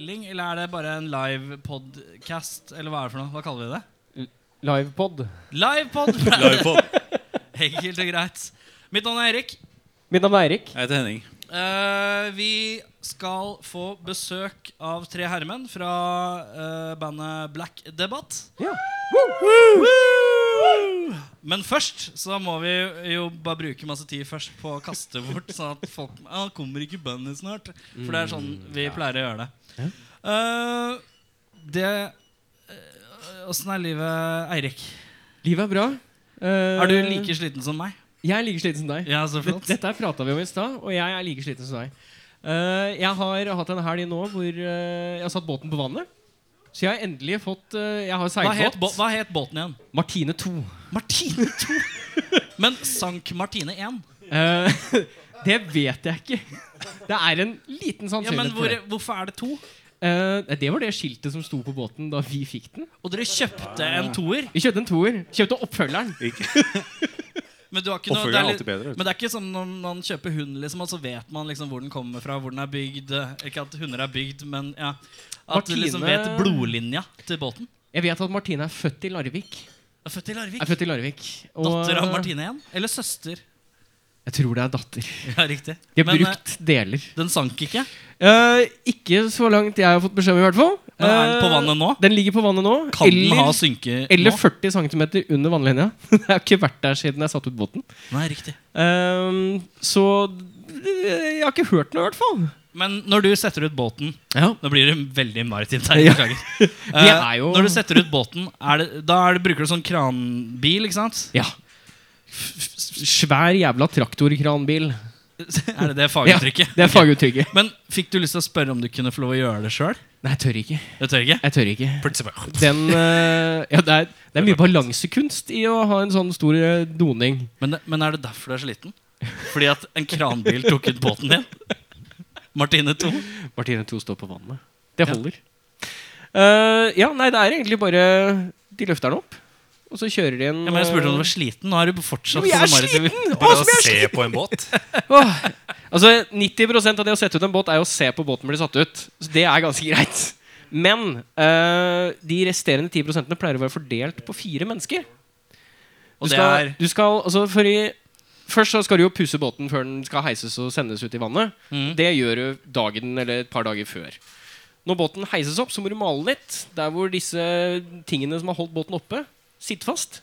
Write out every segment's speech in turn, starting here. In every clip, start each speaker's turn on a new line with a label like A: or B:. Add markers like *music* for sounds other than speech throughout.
A: det bare en live podcast? Eller hva er det for noe? Hva kaller vi det?
B: Livepod.
A: Livepod!
C: Livepod.
A: *laughs* Enkelt og greit. Mitt navn er Erik.
B: Mitt navn er Eirik.
C: Jeg heter Henning.
A: Eh, vi skal få besøk av tre herremenn fra eh, bandet Black Debate.
B: Ja.
A: Men først så må vi jo bare bruke masse tid først på å kaste bort, sånn at folk ah, Kommer ikke bandet snart? For det er sånn vi pleier å gjøre det. Eh, det eh, Åssen er livet, Eirik?
B: Livet er bra. Eh,
A: Er du like sliten som meg?
B: Jeg er like sliten som deg.
A: Ja, så
B: Dette,
A: flott.
B: dette her prata vi om i stad, og jeg er like sliten som deg. Eh, jeg har hatt en helg nå hvor eh, jeg har satt båten på vannet. Så jeg har endelig fått eh, Jeg har
A: Hva het,
B: seilbåt.
A: bå- hva het båten igjen?
B: Martine 2.
A: Martine 2. *laughs* Men sank Martine 1?
B: Eh, *laughs* det vet jeg ikke. Det er en
A: Ja,
B: liten
A: men
B: sannsynlighet
A: hvor,
B: for det.
A: hvorfor er det to?
B: Eh, det var det skiltet som sto på båten da vi fikk den.
A: Og dere kjøpte en toer,
B: Vi kjøpte en toer. Kjøpte oppfølgeren.
A: men du har ikke noe
C: Oppfølgeren er
A: det er
C: alltid
A: litt,
C: bedre. vet du.
A: Men det er ikke sånn når man kjøper hund, liksom, og så vet man liksom hvor den kommer fra, hvor den er bygd eh, Ikke at hunder er bygd, men ja. At du liksom vet
B: Martine-
A: blodlinja til båten.
B: Jeg vet at Martine er født i Larvik.
A: Er født i Larvik.
B: Er født i Larvik og- eh,
A: Datter av Martine igjen. Eller søster. *laughs*
B: Jeg tror det er datter.
A: Ja, riktig.
B: De har
A: Men eh,
B: brukt deler.
A: den sank ikke.
B: Eh, ikke så langt jeg har fått beskjed om, i hvert fall.
A: Men er den på
B: Eh,
A: vannet nå?
B: Den ligger på vannet nå.
A: Kan
B: eller,
A: den ha synke
B: eller
A: nå?
B: 40 cm under vannlinja. *laughs* Jeg har ikke vært der siden jeg satte ut båten.
A: Nei, riktig.
B: Eh, så eh, jeg har ikke hørt noe, i hvert fall.
A: Men når du setter ut båten
B: Ja.
A: Nå blir det veldig maritimt her.
B: *laughs* Ja.
A: Beklager.
B: Det
A: Eh,
B: er jo-
A: Når du setter ut båten, er det, da er det, bruker du sånn kranbil, ikke sant?
B: ja. Svær jævla traktorkranbil.
A: er det det
B: *laughs* Ja,
A: faguttrykket?
B: det er faguttrykket.
A: Men fikk du lyst til å spørre om du kunne få lov å gjøre det sjøl?
B: *laughs* Nei, jeg tør ikke.
A: Det tør jeg ikke.
B: Jeg tør ikke.
A: Plutselig bare-
B: Den eh, Ja, det er, det er mye balansekunst i å ha en sånn stor eh, doning.
A: Men, det- men er det derfor du er så liten? Fordi at en kranbil tok ut båten din? Martine 2.
B: Martine 2 står på vannet. Det holder. Eh, ja, nei, det er egentlig bare De løfter den opp, og så kjører de en
A: Ja, men jeg spurte om du var
B: eh,
A: sliten. Nå er du fortsatt
B: Jo, jeg er
A: så maritim.
C: Bare å se på en båt.
B: *laughs* Åh. Altså, 90 av det å sette ut en båt er jo å se på båten bli satt ut. Så det er ganske greit. Men eh, de resterende 10 pleier å være fordelt på fire mennesker.
A: Og
B: Du
A: det
B: skal,
A: er
B: du skal, altså for i, Først så skal du jo pusse båten før den skal heises og sendes ut i vannet.
A: Mhm.
B: Det gjør du dagen eller et par dager før. Når båten heises opp, så må du male litt. Der hvor disse tingene som har holdt båten oppe, sitter fast.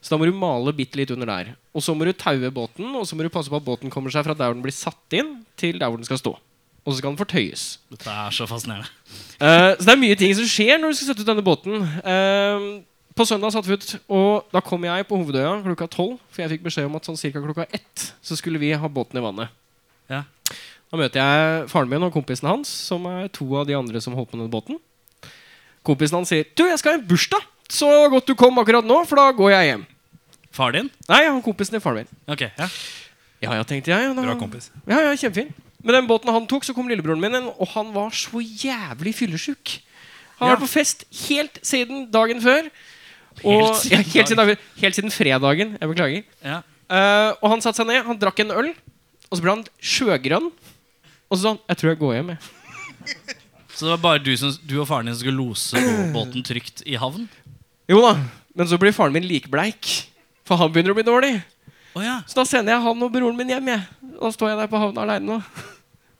B: Så da må du male bitte litt under der. Og så må du taue båten, og så må du passe på at båten kommer seg fra der hvor den blir satt inn, til der hvor den skal stå. Og så skal den fortøyes.
A: Dette er så fascinerende.
B: Eh, så det er mye ting som skjer når du skal sette ut denne båten. Eh, på søndag satte vi ut, og da kom jeg på Hovedøya klokka tolv. For jeg fikk beskjed om at sånn cirka klokka ett så skulle vi ha båten i vannet.
A: Ja.
B: Da møter jeg faren min og kompisen hans, som er to av de andre som holdt på med denne båten. Kompisen hans sier 'Du, jeg skal ha en bursdag, så godt du kom akkurat nå, for da går jeg hjem'.
A: Far din?
B: Nei, han kompisen til faren min.
A: Ok, ja.
B: Ja, ja, tenkte jeg. Da,
C: Bra kompis.
B: ja, ja, kjempefin. Med den båten han tok, så kom lillebroren min inn, og han var så jævlig fyllesyk. Han har
A: Ja.
B: vært på fest helt siden dagen før. Og,
A: Helt siden
B: ja, helt, siden, dagen- helt siden fredagen. Jeg beklager.
A: ja.
B: Eh, og han satte seg ned, han drakk en øl, og så ble han sjøgrønn. Og så sa han 'Jeg tror jeg går hjem', jeg.
A: Så det var bare du, som, du og faren din som skulle lose båten trygt i havn?
B: Jo da. Men så blir faren min likbleik, for han begynner å bli dårlig.
A: Å ja.
B: Så da sender jeg han og broren min hjem, jeg. Og da står jeg der på havna aleine nå.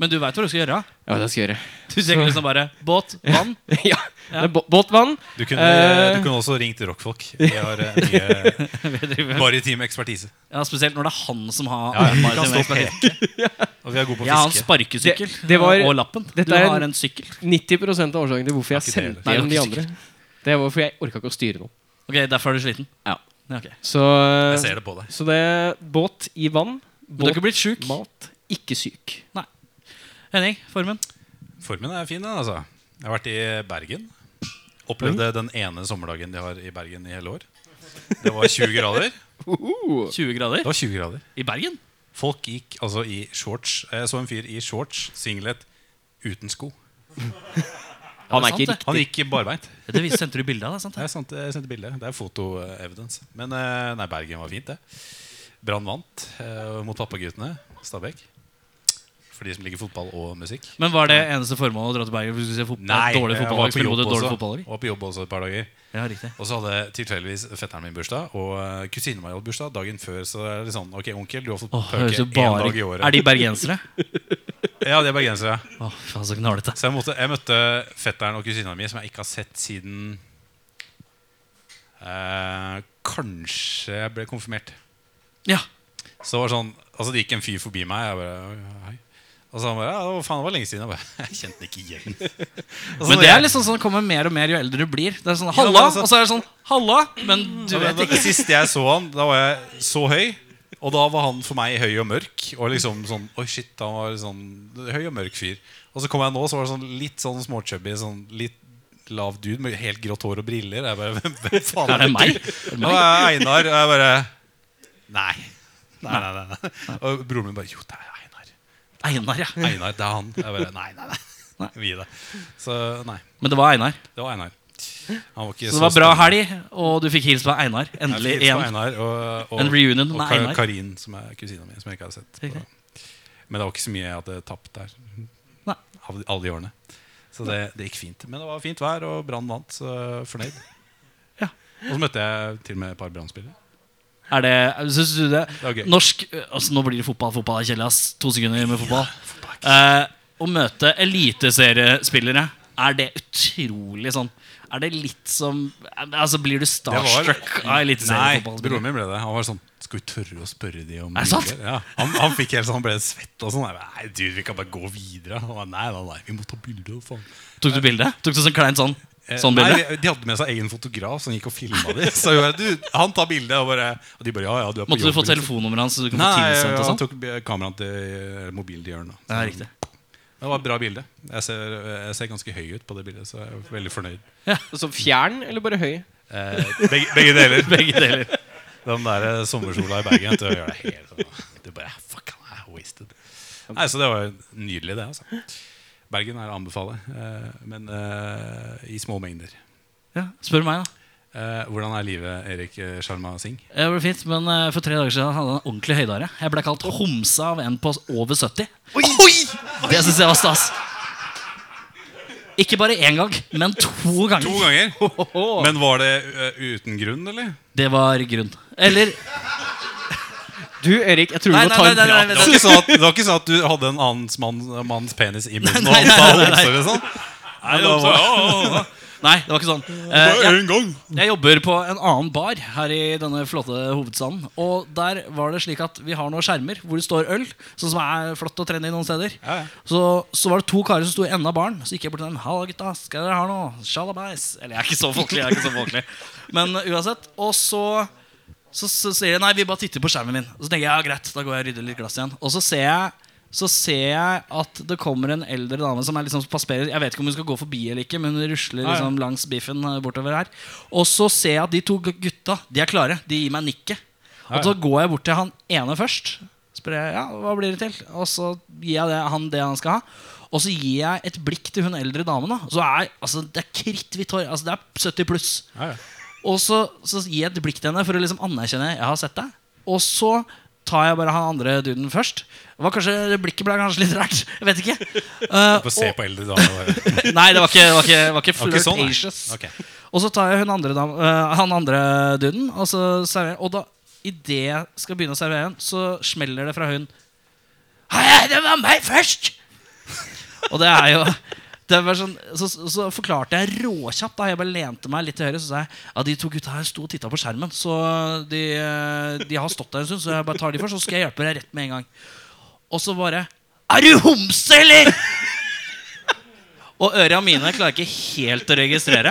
A: Men du veit hva du skal gjøre?
B: Ja, det skal jeg gjøre.
A: Du tenker liksom bare båt, vann.
B: *laughs* ja.
A: Ja.
B: Det er bå- Båtvann.
C: Du kunne,
B: Eh.
C: du kunne også ringt *laughs* rockfolk. De har eh, mye
A: Vi driver-
C: maritim ekspertise.
A: Ja, Spesielt når det er han som har
C: Ja, ja, vi kan
A: maritim
C: stå og
A: ekspertise.
C: Og vi er gode på
A: Jeg har
C: å
A: en
C: fiske.
A: sparkesykkel
B: Det- det var-
A: og lappen.
B: dette
A: Du
B: er
A: har
B: en-
A: en sykkel.
B: 90 av årsaken til hvorfor jeg
C: Ikke det
B: sendte
A: heller.
B: meg
A: Nei,
B: om de
A: det var
B: andre. Det var fordi jeg orka ikke å styre noe.
A: Ok, Derfor er du sliten?
B: Ja.
A: ja ok.
B: Så,
C: Jeg ser det på deg.
B: så det er båt i vann,
A: Men du har
B: båt
A: ikke blitt sjuk?
B: mat, ikke syk.
A: Henning, formen?
C: Formen er fin, den, altså. Jeg har vært i Bergen. Opplevde den ene sommerdagen de har i Bergen i hele år. Det var 20 grader.
A: 20
C: *laughs*
A: grader?
C: Det var 20 grader.
A: I Bergen?
C: Folk gikk altså i shorts. Jeg så en fyr i shorts, singlet, uten sko.
B: Han
A: det er
B: er ikke
A: sant,
B: riktig.
C: Han gikk barbeint.
A: Det vis- sendte du bilde av? det, sant?
C: Det er sant, jeg sendte bilde. Det er fotoevidence. Men eh, nei, Bergen var fint, det. Brann vant eh, mot pappaguttene. Stabæk. for de som liker fotball og musikk.
A: Men var det eneste formålet å dra til Bergen? For du skulle se fotball, dårlig
C: jeg
A: fotball,
C: var på
A: spille
C: jobb
A: både dårlig
C: også.
A: fotballer i?
C: Var på jobb også et par dager.
A: Ja, riktig.
C: Og så hadde tilfeldigvis fetteren min bursdag og eh, kusinen min hadde bursdag dagen før. Så det er litt sånn Ok, onkel, du har fått
A: Åh,
C: pøke
A: høres jo
C: én
A: bare
C: dag i året.
A: Er de bergensere?
C: Ja, de er bergensere.
A: Åh, faen, så gnarlete.
C: Så jeg, måtte, jeg møtte fetteren og kusina mi, som jeg ikke har sett siden eh, Kanskje jeg ble konfirmert.
A: Ja.
C: Så det var sånn Altså det gikk en fyr forbi meg. Jeg bare, hei. Og så han bare, ja, det var, faen, det var lenge siden. Jeg bare, jeg kjente den ikke *laughs* igjen. Og så
A: Men det
C: jeg-
A: er liksom sånn det kommer mer og mer jo eldre du blir. Det er sånn
C: Ja, men
A: halla,
C: altså-
A: og så er det sånn halla, men du
C: Ja, men
A: vet
C: da-
A: ikke.
C: Sist jeg så han, da var jeg så høy. Og da var han for meg høy og mørk. Og liksom sånn, oi shit, han var sånn høy og mørk fyr. Og så kom jeg nå, så var det sånn litt sånn småchubby, sånn litt lav dude med helt grått hår og briller. Jeg bare, *laughs* hvem, hvem faen
A: Er det
C: du?
A: meg? Er det
C: Ja, det
A: meg?
C: er Einar. Og jeg bare Nei. Nei, nei, nei, nei. Og broren min bare Jo, det er Einar.
A: Einar, ja.
C: Einar, det er han. Jeg bare, nei, nei, nei.
A: Nei.
C: Vi det. Så nei.
A: Men det var Einar.
C: Det var Einar. Han var ikke
A: Så det var bra
C: spennende.
A: helg, og du fikk hilse på Einar. Endelig
C: Jeg fikk hilse på
A: igjen.
C: Einar og, og,
A: En reunion
C: og
A: med
C: Ka-
A: Einar.
C: Karin, som er kusina mi, som jeg ikke har sett. På.
A: Riktig.
C: Men det var ikke så mye jeg hadde tapt der.
A: Nei.
C: Av de- alle de årene. Så det, det gikk fint. Men det var fint vær, og Brann vant, så fornøyd.
A: Ja.
C: Og så møtte jeg til og med et par Brann-spillere.
A: Er det, synes du det?
C: Det var gøy.
A: Norsk altså Nå blir det fotball, fotball er kjedelig. ass. To sekunder med fotball. Eh, å møte eliteseriespillere, er det utrolig sånn Er det litt som Altså Blir du starstruck av
C: Nei, broren
A: eliteseriefotballspillere?
C: min ble det. Han var sånn Skal vi tørre å spørre de om
A: Er det sant?
C: bilder?» Ja. Han, han fikk helt sånn, han ble svett og sånn. Jeg bare, Nei, dude, vi kan bare gå videre. Han bare, nei, nei, nei, vi må ta bilde. og Faen.
A: Tok du bilde? Tok du sånn kleint sånn?
C: Eh,
A: Sånn
C: Nei,
A: bilde?
C: de- de hadde med seg egen fotograf som gikk og filma dem. Så jeg bare, du, han tar bilde, og, bare, og de bare ja, ja, du er på
A: Måtte du
C: jobb,
A: få
C: liksom.
A: telefonnummeret hans? Så du kan
C: Nei,
A: få
C: ja,
A: tilsendt og
C: han
A: sånn?
C: tok b- kameraet til eller mobilen til Jørn. da.
A: Ja,
C: Så
A: riktig.
C: Det var et bra bilde. Jeg ser, jeg ser ganske høy ut på det bildet, så jeg er veldig fornøyd.
B: Så fjern eller bare høy?
C: Eh, *laughs* begge, begge deler.
A: *laughs* Begge deler.
C: Den der eh, sommersola i Bergen vet du, gjør deg helt sånn Du bare Fuck, han er wasted. Nei, Så det var jo nydelig, det. altså Bergen er å anbefale, eh, men eh, i små mengder.
A: Ja, spør meg, da.
C: Eh, hvordan er livet, Erik eh, Sharma Singh?
A: Det ble fint, men eh, for tre dager siden hadde han en ordentlig høydare. Jeg ble kalt homse av en på over 70. Det syns jeg var stas. Ikke bare én gang, men to
C: To
A: ganger.
C: ganger? Men var det eh, uten grunn, eller?
A: Det var grunn. Eller
B: Du, Erik, jeg tror
A: Nei,
B: vi må
A: nei,
B: ta
A: nei,
B: en
A: nei, nei,
B: prat.
C: Det var ikke sånn at, det var ikke sånn at du hadde en annen manns, manns penis i munnen?
A: Nei, nei,
C: og han sa
A: nei, nei, nei.
C: homser, eller sånn? Nei, det var
A: Nei, det var ikke sånn. Eh,
C: bare
A: jeg,
C: én gang.
A: jeg jobber på en annen bar her i denne flotte hovedstaden. Og der var det slik at vi har noen skjermer hvor det står øl, sånn som er flott og trendy noen steder.
C: Ja, ja.
A: Så, så var det to karer som sto i enden av baren. Så gikk jeg bort til dem. Halla, gutta. Skal dere ha noe? Sjalabais. Eller jeg er ikke så folkelig. jeg er ikke så
C: *laughs*
A: folkelig Men uh, uansett. Og så så, så sier jeg nei, vi bare titter på skjermen min. Og så tenker jeg ja, greit, da går jeg og rydder litt glass igjen. Og så ser jeg så ser jeg at det kommer en eldre dame som er liksom passerer Jeg vet ikke om hun skal gå forbi eller ikke, men hun rusler
C: Ja, ja.
A: liksom langs biffen eh, bortover her. Og så ser jeg at de to gu- gutta De er klare. De gir meg nikket.
C: Ja, ja.
A: Og så går jeg bort til han ene først. Spør jeg, ja, hva blir det til? Og så gir jeg det, han det han skal ha. Og så gir jeg et blikk til hun eldre damen. da Og så er, altså, Det er kritthvitt hår. Altså, det er 70 pluss.
C: Ja, ja.
A: Og så, så gir jeg et blikk til henne for å liksom anerkjenne jeg har sett deg. Og så tar jeg bare han andre duden først. Det var kanskje, blikket ble kanskje litt rart. Jeg vet ikke. Eh,
C: Bare se på eldre damer.
A: *laughs*
C: bare.
A: og, nei, det var ikke, det var ikke, det var ikke
C: Det var ikke sånn, nei.
A: flirtatious.
C: Ok.
A: Og så tar jeg hun andre, dam- eh, han andre duden og så serverer Og da, idet jeg skal begynne å servere den, så smeller det fra hun Hei, det var meg først! *laughs* Og det er jo det var sånn, så, så forklarte jeg råkjapt. da Jeg bare lente meg litt til høyre. Så sa jeg ja, de to gutta her sto og titta på skjermen. Så de, eh, de har stått der en stund, så jeg bare tar de først, så skal jeg hjelpe deg rett med en gang. Og så bare Er du homse, eller?! Og øra mine klarer ikke helt å registrere.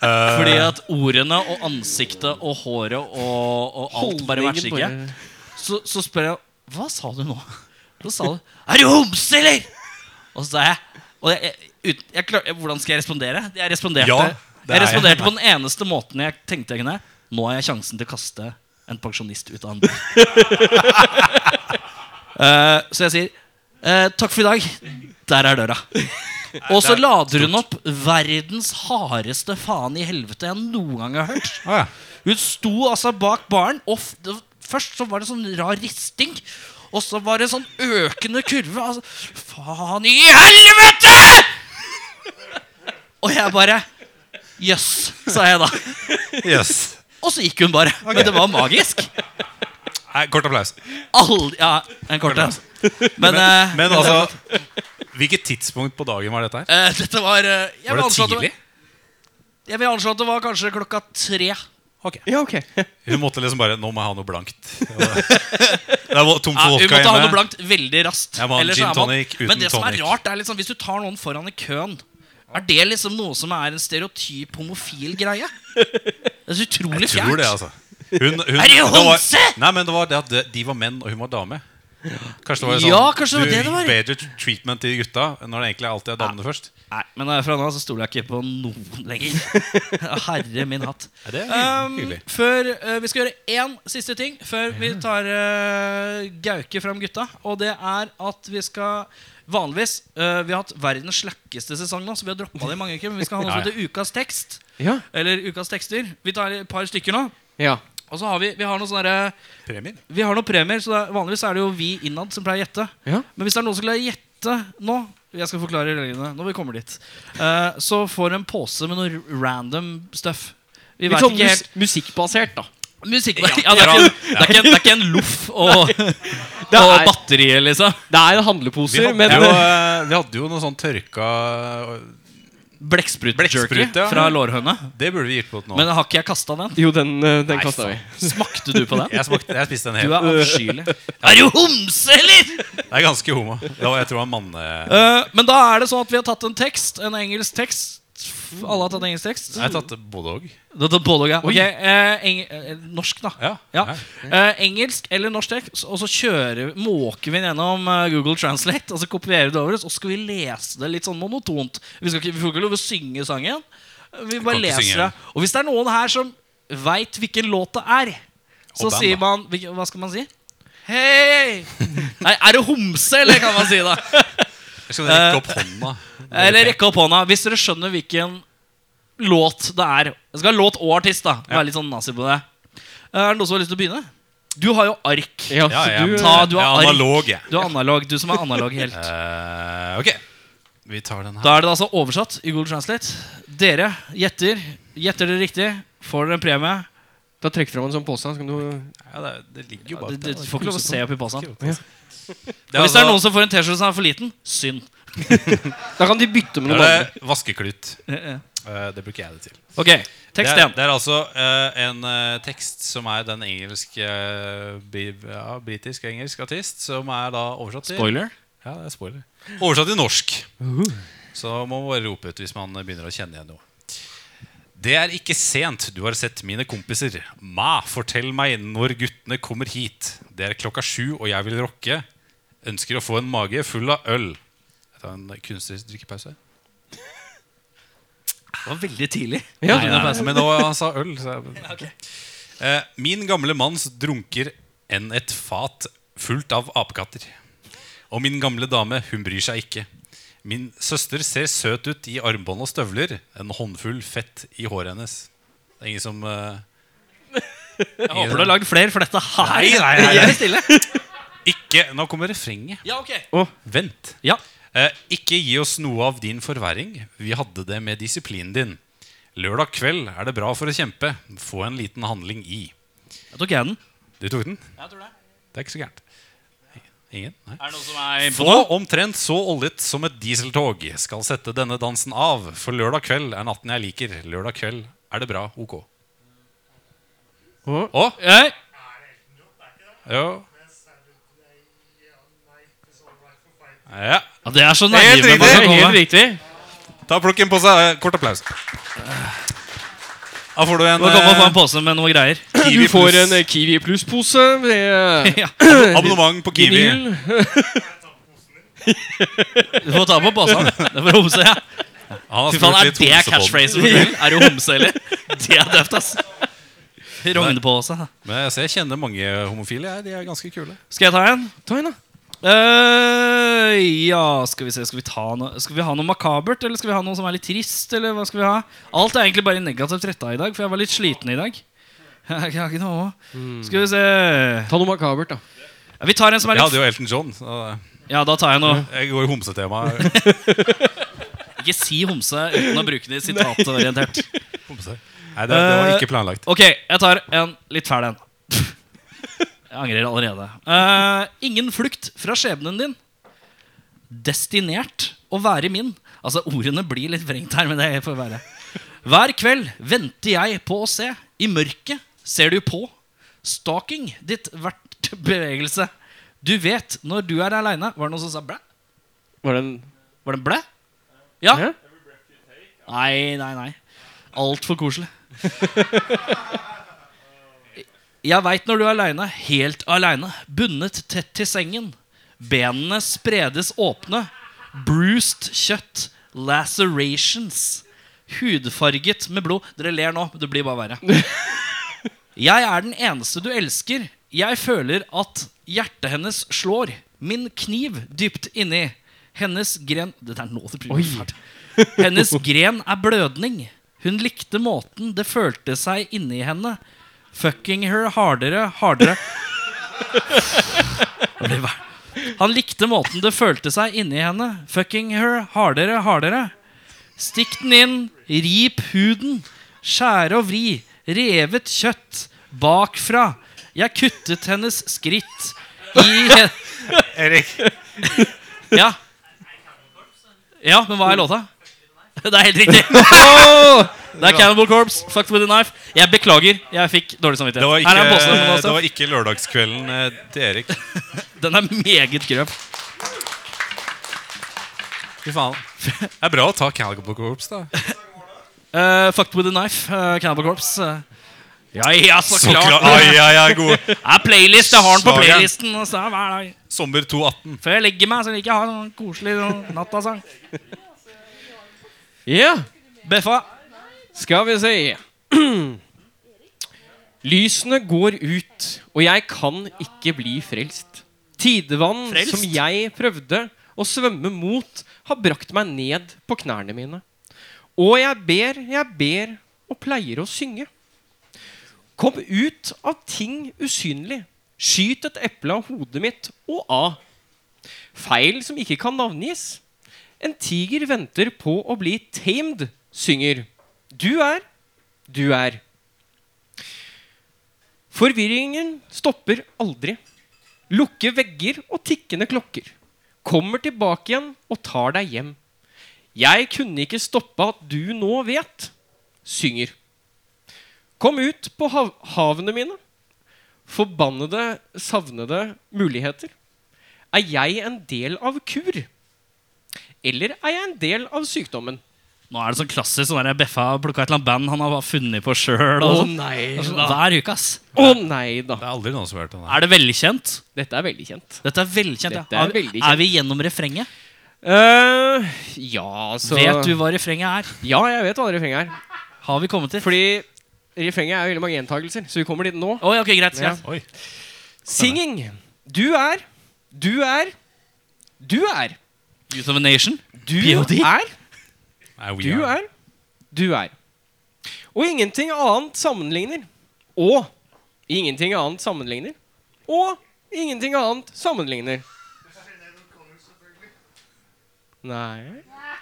A: Fordi at ordene og ansiktet og håret og, og alt bare matcher ikke. Så, så spør jeg Hva sa du nå? Så sa du Er du homse, eller? Og så sa jeg, og jeg, jeg, ut, jeg klar, Hvordan skal jeg respondere? Jeg responderte,
C: Ja, det
A: jeg
C: er jeg.
A: responderte på den eneste måten jeg tenkte jeg kunne. Nå har jeg sjansen til å kaste en pensjonist ut av en bil.
C: *laughs*
A: Eh, så jeg sier eh, takk for i dag. Der
C: *laughs*
A: er døra. Og
C: det
A: så
C: er
A: lader hun opp verdens hardeste faen i helvete jeg noen gang har hørt.
C: Ah, ja.
A: Hun sto altså bak baren, og f- det- først så var det sånn rar risting.
B: Og så var det sånn økende kurve. Altså, Faen i helvete! Og jeg bare Jøss, sa jeg da.
C: Yes.
B: Og så gikk hun bare. Men det var magisk.
C: Nei, kort applaus.
B: Aldri, ja, en kort en. Men, eh,
C: Men altså Hvilket tidspunkt på dagen var dette her?
A: Eh, dette var eh, jeg
C: Var
A: vil
C: det
A: anslå at
C: tidlig?
A: Jeg vil anslå at det var kanskje klokka tre.
B: ja, ok.
C: Hun måtte liksom bare Nå må jeg ha noe blankt.
A: *laughs*
C: Det var det var tomt for
A: Ja, Ah, vi
C: vodka
A: måtte ha noe
C: hjemme.
A: blankt veldig raskt.
C: Jeg må ha en
A: Ellers
C: gin
A: er man-
C: tonic uten
A: Men det som er
C: tonic.
A: rart, er liksom hvis du tar noen foran i køen Er det liksom noe som er en stereotyp homofil greie? Det er så utrolig
C: Jeg tror det,
A: fjernt.
C: altså. Hun, hun,
A: Er det
C: var-
A: Honse?
C: Nei, men det var det at det- de var menn, og hun var dame. Kanskje det var sånn
A: Ja, kanskje det var det det
C: Du
A: var.
C: gir bedre treatment til gutta når det egentlig alltid er damene først.
A: Nei, men herfra nå så stoler jeg ikke på noen lenger. *laughs* Herre min hatt.
C: Ja, det er
A: Um,
C: hyggelig.
A: før, eh, vi skal gjøre én siste ting før vi tar uh, Gauke fram gutta. Og det er at vi skal Vanligvis eh, Vi har hatt verdens slakkeste sesong nå, så vi har droppa det i mange uker. Men vi skal ha noe
C: Ja, ja.
A: som heter Ukas tekst.
B: *laughs* Ja.
A: Eller Ukas tekster. Vi tar et par stykker nå.
B: ja.
A: Og så har vi, vi har noen sånne derre-
C: Premier.
A: Vi har noen premier, så det er, vanligvis er det jo vi innad som pleier å gjette.
B: Ja.
A: Men hvis det er noen som klarer å gjette nå Jeg skal forklare reglene når vi kommer dit. eh, så får du en pose med noe random stuff. Vi
B: Litt
A: vet ikke
B: sånn mus
A: helt
B: musikkbasert, da.
A: Musikk ja, det, er ikke, det, er ikke, det er ikke en loff *laughs* og,
B: Det
A: og
B: er-
A: batteriet, liksom.
B: Det er
C: Vi
B: handleposer,
C: hadde,
B: men
C: jo, eh, vi hadde jo noe sånn tørka
A: Blekksprut-jerky
C: Blekksprut, ja.
A: fra lårhøne.
C: Det burde vi gitt bort nå.
A: Men har ikke jeg kasta den?
B: Jo, den, eh, den
A: Nei,
B: kasta vi.
A: Smakte du på *laughs* den?
C: jeg, smakte, jeg spiste en
A: Du
C: hel.
A: er avskyelig. Er du homse, eller?!
C: Det er ganske homo. Det var, jeg tror det var manne...
A: Eh, men da er det sånn at vi har tatt en tekst, en engelsk tekst. F- Alle har tatt engelsk tekst.
C: Jeg har tatt både òg.
A: Da tar både og, ja. Ok, eh, eng eh, norsk, da.
C: Ja.
A: Ja.
C: Ja.
A: Eh, engelsk eller norsk tekst, og så kjører, måker vi den gjennom eh, Google Translate. Og så kopierer vi det over oss, og så skal vi lese det litt sånn monotont. Vi, skal ikke, vi får ikke lov å synge sangen. Vi bare
C: ikke synge
A: leser det.
C: den.
A: Og hvis det er noen her som veit hvilken låt det er,
C: Og
A: så
C: band,
A: sier
C: da.
A: man hvilke- Hva skal man si? Hei! Nei, er du homse, eller kan man si da?
C: Jeg skal
A: Eh,
C: rekke opp hånda.
A: Eller rekke opp hånda hvis dere skjønner hvilken låt det er. Det skal være låt og artist, da. Vær litt sånn nazi på det. Eh, Er det noen som har lyst til å begynne? Du har jo ark.
B: Ja,
C: Ja,
B: så
C: ja.
B: du,
A: Ta, altså, du
C: Jeg
A: har
C: er
A: ark.
C: analog, jeg.
A: Du er analog, du som er analog helt.
C: Eh, ok. Vi tar den her.
A: Da er det altså oversatt i Google Translate. Dere gjetter. Gjetter dere riktig, får dere en premie.
B: da trekker fram en sånn pose, så kan du
C: Ja, det, det ligger jo
A: Du,
C: bak
A: du du får ikke lov å se opp i posen.
C: er
A: Og hvis det er
C: altså-
A: noen som får en T-skjorte som er for liten, synd.
B: Da kan de bytte med
C: Da
B: noe
C: er
B: annet.
C: det vaskeklut.
A: Eh, eh.
C: Eh, det bruker jeg det til.
A: Ok, tekst
C: det, er,
A: én.
C: det er altså eh, en eh, tekst som er den engelske eh, bi, ja, Britisk og engelsk artist, som er da oversatt til Ja, det er spoiler. Oversatt til norsk. Så må man bare rope ut hvis man begynner å kjenne igjen noe. Det er ikke sent du har sett mine kompiser. Ma, fortell meg når guttene kommer hit. Det er klokka sju, og jeg vil rocke. Ønsker å få en mage full av øl. Jeg tar en kunstnerisk drikkepause.
A: Det var veldig tidlig.
B: Ja.
C: Nei, nei, nei, men nå han sa øl. Så jeg...
A: *laughs*
C: eh, min gamle manns drunker enn et fat fullt av apekatter. Og min gamle dame, hun bryr seg ikke. Min søster ser søt ut i armbånd og støvler. En håndfull fett i håret hennes. Det er ingen som eh,
A: *laughs* Jeg håper du har lagd flere, for dette her
C: Nei, nei, nei,
A: *laughs*
C: nei.
A: Jeg er stille.
C: Ikke Nå kommer refrenget.
A: Ja, ok.
C: Vent.
A: Ja.
C: Eh, ikke gi oss noe av din forverring. Vi hadde det med disiplinen din. Lørdag kveld er det bra for å kjempe. Få en liten handling i.
A: Da tok jeg den.
C: Du tok den?
A: Jeg tror det.
C: Det er ikke så gærent. Ingen? Nei.
A: Er det noe som er
C: Få omtrent så oljet som et dieseltog. Skal sette denne dansen av, for lørdag kveld er natten jeg liker. Lørdag kveld er det bra. Ok.
B: Å.
C: Å?
A: Nei,
C: Jo. Ja.
A: Ja, det er så
C: Helt
A: naive
C: riktig.
A: man kan
B: Helt
A: komme.
B: riktig.
C: Ta plukken på seg. eh, Kort applaus. Da får du en
A: Nå kan man få en
C: eh,
A: pose med noe greier.
B: Du
C: Kiwi
B: får en
C: pluss
B: eh, Kiwi Pluss-pose. med, eh,
A: *clears throat* Ja.
C: abonnement på Kiwi.
B: Vinyl.
A: Du får ta på posen. *laughs* Det er for homse, ja.
C: Han har
A: Fy faen,
C: spurt
A: er
C: litt
A: det
C: homsepodden.
A: catchphrase for kvelden? Er du homse, eller? Det er døvt, ass. Rognepose.
C: Men jeg, ser, jeg kjenner mange homofile. Jeg. De er ganske kule.
A: Skal jeg ta en?
B: Ta en, da.
A: Eh, ja, skal vi se Skal vi, ta noe? skal vi ha noe makabert, eller skal vi ha noe som er litt trist? Eller hva skal vi ha? Alt er egentlig bare negativt retta i dag, *laughs* for jeg Hmm. var litt sliten i dag. Jeg har ikke noe Skal vi se
B: Ta noe makabert, da.
A: Ja, vi tar en som er
C: Jeg hadde
A: litt
C: jo Elton John. Så
A: Ja, da tar jeg noe.
C: jeg går i
A: *laughs*
C: homsetema.
A: Ikke si homse uten å bruke det sitatorientert.
C: Homse. Nei, det, det var
A: Eh,
C: ikke planlagt.
A: Ok, jeg tar en litt fæl en. *laughs* Jeg angrer allerede. Eh, ingen flukt fra skjebnen din. Destinert å være min. Altså, ordene blir litt vrengt her, men det får være. Hver kveld venter jeg på å se. I mørket ser du på. Stalking ditt hvert bevegelse. Du vet når du er aleine Var det noen som sa blæ?
B: Var det en
A: Var det en blæ? Ja?
B: Hæ?
A: Nei, nei, nei. Altfor koselig. Jeg veit når du er aleine, helt aleine, bundet tett til sengen. Benene spredes åpne. Bruised kjøtt. Lacerations. Hudfarget med blod. Dere ler nå, men det blir bare verre. Jeg er den eneste du elsker. Jeg føler at hjertet hennes slår. Min kniv dypt inni. Hennes gren Dette er nå det blir fælt. Hennes gren er blødning. Hun likte måten det følte seg inni henne. Fucking her hardere, hardere. Det blir ver- Han likte måten det følte seg inni henne. Fucking her hardere, hardere. Stikk den inn, rip huden, skjære og vri, revet kjøtt, bakfra. Jeg kuttet hennes skritt i hen- Eh,
C: Erik,
A: Ja. Ja, men hva er låta? *laughs* Det er helt
C: *laughs*
A: riktig. Det er Cannibal Corpse, Fucked with a Knife. Jeg beklager, jeg fikk dårlig samvittighet.
C: det var
A: Her
C: ikke,
A: er bossen, Jonas.
C: det var ikke lørdagskvelden eh, til Erik.
A: Den er meget grøv.
C: Fy faen. Det er bra å ta Calico Corps, da.
A: Eh, fucked with a Knife, eh, Cannibal Corpse. eh. ja, ja, *laughs* så, klart. *laughs*
C: Ai, ai, ai, god.
A: Det er playlist, jeg har den på
C: Slageren.
A: playlisten. og så er det hver dag.
C: Sommer 218.
A: Før jeg legger meg, så liker jeg å ha en koselig sånn nattasang.
B: Ja!
A: Beffa.
B: Skal vi se *clears throat* Lysene går ut, og jeg kan ikke bli frelst. Tidevann
A: Frelst?
B: som jeg prøvde å svømme mot, har brakt meg ned på knærne mine. Og jeg ber, jeg ber og pleier å synge. Kom ut av ting usynlig. Skyt et eple av hodet mitt og av. Feil som ikke kan navngis. En tiger venter på å bli tamed, synger. Du er, du er. Forvirringen stopper aldri. Lukke vegger og tikkende klokker. Kommer tilbake igjen og tar deg hjem. Jeg kunne ikke stoppe at du nå vet, synger. Kom ut på hav havene mine. Forbannede, savnede muligheter. Er jeg en del av kur? Eller er jeg en del av sykdommen?
A: Nå er det sånn klassisk sånn der Beffa har plukka et eller annet band han har funnet på sjøl.
B: Å
A: Sånn.
B: nei
A: Sånn
B: da.
A: Hver uke, ass.
B: Å nei da.
C: Det er aldri noen som har hørt den. der.
A: Er det velkjent?
B: Dette er veldig kjent.
A: Dette er velkjent. ja.
B: Dette er
A: Er-
B: veldig
A: Er vi gjennom refrenget?
B: eh ja, så
A: Vet du hva refrenget er?
B: Ja, jeg vet hva refrenget er.
A: Har vi kommet til?
B: Fordi refrenget er veldig mange gjentagelser, så vi kommer dit nå.
A: Oi, ok, greit.
B: Ja.
A: Ja.
C: Oi.
B: Singing. Du er, du er, du er.
A: Youth of a Nation.
B: Du
A: POD?
B: er,
C: Nei, we
B: du
C: are.
B: er, du er. Og ingenting annet sammenligner. Og ingenting annet sammenligner. Og ingenting annet sammenligner. Nei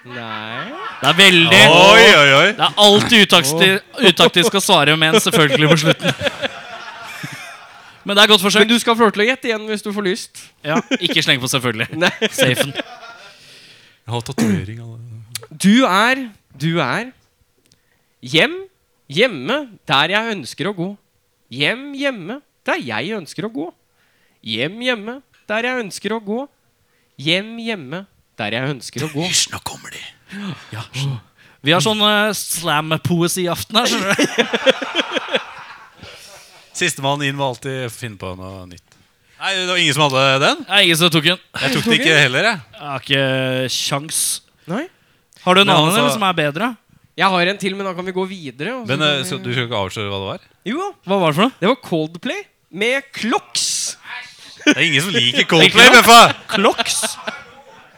B: Nei
A: Det er veldig
C: Oi, oi, oi.
A: Det er alltid utakti- utaktisk å svare med en selvfølgelig på slutten. Men det er godt forsøk.
B: Men du skal få lov til å gjette igjen hvis du får lyst.
A: Ja, ikke sleng på 'selvfølgelig'.
B: *laughs* Nei.
A: Safen.
C: Jeg har tatovering av det.
B: Du er, du er. Hjem, hjemme, der jeg ønsker å gå. Hjem, hjemme, der jeg ønsker å gå. Hjem, hjemme, der jeg ønsker å gå. Hjem, hjemme, der jeg ønsker å gå.
C: Hysj, nå kommer de.
A: Vi har sånn uh, slam-poesi-aften her. skjønner du?
C: Sistemann inn var alltid finne på noe nytt. Nei, det var ingen som hadde den.
A: Det er ingen som tok den.
C: Jeg tok det ikke heller, jeg.
A: Jeg har ikke kjans.
B: Nei.
A: Har du en
C: Men
A: annen
C: altså-
A: eller, som er bedre?
B: Jeg har en til, men da kan vi gå videre. og så
C: Men eh,
B: kan vi-
C: så, du skal ikke avsløre hva det var?
B: Jo da.
A: Hva var det for noe?
B: Det var Coldplay med Clocks.
C: Det er ingen som liker Coldplay, Beffa.
A: Clocks?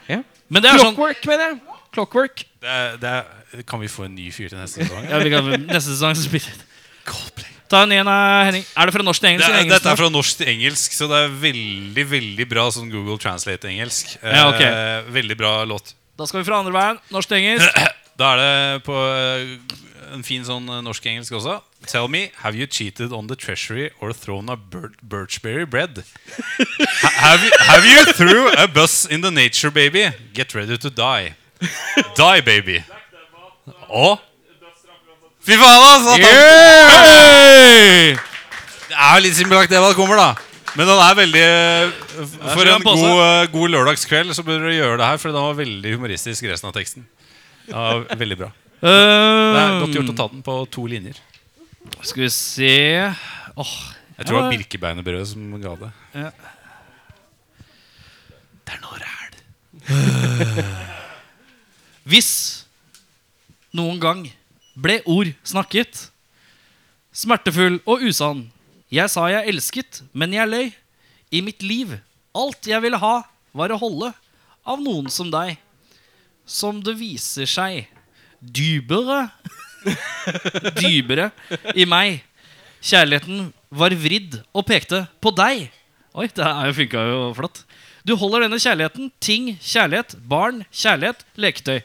B: Ja.
A: Men det er sånn
B: Clockwork, mener jeg. Clockwork.
C: Det er, det er, kan vi få en ny fyr til neste sesong?
A: ja, vi kan, Neste sesong så spiller
C: Coldplay.
A: Ta en igjen av Henning. Er det fra norsk til
C: Det
A: engelsk?
C: er,
A: eller engelsk
C: dette
A: til
C: er fra norsk til engelsk, så det er veldig veldig bra sånn Google Translate-engelsk.
A: Ja, ok.
C: Eh, veldig bra låt. *clears throat*
A: norsk? Da skal vi fra andre veien. Norsk til engelsk.
C: Da er det på eh, en fin sånn eh, norsk-engelsk også. Tell me, have you cheated on the treasury or thrown a bir birchberry bread? Ha- have, you, have you threw a bus in the nature, baby? Get ready to die. Die, baby. Å? Fy faen, altså! at han- Det er jo litt simpelagt det hva det kommer, da. Men den er veldig eh, For
A: skal
C: en
A: han passe.
C: god, eh, god lørdagskveld så bør dere gjøre det her, for den var veldig humoristisk, resten av teksten. Ja, veldig bra. Det er godt gjort å ta den på to linjer.
A: Skal vi se Åh,
C: Jeg tror det var Birkebeinerbrød som ga det.
A: Det er noe ræl. *laughs* Hvis noen gang ble ord snakket, smertefull og usann. Jeg sa jeg elsket, men jeg løy. I mitt liv, alt jeg ville ha, var å holde av noen som deg. Som det viser seg *laughs* dybere Dybere i meg. Kjærligheten var vridd og pekte på deg. Oi, det her funka jo flott. Du holder denne kjærligheten ting, kjærlighet, barn, kjærlighet, leketøy.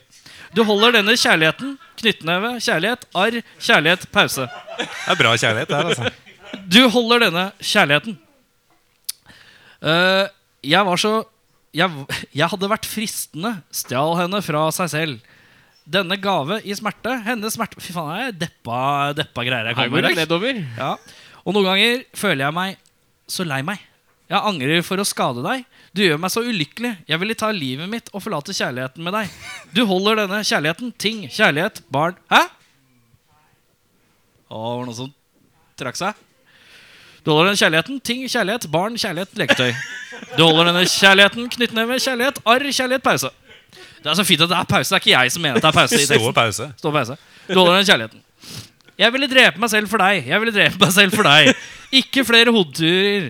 A: Du holder denne kjærligheten knyttneve, kjærlighet, arr, kjærlighet, pause.
C: Det er bra kjærlighet, det her. altså
A: Du holder denne kjærligheten. Eh, jeg var så jeg, *laughs* jeg hadde vært fristende, stjal henne fra seg selv. Denne gave i smerte, hennes smerte Fy faen, jeg er deppa, deppa greier jeg
B: Her
A: kommer
B: går det
A: med.
B: nedover.
A: Ja. Og noen ganger føler jeg meg så lei meg. Jeg angrer for å skade deg. Du gjør meg så ulykkelig. Jeg ville ta livet mitt og forlate kjærligheten med deg. Du holder denne kjærligheten. Ting, kjærlighet, barn. Hæ? Å, var det noen som trakk seg? Du holder denne kjærligheten. Ting, kjærlighet, barn, kjærlighet, leketøy. Du holder denne kjærligheten. Knyttneve, kjærlighet, arr, kjærlighet, pause. Det er så fint at det er pause. Det er ikke jeg som mener at det er pause. i teksten.
C: Stå pause.
A: Stå og peise. Du holder den kjærligheten. Jeg ville drepe meg selv for deg. Jeg ville drepe meg selv for deg. Ikke flere hodeturer.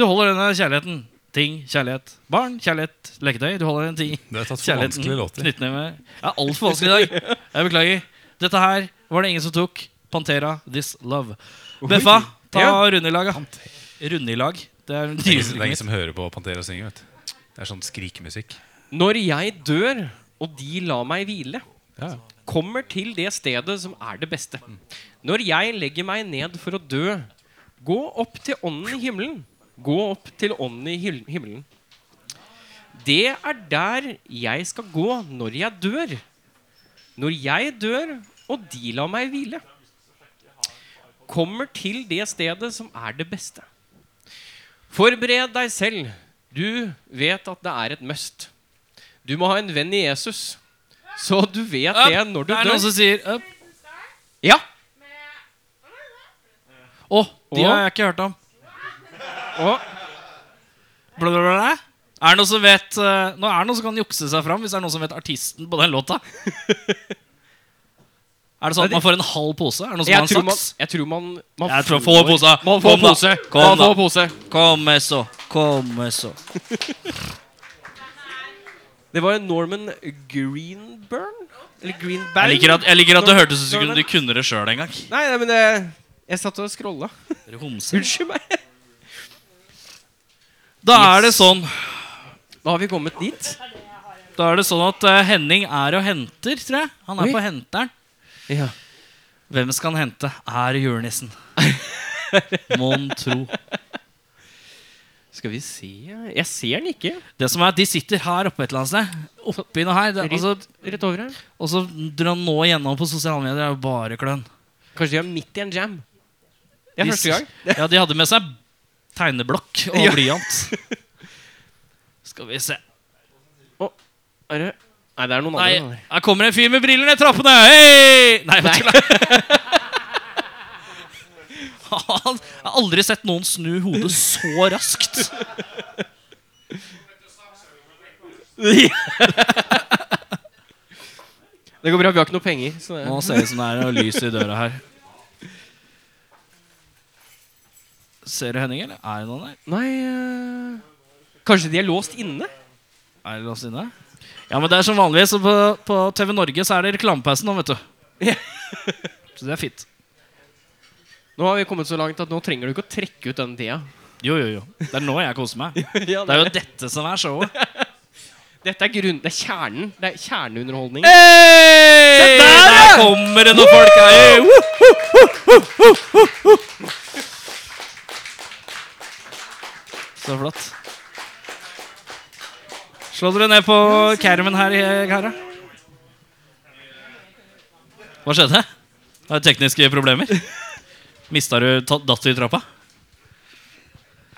A: Du holder denne kjærligheten. Ting, kjærlighet. Barn, kjærlighet, leketøy. Du holder den ting.
C: Det er tatt for
A: Kjærligheten.
C: vanskelige låter.
A: Knyttneve. Det er altfor vanskelig i dag. Jeg beklager. Dette her var det ingen som tok. Pantera, This Love. Beffa, ta
B: Ja.
A: runde i lag. da. Runde i lag. Det
C: Det
A: er
C: er ingen- det er ingen
A: nyhetsrykket mitt.
C: som hører på Pantera synge. vet du. Det er sånn skrikemusikk.
B: Når jeg dør, og de lar meg hvile,
C: Ja.
B: kommer til det stedet som er det beste. Når jeg legger meg ned for å dø, gå opp til ånden i himmelen. Gå opp til ånden i hil- himmelen. Det er der jeg skal gå når jeg dør. Når jeg dør, og de lar meg hvile. Kommer til det stedet som er det beste. Forbered deg selv. Du vet at det er et must. Du må ha en venn i Jesus. Så du vet det når du
A: Det er noen
B: dør.
A: som sier up.
B: Ja.
A: Å, de
B: Å.
A: har jeg ikke hørt om.
B: Og
A: Bla, bla, bla, bla. Er det noen som vet eh, Nå er det noen som kan jukse seg fram, hvis det er noen som vet artisten på den
B: *laughs*
A: låta? er det sånn at man får en halv pose? Er det noen som
B: jeg
A: har
B: tror,
A: en
B: man,
A: saks?
B: jeg tror man, man
A: Jeg tror få posa.
B: Man
A: Kom
B: får
A: da.
B: pose.
A: Kom
B: man
A: da.
B: får pose.
A: Kom så, kom så.
B: Det var Norman Greenburn? Eller Greenberg?
A: Jeg liker at, jeg liker at det hørtes ut som du kunne det sjøl en gang.
B: Nei, nei, men jeg, jeg satt og
A: *laughs*
B: scrolla.
A: Dere homser.
B: Unnskyld meg.
A: Da er det sånn
B: Da har vi kommet dit.
A: Da er det sånn at eh, Henning er og henter, tror jeg. Han er
B: Oi.
A: på henteren.
B: Ja.
A: Hvem skal han hente? Er det
B: *laughs*
A: julenissen? Mon tro.
B: Skal vi se Jeg ser den ikke.
A: Det som er at De sitter her oppe et eller annet sted. Oppi noe her. Det,
B: Rett,
A: altså,
B: rett over her.
A: Og så dra nå igjennom på sosiale medier er jo bare klønn.
B: Kanskje de er midt i en jam. Det er
A: De-
B: første gang.
A: Ja, De hadde med seg tegneblokk og
B: Ja.
A: blyant.
B: *laughs*
A: Skal vi se
B: Er det? Nei, det er noen
A: Nei,
B: andre. *laughs*
A: her kommer en fyr med briller ned trappene! Hei! Nei, vet du *laughs* hva. Jeg har aldri sett noen snu hodet så raskt.
B: Det går bra, vi har ikke noe penger. Så det,
A: Nå ser det ut som det er noe lys i døra her. Ser du Henning, eller? Er det noen der?
B: nei eh, Kanskje de er låst inne?
A: Er det låst inne? Ja, men det er som vanlig, så på, på TV Norge *laughs* så er det reklamepausen nå, vet du.
B: Ja.
A: Så det er fint.
B: Nå har vi kommet så langt at nå trenger du ikke å trekke ut den tida.
A: Jo, jo, jo. Det er nå jeg koser meg.
B: ja,
A: Det er jo dette som er showet.
B: Dette er grunn, det er kjernen. Det er kjerneunderholdning.
A: Eh! Hey! Der ja! kommer det noen folk her! Så flott. Slå dere ned på kermen her, karer. Hva skjedde? Har du tekniske problemer? Mista du ta- datt du i trappa?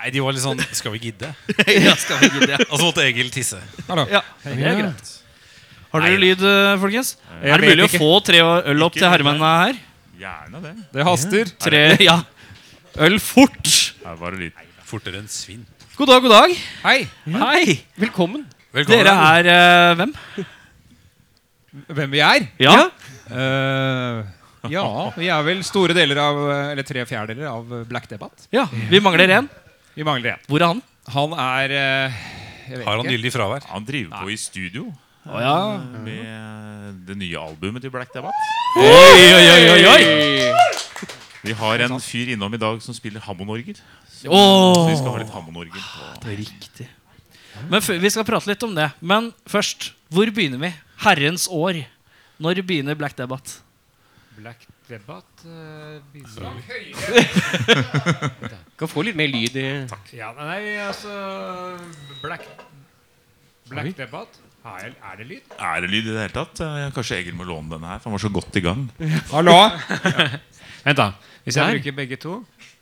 C: Nei, de var litt sånn Skal vi gidde?
A: *laughs* ja, skal vi gidde, ja.
C: Og så måtte Egil tisse.
A: Det er greit. Har dere lyd, eh, folkens?
D: Jeg
A: er det
D: vet
A: mulig
D: ikke.
A: å få tre øl opp til hermennene her?
D: Gjerne det.
E: Det haster.
A: Tre, ja. Øl fort.
D: Her var det lyd.
C: Fortere enn svinn.
A: God dag, god dag.
E: Hei.
A: Hei.
B: Velkommen.
C: Velkommen.
A: Dere er eh, hvem?
E: Hvem vi er?
A: Ja.
E: Eh, ja, vi er vel store deler av Eller tre fjerdedeler av Black Debate.
A: ja. Vi mangler en.
E: Vi mangler én.
A: Hvor er han?
E: Han er eh, Jeg vet
C: Har han
E: ikke.
C: gyldig fravær?
D: Han driver på i studio eh,
A: Å ja.
D: med det nye albumet til Black Debate.
A: Oi, oi, oi, oi, oi.
D: Vi har en fyr innom i dag som spiller hammondorgel. Så vi skal ha
A: Åh.
D: litt hammondorgel på
A: Riktig. Men før- vi skal prate litt om det. Men først, hvor begynner vi? Herrens år. Når begynner Black Debate?
E: Black Debate eh,
B: Kan få litt mer lyd i
E: Ja, nei, altså Black
B: Oi.
E: Black Debate er, det lyd?
D: Er det lyd i det hele tatt? Eh, Kanskje Egil må låne denne her, for han var så godt i gang.
E: Hallo? Vent, da. Hvis jeg
B: Der.
E: bruker begge to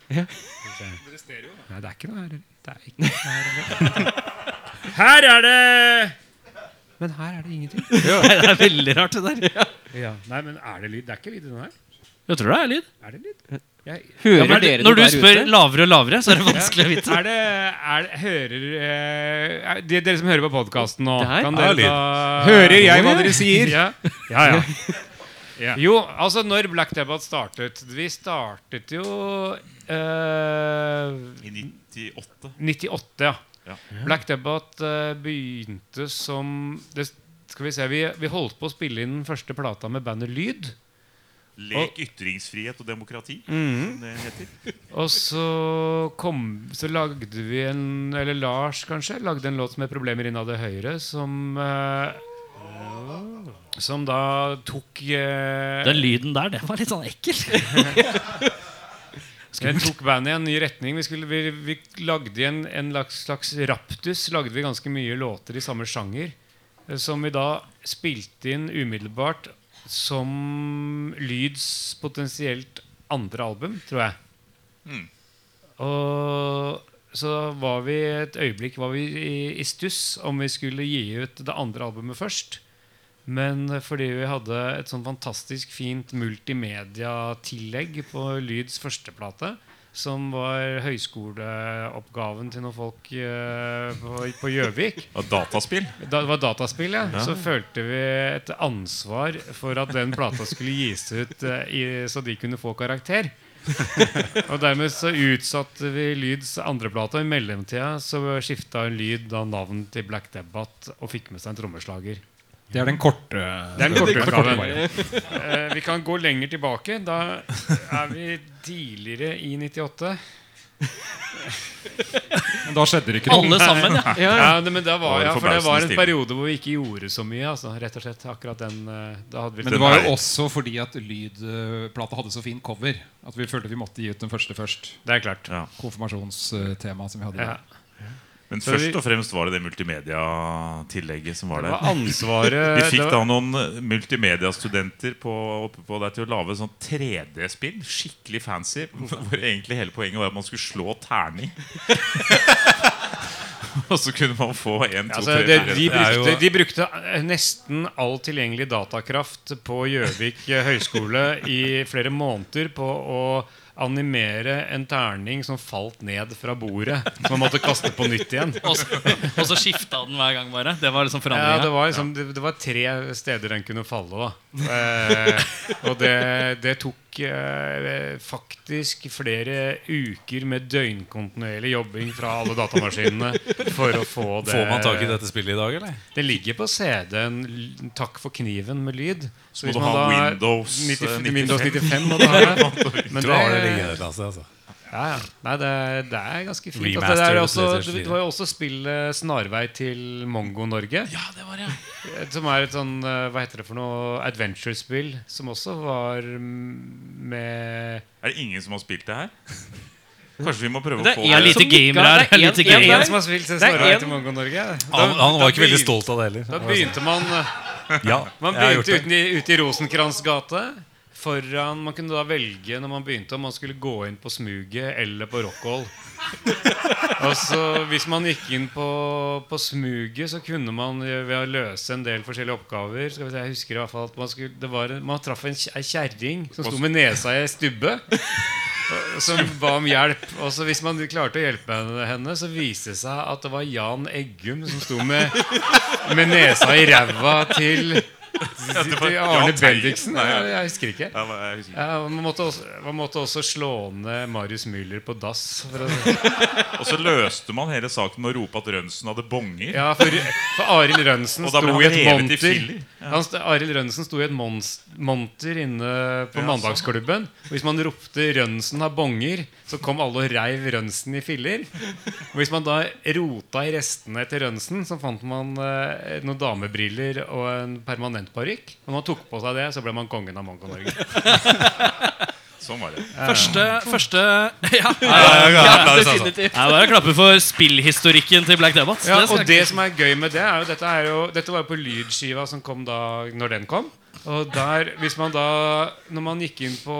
B: Ja.
E: Nei, det er ikke noe her. Det er ikke noe her. *laughs* Her er det Men her er det ingenting.
A: Nei, det er *laughs* veldig rart, det der.
E: Ja. Nei, men er det lyd? Det er ikke lyd i den her.
A: Jeg tror det er lyd.
E: Er det lyd? Jeg,
A: Ja,
B: Hører
A: men
B: dere
A: når du
B: noe der
A: spør
B: ute?
A: lavere og lavere, så er det *laughs* vanskelig å vite.
E: *laughs* Er det, er det Hører eh, er- de, Dere som hører på podkasten nå,
B: Det her?
E: kan
C: Ja,
E: dere
C: lyd.
E: ta
C: Hører jeg hva dere sier? *laughs*
E: Ja, ja. ja. Jo, altså når Black Debate startet Vi startet jo eh,
D: I 98.
E: 98, ja.
D: Ja.
E: Black Debate eh, begynte som det, Skal vi se vi, vi holdt på å spille inn den første plata med bandet Lyd.
D: Lek, ytringsfrihet og demokrati, som det heter.
E: Og så, kom, så lagde vi en Eller Lars, kanskje? Lagde en låt som het 'Problemer innad det høyre', som eh, Som da tok eh,
A: Den lyden der, det var litt sånn ekkel.
E: Jeg tok bandet i en ny retning. Vi, skulle, vi, vi lagde i en, en slags, slags raptus lagde vi ganske mye låter i samme sjanger. eh, Som vi da spilte inn umiddelbart som Lyds potensielt andre album, tror jeg. Og så var vi et øyeblikk var vi i, i stuss om vi skulle gi ut det andre albumet først. Men fordi vi hadde et sånn fantastisk fint multimedia-tillegg på Lyds førsteplate, som var høyskoleoppgaven til noen folk eh, på- på Gjøvik
D: Og dataspill.
E: da, Det var dataspill, ja. Så følte vi et ansvar for at den plata skulle gis ut eh, i, så de kunne få karakter. og dermed så utsatte vi Lyds andreplate. og I mellomtida så skifta Lyd da navn til Black Debate og fikk med seg en trommeslager. Det er den korte Det er den korte utgaven. Eh, Vi kan gå lenger tilbake. Da er vi tidligere i 98. Men da skjedde det ikke
A: Alle sammen, ja.
B: Ja,
E: Ja, det- men da var,
D: var det
E: ja, for det var en
D: forbausende stille.
E: periode hvor vi ikke gjorde så mye. Altså, rett og slett akkurat den eh, da hadde vi
D: Men det var jo Nei.
E: også fordi at lydplata hadde så fin cover. At vi følte vi måtte gi ut den første først. Det er klart.
D: Ja.
E: Konfirmasjonstemaet som vi hadde.
F: da.
D: Men
E: Så
D: først
E: vi-
D: og fremst var det det multimedia-tillegget som var
E: Det
D: der.
E: var ansvaret
D: *laughs* Vi
E: Eh,
D: fikk
E: det
D: da
E: var,
D: noen eh, multimediastudenter på, oppe på der til å lage sånn 3D-spill. Skikkelig fancy. *laughs* Hvor egentlig hele poenget var at man skulle slå terning. *laughs* og så kunne man få én, to,
E: altså,
D: tre
E: det,
D: fire.
E: de,
D: Det er jo-
E: brukte, de brukte eh, nesten all tilgjengelig datakraft på Gjøvik eh, høgskole i flere måneder på å animere en terning som falt ned fra bordet. Som man måtte kaste på nytt igjen.
A: *laughs* Og så- og så skifta den hver gang, bare. Det var liksom
E: Ja, det
A: forandringa.
E: var, liksom, det, det var tre steder den kunne falle. Da. Eh, og det, det tok eh, faktisk flere uker med døgnkontinuerlig jobbing fra alle datamaskinene for å få det
C: Får man tak i dette spillet i dag, eller?
E: Det ligger på CD-en l- 'Takk for kniven' med lyd. Så
D: må
E: hvis
D: du
E: man
D: ha
E: da-
D: Windows, eh,
E: 90, Windows 95 må du ha det. Men
C: Du har det legge ned lasset, altså.
E: Ja, ja. Nei, det, er- det er ganske fint.
C: Remaster
E: Altså, det, er
C: til
E: også,
C: PlayStation
E: det var jo også spillet Snarvei til Mongo-Norge.
A: Ja, det var det.
E: eh, Som er et sånn eh, hva heter det for noe adventure-spill som også var mm, med
D: Er det ingen som har spilt det her? Kanskje vi må prøve
B: Det er
D: å
B: en
D: få det?
B: som
F: lite gamer her,
B: Det er en-
F: lite
B: en
F: gamer.
B: der.
E: En som har spilt
B: Det er
E: Snarvei
B: en-
E: til Mongo-Norge.
C: Han,
E: Da,
C: han var ikke veldig
E: begyn-
C: stolt av det heller. sånn,
E: da begynte man eh,
C: Ja,
E: Man
C: jeg har gjort
E: begynte
C: det.
E: uten i, ute i Rosenkrantz gate. Foran, Man kunne da velge når man begynte om man skulle gå inn på smuget eller
C: *laughs*
E: på Rockhold. Og så Hvis man gikk inn på, på smuget, så kunne man eh, ved å løse en del forskjellige oppgaver skal vi se, jeg husker i hvert fall at Man, skulle, det var, en- man traff en kj- ei kjerring som sto med nesa i ei
C: *laughs*
E: stubbe. og- Som ba om hjelp. Og så Hvis man klarte å hjelpe henne- henne, så viste det seg at det var Jan Eggum som sto med med nesa i ræva til, til Arne
D: Jahn Teigen.
E: Bendiksen.
D: Nei, ja.
E: Jeg, jeg husker ikke.
D: Ja, hva- jeg husker ikke.
E: Ja, man, måtte også, man måtte også slå ned Marius Müller på dass. For å,
D: Og så løste man hele saken med å rope at Rønsen hadde bonger.
E: ja, for, for Arild Rønnsen
D: Og da
E: sto i
D: ble han
E: et
D: revet i
E: monter.
D: filler.
E: Han st- Arild Rønnsen sto i et mons- monter inne på
D: Ja, sånn.
E: Mandagsklubben. Og hvis man ropte 'Rønnsen har bonger', så kom alle og reiv Rønnsen i filler. Og hvis man da rota i restene etter Rønnsen, så fant man eh, noen damebriller og en permanentparykk. Og når man tok på seg det, så ble man kongen av Mongo-Norge.
D: Sånn var det.
A: Første, første ja,
C: altså.
F: Det er bare å klappe for spillhistorikken til Black Debate.
E: Ja,
F: det skal
E: og det som er gøy med det, er jo dette, er jo, dette var jo på lydskiva som kom da når den kom. Og der, hvis man da Når man gikk inn på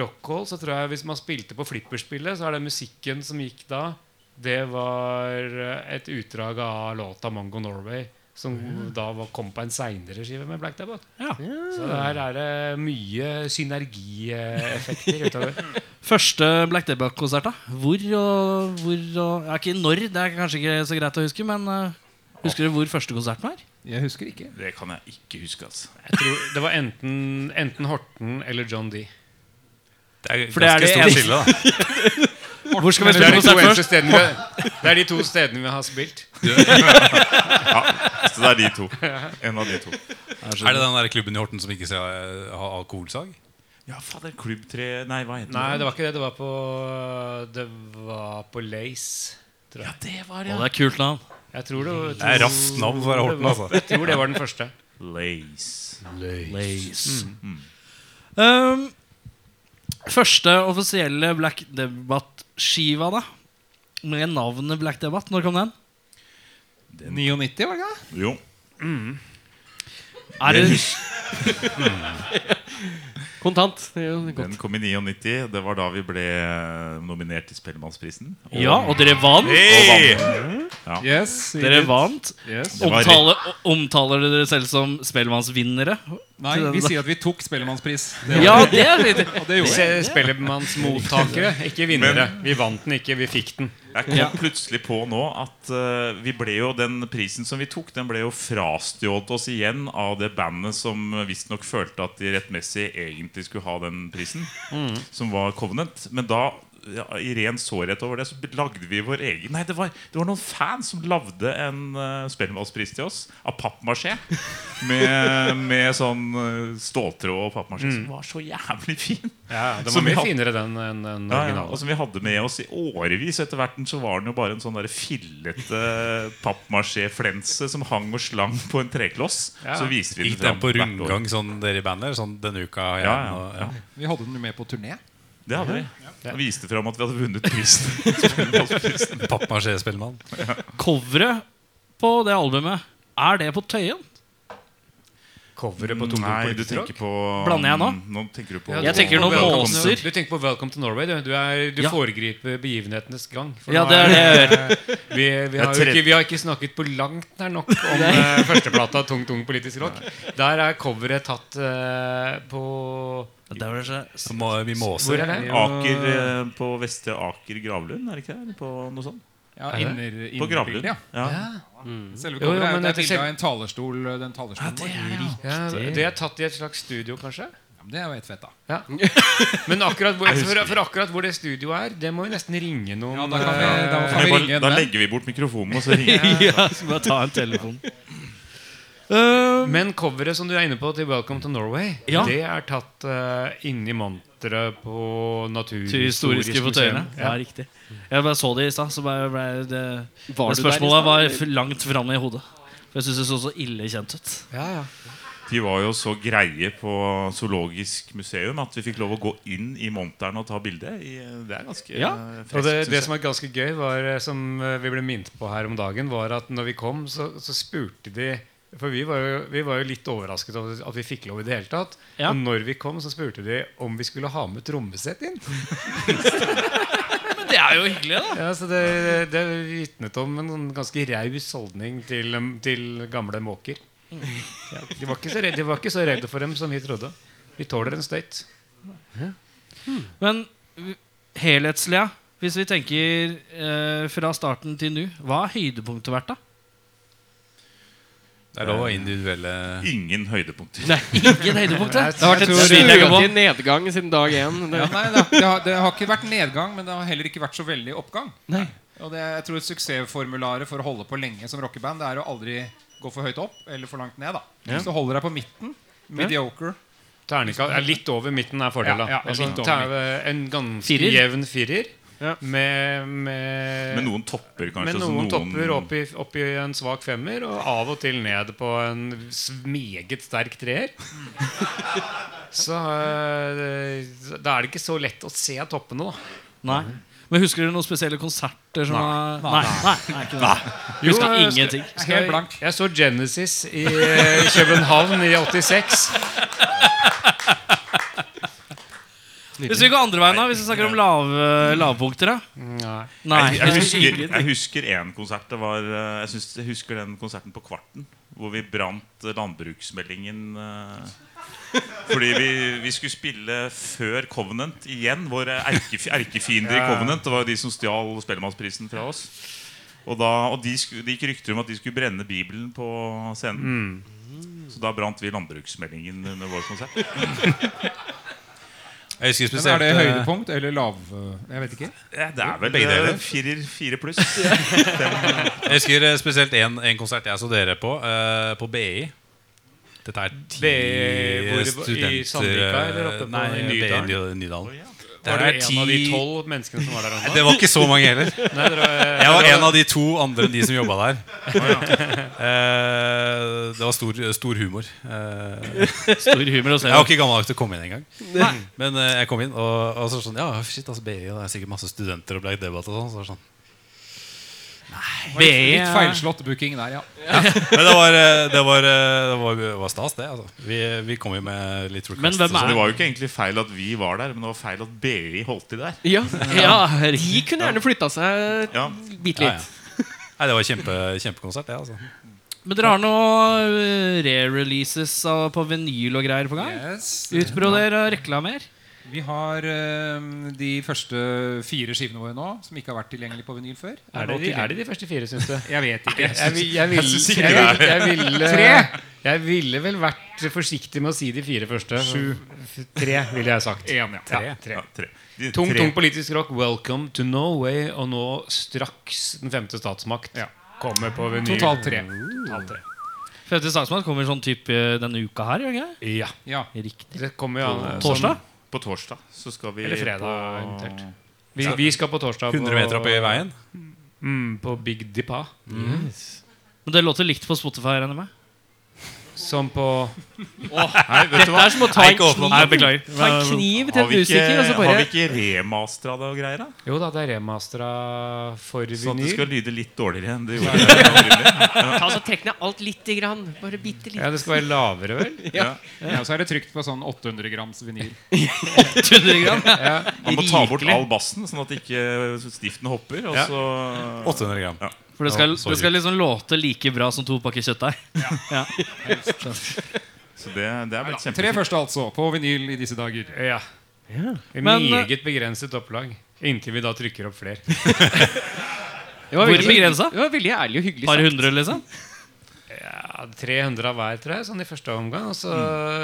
E: Rockhold, så tror jeg hvis man spilte på flipperspillet, så er det musikken som gikk da, det var eh, et utdrag av låta 'Mongo Norway'. Som da var, kom på en seinere skive med Black Debate.
A: Ja.
E: Så der er det mye synergieffekter utover.
A: Første Black Debate-konsert, da? Hvor og hvor og ja, Ikke når, det er kanskje ikke så greit å huske, men eh, husker du hvor første konserten var?
B: Jeg husker ikke.
D: Det kan jeg ikke huske. altså
E: Jeg tror det var enten, enten Horten eller John D.
C: Det er
A: For det er
C: ganske
A: det
C: stort
A: eneste-
C: skille, da.
A: Hvor skal vi
E: Det er
A: spille
E: de to
A: konsert
E: eneste
A: først?
E: stedene vi, det er de to stedene vi har spilt.
D: Så det er de
E: *laughs*
D: to. En av de to.
C: Er det den der klubben i Horten som ikke skal eh, ha alkoholsag?
D: Ja, fader, klubbtre Nei, hva heter
E: Nei, det
D: det?
E: var ikke det. Det var på Det var på Lace. Tror jeg.
A: Å, det er kult navn.
E: jeg tror det, var-
C: Det er raft navn for å være Horten, altså.
E: Jeg tror det var den første.
D: Lace.
A: Lace.
E: Mm,
A: Um, første offisielle Black Debate-skiva, da? Med navnet Black Debate. Når kom den?
F: 99, var det ikke?
D: Jo.
A: Er det, *laughs*
B: Kontant. Det er jo godt.
D: Den kom i 99. Det var da vi ble eh, nominert til Spellemannsprisen. Og-
A: ja, og dere vant?
D: og vant.
F: Yes,
A: Dere vant.
F: Yes.
D: var rett.
A: Omtale, omtaler dere dere selv som Spellemannsvinnere?
F: Nei, vi sier at vi tok Spellemannspris.
A: Ja, det er litt
F: Og det gjorde vi.
E: Se, Spellemannsmottakere, ikke vinnere. Vi vant den ikke, vi fikk den.
D: Jeg kom plutselig på nå at eh, vi ble jo den prisen som vi tok, den ble jo frastjålet oss igjen av det bandet som visstnok følte at de rettmessig egentlig skulle ha den prisen,
E: Mm.
D: som var Covenant. Men da ja, I ren sårhet over det, så lagde vi vår egen Nei, det var, det var noen fans som lagde en uh, Spellemannspris til oss av pappmasjé.
E: *laughs*
D: Med, med sånn eh, ståltråd og pappmasjé som var så jævlig fin.
E: Mm. Ja, den var
D: Som vi
E: mye
D: hadde-
E: finere den enn den
D: Ja, ja, og
E: originale.
D: som vi hadde med oss i årevis. Etter hvert så var den jo bare en sånn der fillete *laughs* pappmasjé-flense som hang og slang på en trekloss.
E: Ja.
D: Så viste vi
C: Gikk
D: den til
C: den
D: ham
C: på
D: hvert år.
C: rundgang sånn dere i bandet? eller Sånn denne uka? har jeg
D: Ja,
C: den,
D: ja,
C: og-
D: ja.
F: Vi hadde den jo med på turné.
D: Det hadde vi. Og viste fram at vi hadde vunnet prisen.
C: En Pappmasjé-spellemann.
A: Coveret på det albumet, er det på Tøyen?
E: Coveret på
D: Nei, du tenker på mm,
A: Blander jeg nå?
D: Nå tenker du på
A: Jeg tenker nå
E: Welcome to-
A: måser.
E: Du tenker på 'Welcome to Norway'. Du, du, er, du
A: Ja.
E: foregriper begivenhetenes gang. For
A: Ja,
E: nå
A: det er det
E: *laughs* Vi, vi, har jo
D: tredje-
E: ikke, vi har ikke snakket på langt nær nok om eh, førsteplata Tung Tung Politisk Rock. Der er coveret tatt eh, på
A: Det var
C: *laughs*
A: så
C: Så må- Vi
E: Hvor
C: måser.
E: er det?
D: Aker eh, på Vestre Aker gravlund, er det ikke det? Eller På noe sånt?
F: Ja, inner,
D: På gravlund.
F: innerbildet, ja.
D: Ja.
F: Selve
E: Jo, jo,
F: coveret er
E: men
F: jo et
E: etter
F: bilde
E: selv-
F: av en talerstol. Den talerstolen vår.
E: Ja, det er tatt i et slags studio, kanskje?
F: Ja, men Det er jo helt fett, da.
A: *laughs*
E: Ja. Men akkurat hvor, for, for akkurat hvor det studioet er, det må vi nesten ringe noen
F: Ja, da kan vi,
E: eh,
F: da kan
D: Kan vi
F: vi
D: bare,
F: ringe en
D: da
F: venn.
D: legger vi bort mikrofonen, og så ringer vi.
A: Ja, så bare ta en telefon. Eh,
E: Men coveret som du er inne på til 'Welcome to Norway',
F: Ja.
E: det er tatt eh, inni manteret på
F: Til
E: Naturhistorisk
F: historiske
E: museum.
F: fortøyene. Ja.
E: Ja.
F: riktig. Jeg bare så det i stad, så bare ble det
B: Var
F: det
B: du der i
F: Spørsmålet
B: stad,
F: var
B: eller?
F: f- langt framme i hodet. For jeg syns det så så ille kjent ut.
E: Ja, ja.
D: De var jo så greie på Zoologisk museum at vi fikk lov å gå inn i monteren og ta bilde. i- Det er ganske
F: Ja.
D: eh, freskt.
E: Og det,
D: synes
E: det
D: jeg.
E: som er ganske gøy, var, eh, som eh, vi ble minnet på her om dagen, var at når vi kom, så, så spurte de For vi var, jo, vi var jo litt overrasket over at vi fikk lov i det hele tatt.
F: Ja.
E: Og når vi kom, så spurte de om vi skulle ha med trommesett inn.
F: Men det er jo hyggelig, da.
E: Ja, så Det, det vitnet om en sånn ganske raus holdning til, em, til gamle måker. Ja, de, var ikke så redde, de var ikke så redde for dem som vi trodde. Vi tåler en støyt.
F: Men v- helhetslig, ja. Hvis vi tenker eh, fra starten til nå, hva har høydepunktet vært, da?
C: Det er lov å ha individuelle
D: Ingen høydepunkter.
F: Nei, ingen høydepunkt. Det
E: Jeg-
F: Det har vært et
E: jeg tror-
F: svin jeg på.
B: Veldig nedgang siden dag én. Det-
G: Ja, nei, det, har- det, har, det har ikke vært nedgang, men det har heller ikke vært så veldig oppgang.
B: Nei.
G: Og det, jeg tror Suksessformularet for å holde på lenge som rockeband Det er å aldri gå for høyt opp eller for langt ned. da Hvis du holder deg på midten, mediocre
E: Ternika, ja, litt over midten er fordelen.
G: Ja, ja,
E: altså,
G: litt over
E: ta- en ganske
F: Firer.
E: jevn firer.
B: Ja.
E: Med, med,
D: Med noen topper, kanskje.
E: med
D: så
E: noen topper opp i, opp i en svak femmer, og av og til ned på en s- meget sterk
G: *laughs*
E: treer. Så eh, da er det ikke så lett å se toppene, da.
F: Nei. Men husker dere noen spesielle konserter som har Nei. Nei. Nei, ikke det. Husker
E: Jo, jeg-
F: ingenting.
G: Helt blank.
E: Jeg så Genesis i eh, København i 86.
F: Hvis vi går andre veien, da, hvis vi snakker om lave, lavpunkter, da?
E: Nei.
F: Nei.
D: Jeg, jeg husker, jeg husker en konsert det var, eh, jeg, synes, jeg husker den konserten på Kvarten Hvor vi brant eh, landbruksmeldingen eh, Fordi vi, vi skulle spille før Covenant igjen Våre erkef, erkefiender i Covenant Det var jo de som stjal Spellemannsprisen fra oss Og, da, og de, sku, de gikk rykter om at de skulle brenne Bibelen på scenen Så da brant vi landbruksmeldingen under vår konsert
C: Jeg husker
G: Men Er
C: spesielt
G: det
C: eh,
G: høydepunkt eller lav Jeg vet ikke.
D: Eh, Det er vel
C: Begge
D: eh,
C: deler.
D: firer- fire pluss
C: Jeg husker eh, spesielt en, en konsert jeg så dere på, eh, på BI. Dette er ti
E: BI hvor- i Sandvika,
C: eh,
E: eller oppe på
C: nei,
E: i
C: BI i
E: Nydalen?
C: Ny- Nydalen. Det
E: Var du
C: er
E: en
C: ti
E: av de tolv menneskene som var der? Anna?
C: Det var ikke så mange heller.
E: Nei, dere,
C: Jeg var en av de to andre enn de som jobba der. *laughs* Eh, det var stor, stor humor.
E: *laughs*
C: Eh,
F: Stor humor hos
C: jeg var ikke gammel nok til å komme inn engang. Men eh, jeg kom inn, og, og så sånn Ja, shit, altså BI, og det er sikkert masse studenter og bleik debatt og sånn. Så var det sånn.
G: Litt feilslått booking der, ja.
C: Men det var, eh, det var, eh, det var, det var stas, det. Altså. Vi, vi kom jo med litt requests.
F: Men hvem
C: og
F: er-
C: sånn.
D: Det var jo ikke egentlig feil at vi var der, men det var feil at BI holdt til der.
B: Ja.
F: Ja,
B: De kunne gjerne flytta seg
D: Ja.
B: bitte
C: Ja, ja.
B: litt.
C: Nei, det var kjempe, kjempekonsert, det. Altså.
F: Men dere har noen eh, re-releases av- på vinyl og greier på gang? Utbroder og reklamer?
G: Vi har eh, de første fire skivene våre nå, som ikke har vært tilgjengelige på vinyl før.
E: er, det de, er det de første fire, syns du?
G: Jeg vet ikke.
E: Jeg, vil- jeg, vil,
D: synes ikke
E: jeg, vil- jeg, ville,
G: Tre!
E: jeg ville vel vært forsiktig med å si de fire første. Sju. Tre, ville jeg sagt. Ja, tre.
D: Ja, tre. De,
E: Tung,
D: tre.
E: tung politisk rock. Welcome to Norway. Og nå straks Den femte statsmakt. Kommer på vinyl.
G: Totalt tre.
E: Totalt tre.
F: Femte Statsmann kommer sånn type denne uka her? gjør den ikke
E: Ja.
G: Ja.
F: det? Riktig.
E: Det kommer jo an
F: Torsdag?
D: På torsdag så skal vi
E: Eller fredag,
D: på-
E: eventuelt. Vi, vi skal på torsdag
C: 100 meter opp i veien.
E: Mm, på Big Dipa.
F: Men det låter likt på Spotify, regner jeg med? *laughs*
E: Som på
D: Nei, vet du
B: Dette
D: hva?
B: er som å ta en
C: åpne
B: kniv,
F: beklager.
B: ta en kniv til
D: Har
B: en
D: vi ikke,
B: musiker, og så
D: har vi
B: bare
D: ikke remastera det og greier, da?
E: Jo da, det er remastera for
D: Sånn at det skal
E: vinyl.
D: lyde litt dårligere enn det gjorde.
B: Ta så Trekk ned alt lite grann. Bare bitte litt.
E: Ja, det skal være lavere, vel?
G: ja, Og så er det trygt på sånn 800 grams vinyl.
D: Man må ta bort all bassen, sånn at ikke stiften hopper. Og så
C: 800 gram.
F: For det skal,
C: Ja, sorry.
F: det skal liksom låte like bra som to pakker kjøttdeig.
D: Så det, det er vel
G: Tre
D: kjempefint.
G: første, altså, på vinyl i disse dager.
E: Ja. I
F: Men,
E: meget begrenset opplag. Inntil vi da trykker opp flere.
B: Det var
F: Hvor
B: veldig-
F: begrensa?
B: Det var veldig ærlig og hyggelig
F: Par
B: sagt.
F: hundre, liksom?
E: Ja, ja, 300 av hver, tror jeg, sånn i første omgang. Og så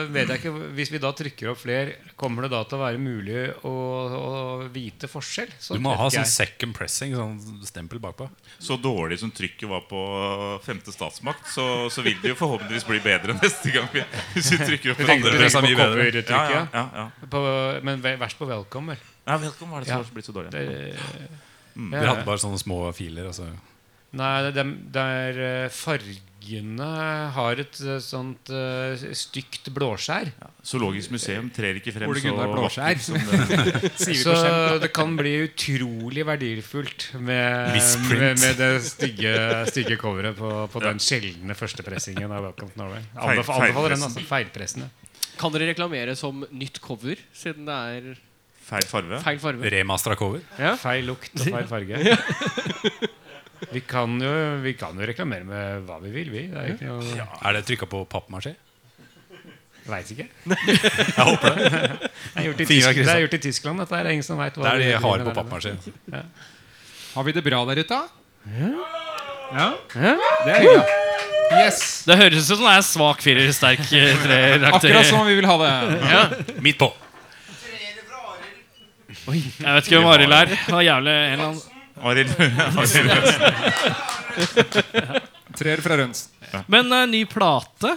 E: vet jeg ikke, Hvis vi da trykker opp flere, kommer det da til å være mulig å, å vite forskjell? Så
C: Du må ha
E: vet
C: sånn
E: jeg.
C: second pressing, sånn stempel bakpå.
D: Så dårlig som trykket var på femte statsmakt, så, så vil det jo forhåpentligvis bli bedre neste gang. vi- Hvis vi trykker opp
E: Du
D: en
E: tenkte
D: andre
E: du tenkte
C: er mye
E: på
C: bedre.
E: covertrykket?
D: Ja, ja, ja, ja.
E: På, men ve- verst på Eh, velkommen.
D: ja velkommen var det som
E: Ja.
D: har blitt så dårlig.
E: Det,
C: Dere hadde bare sånne små filer. Altså.
E: nei, det, dem- der eh, fargene har et eh, sånt eh, stygt blåskjær.
D: Zoologisk museum trer ikke frem
G: Ole
D: så
G: Gunnar Blåskjær.
D: vakkert som det.
E: Så det kan bli utrolig verdifullt med,
C: Listprint.
E: med, med det stygge, stygge coveret på, på den sjeldne førstepressingen av Welcome to Norway. Anbef-
D: Feil-
E: Anbefaler den,
D: feilpressen.
E: altså. Feilpressende.
B: Kan dere reklamere som nytt cover, siden det er
D: Feil farve.
B: feil farge?
C: Remastera cover.
E: Feil lukt og feil farge. Vi kan, jo, vi kan jo reklamere med hva vi vil, vi. Det er ikke noe
C: Er det trykka på pappmasjé?
E: Veit *laughs* ikke. Jeg håper det. Det er, gjort i
C: Fingra
E: Tysk-
C: krysset.
E: det er gjort i Tyskland, dette her. Det er ingen som vet hva
C: Det er de
E: driver
C: har
E: med
C: på
E: der
C: pappmasjé.
G: Har vi det bra der ute?
B: Ja.
G: Det er hyggelig. Yes.
F: Det høres ut som det er svak firer, sterk eh, treer.
G: Akkurat
F: aktig.
G: som vi vil ha det.
C: Midt på.
F: Jeg vet ikke hvem Arild er. Det var jævlig en eller annen.
D: Arild *laughs*
G: Treer fra Rønsen.
F: Men eh, ny plate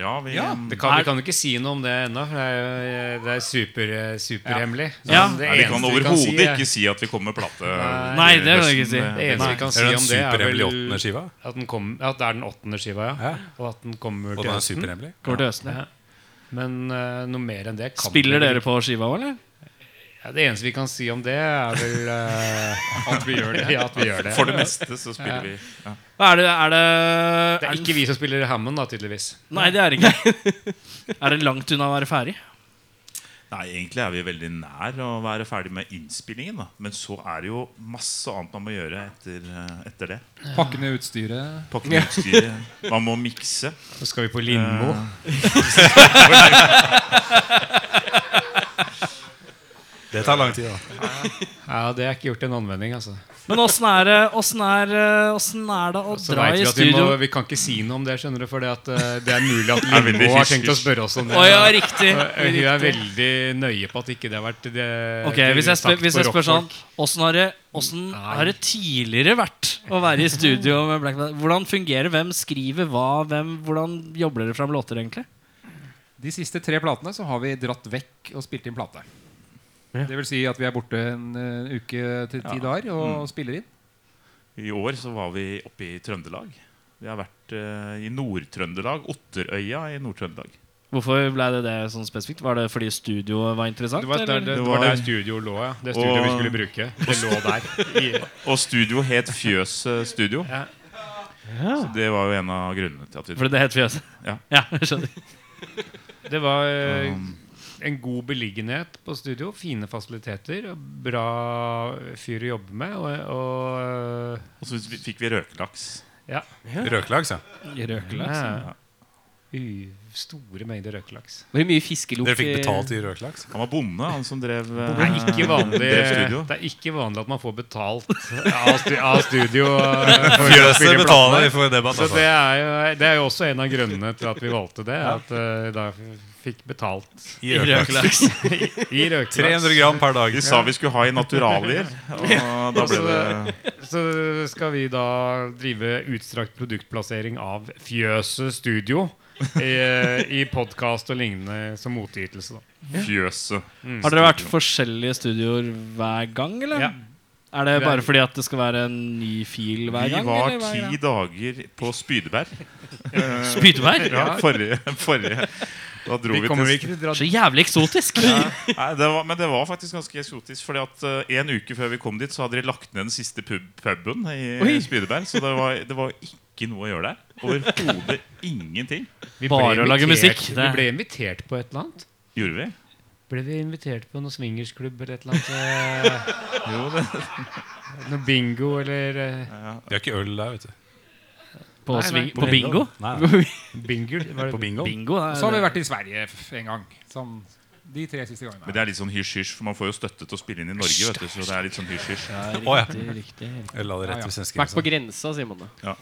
D: Ja, vi,
E: Vi kan, vi kan jo ikke si noe om det ennå. for Det er, jo- det er super, eh, superhemmelig. Så
F: Ja.
E: det
D: Nei, vi
E: eneste vi
D: kan
E: kan si
D: overhodet
E: er-
D: ikke si at vi kommer med plate.
F: Nei, det kan vi ikke si.
E: Det eneste vi kan si
C: Er det
E: om
C: den
E: det, er
C: superhemmelige åttende
E: vel
C: skiva?
E: at, den kom, at det er den åttende skiva, ja.
C: Ja.
E: Og at den kommer
C: Og
E: til
C: den er
E: høsten.
C: superhemmelig?
F: går til høsten.
E: Men eh, noe mer enn det kan
F: Spiller
E: vi vel
F: dere på skiva òg, eller?
E: ikke. Ja, det eneste vi kan si om det, er vel eh, at vi gjør det. *laughs* Ja, at vi gjør det.
D: For det meste så spiller vi ja.
F: Hva Er det, er det,
E: Det er ikke vi som spiller Hammond, da, tydeligvis.
F: Nei, det er det ikke. *laughs* Er det langt unna å være ferdig?
D: Nei, egentlig er vi veldig nær å være ferdig med innspillingen. da Men så er det jo masse annet man må gjøre etter, eh, etter det.
G: Pakke ned utstyret.
D: Pakke med utstyret. Man må mikse.
E: Så skal vi på Lindmo.
C: Det tar lang tid, da.
E: Ja, Det er ikke gjort en anvending, altså.
F: Men åssen er det Åssen er, eh, åssen er det å
E: Så
F: dra
E: vet
F: i
E: vi at vi, må,
F: studio?
E: vi kan ikke si noe om det, skjønner du, for det, at, eh, det er mulig *laughs* at
D: Det er veldig
E: Lindmo har
D: hysj,
E: tenkt å
D: hysj.
E: spørre oss om det.
F: Å ja, riktig.
E: Eh, *laughs* Hun er veldig nøye på at ikke det har vært det,
F: Ok, Hvis jeg spør,
E: sagt
F: hvis
E: på
F: jeg spør sånn
E: rockfolk.
F: Åssen har, det- hvordan har det tidligere vært å være i studio med Black Panther? Hvordan fungerer Hvem skriver hva? Hvem, hvordan jobber dere fram låter, egentlig?
G: De siste tre platene så har vi dratt vekk og spilt inn plate. Det vil si at vi er borte en eh, uke til ti dager og
E: Mm.
G: spiller inn.
D: I år så var vi oppe i Trøndelag. Vi har vært eh, i Nord-Trøndelag. Otterøya i Nord-Trøndelag.
F: Hvorfor ble det det sånn spesifikt? Var det fordi studioet var interessant?
E: Det var der,
F: eller?
E: det,
D: Det
E: var
D: var
E: der
D: det.
E: studio lå, ja. Det studioet vi
D: Og-
E: skulle
F: *laughs*
E: bruke. Det lå der. I,
D: Og studio het Fjøs eh, Studio.
E: Ja.
D: Så det var jo en av grunnene til at vi
F: Fordi det het Fjøset?
D: Ja.
F: jeg skjønner.
E: det var eh, en god beliggenhet på studio. Fine fasiliteter. og Bra fyr å jobbe med. Og, og eh,
D: Og så fikk vi røkelaks.
C: Røkelaks, ja.
F: Røkelaks.
E: ja. U, store mengder røkelaks.
B: Var det mye fiskelukt?
C: Dere fikk
B: i-
C: betalt i røkelaks?
D: Han var bonde, han som drev eh,
E: Det er ikke vanlig,
D: *laughs* drev studio.
E: det er ikke vanlig at man får betalt av, stu, av studio. eh, for
C: *laughs*
E: å
C: Fjøset
E: spille
C: betaler
E: platene.
C: for debatt,
E: Så
C: altså.
E: det er, jo, det er jo også en av grunnene til at vi valgte det. At eh, da fikk betalt
C: I røkelaks.
F: Røkelaks.
E: i røkelaks.
C: 300 gram per dag.
D: De sa vi skulle ha i naturalier, og da ble det
E: Så skal vi da drive utstrakt produktplassering av Fjøset Studio i, i podkast og lignende som motytelse. Da.
D: Fjøset.
F: Har dere vært forskjellige studioer hver gang, eller?
E: Ja.
F: Er det
E: Vi er-
F: bare fordi at det skal være en ny fil hver
D: Vi
F: gang?
D: var
F: eller hva er
D: ti
F: greia?
D: dager på
F: *laughs*
D: Spydeberg.
F: Spydeberg?
D: Ja, *laughs* forrige, forrige. Da dro
E: Vi
D: vi
E: kommer
D: til
E: ikke til å dra
F: Så jævlig eksotisk!
D: Nei, det var, men det var faktisk ganske eksotisk. Fordi at eh, En uke før vi kom dit, så hadde de lagt ned den siste pub, puben i Spydeberg. Så det var, det var ikke noe å gjøre der. Overhodet ingenting.
E: vi
F: Bare
E: ble
F: å lage
E: invitert-
F: musikk, det-
E: Vi ble invitert på et eller annet.
D: Gjorde vi?
E: Ble vi invitert på noen swingersklubb eller et eller annet? *laughs* eh, *laughs* Noe bingo eller eh,
C: Vi har ikke øl der, vet du.
F: På,
E: Nei, nei.
F: sving, på bingo?
C: Nei,
E: Bingel? var det-
C: på bingo.
F: Bingo er,
G: Og så har vi vært i Sverige f- en gang. Sånn de tre siste gangene.
D: Men det er litt sånn hysj-hysj, for man får jo støtte til å spille inn i Norge. vet du Så det er litt sånn hysj-hysj
C: Å ja.
F: riktig, riktig.
C: Øl hadde rett ved
B: Vært på
C: svenskegrensa.
B: grensa, sier man da.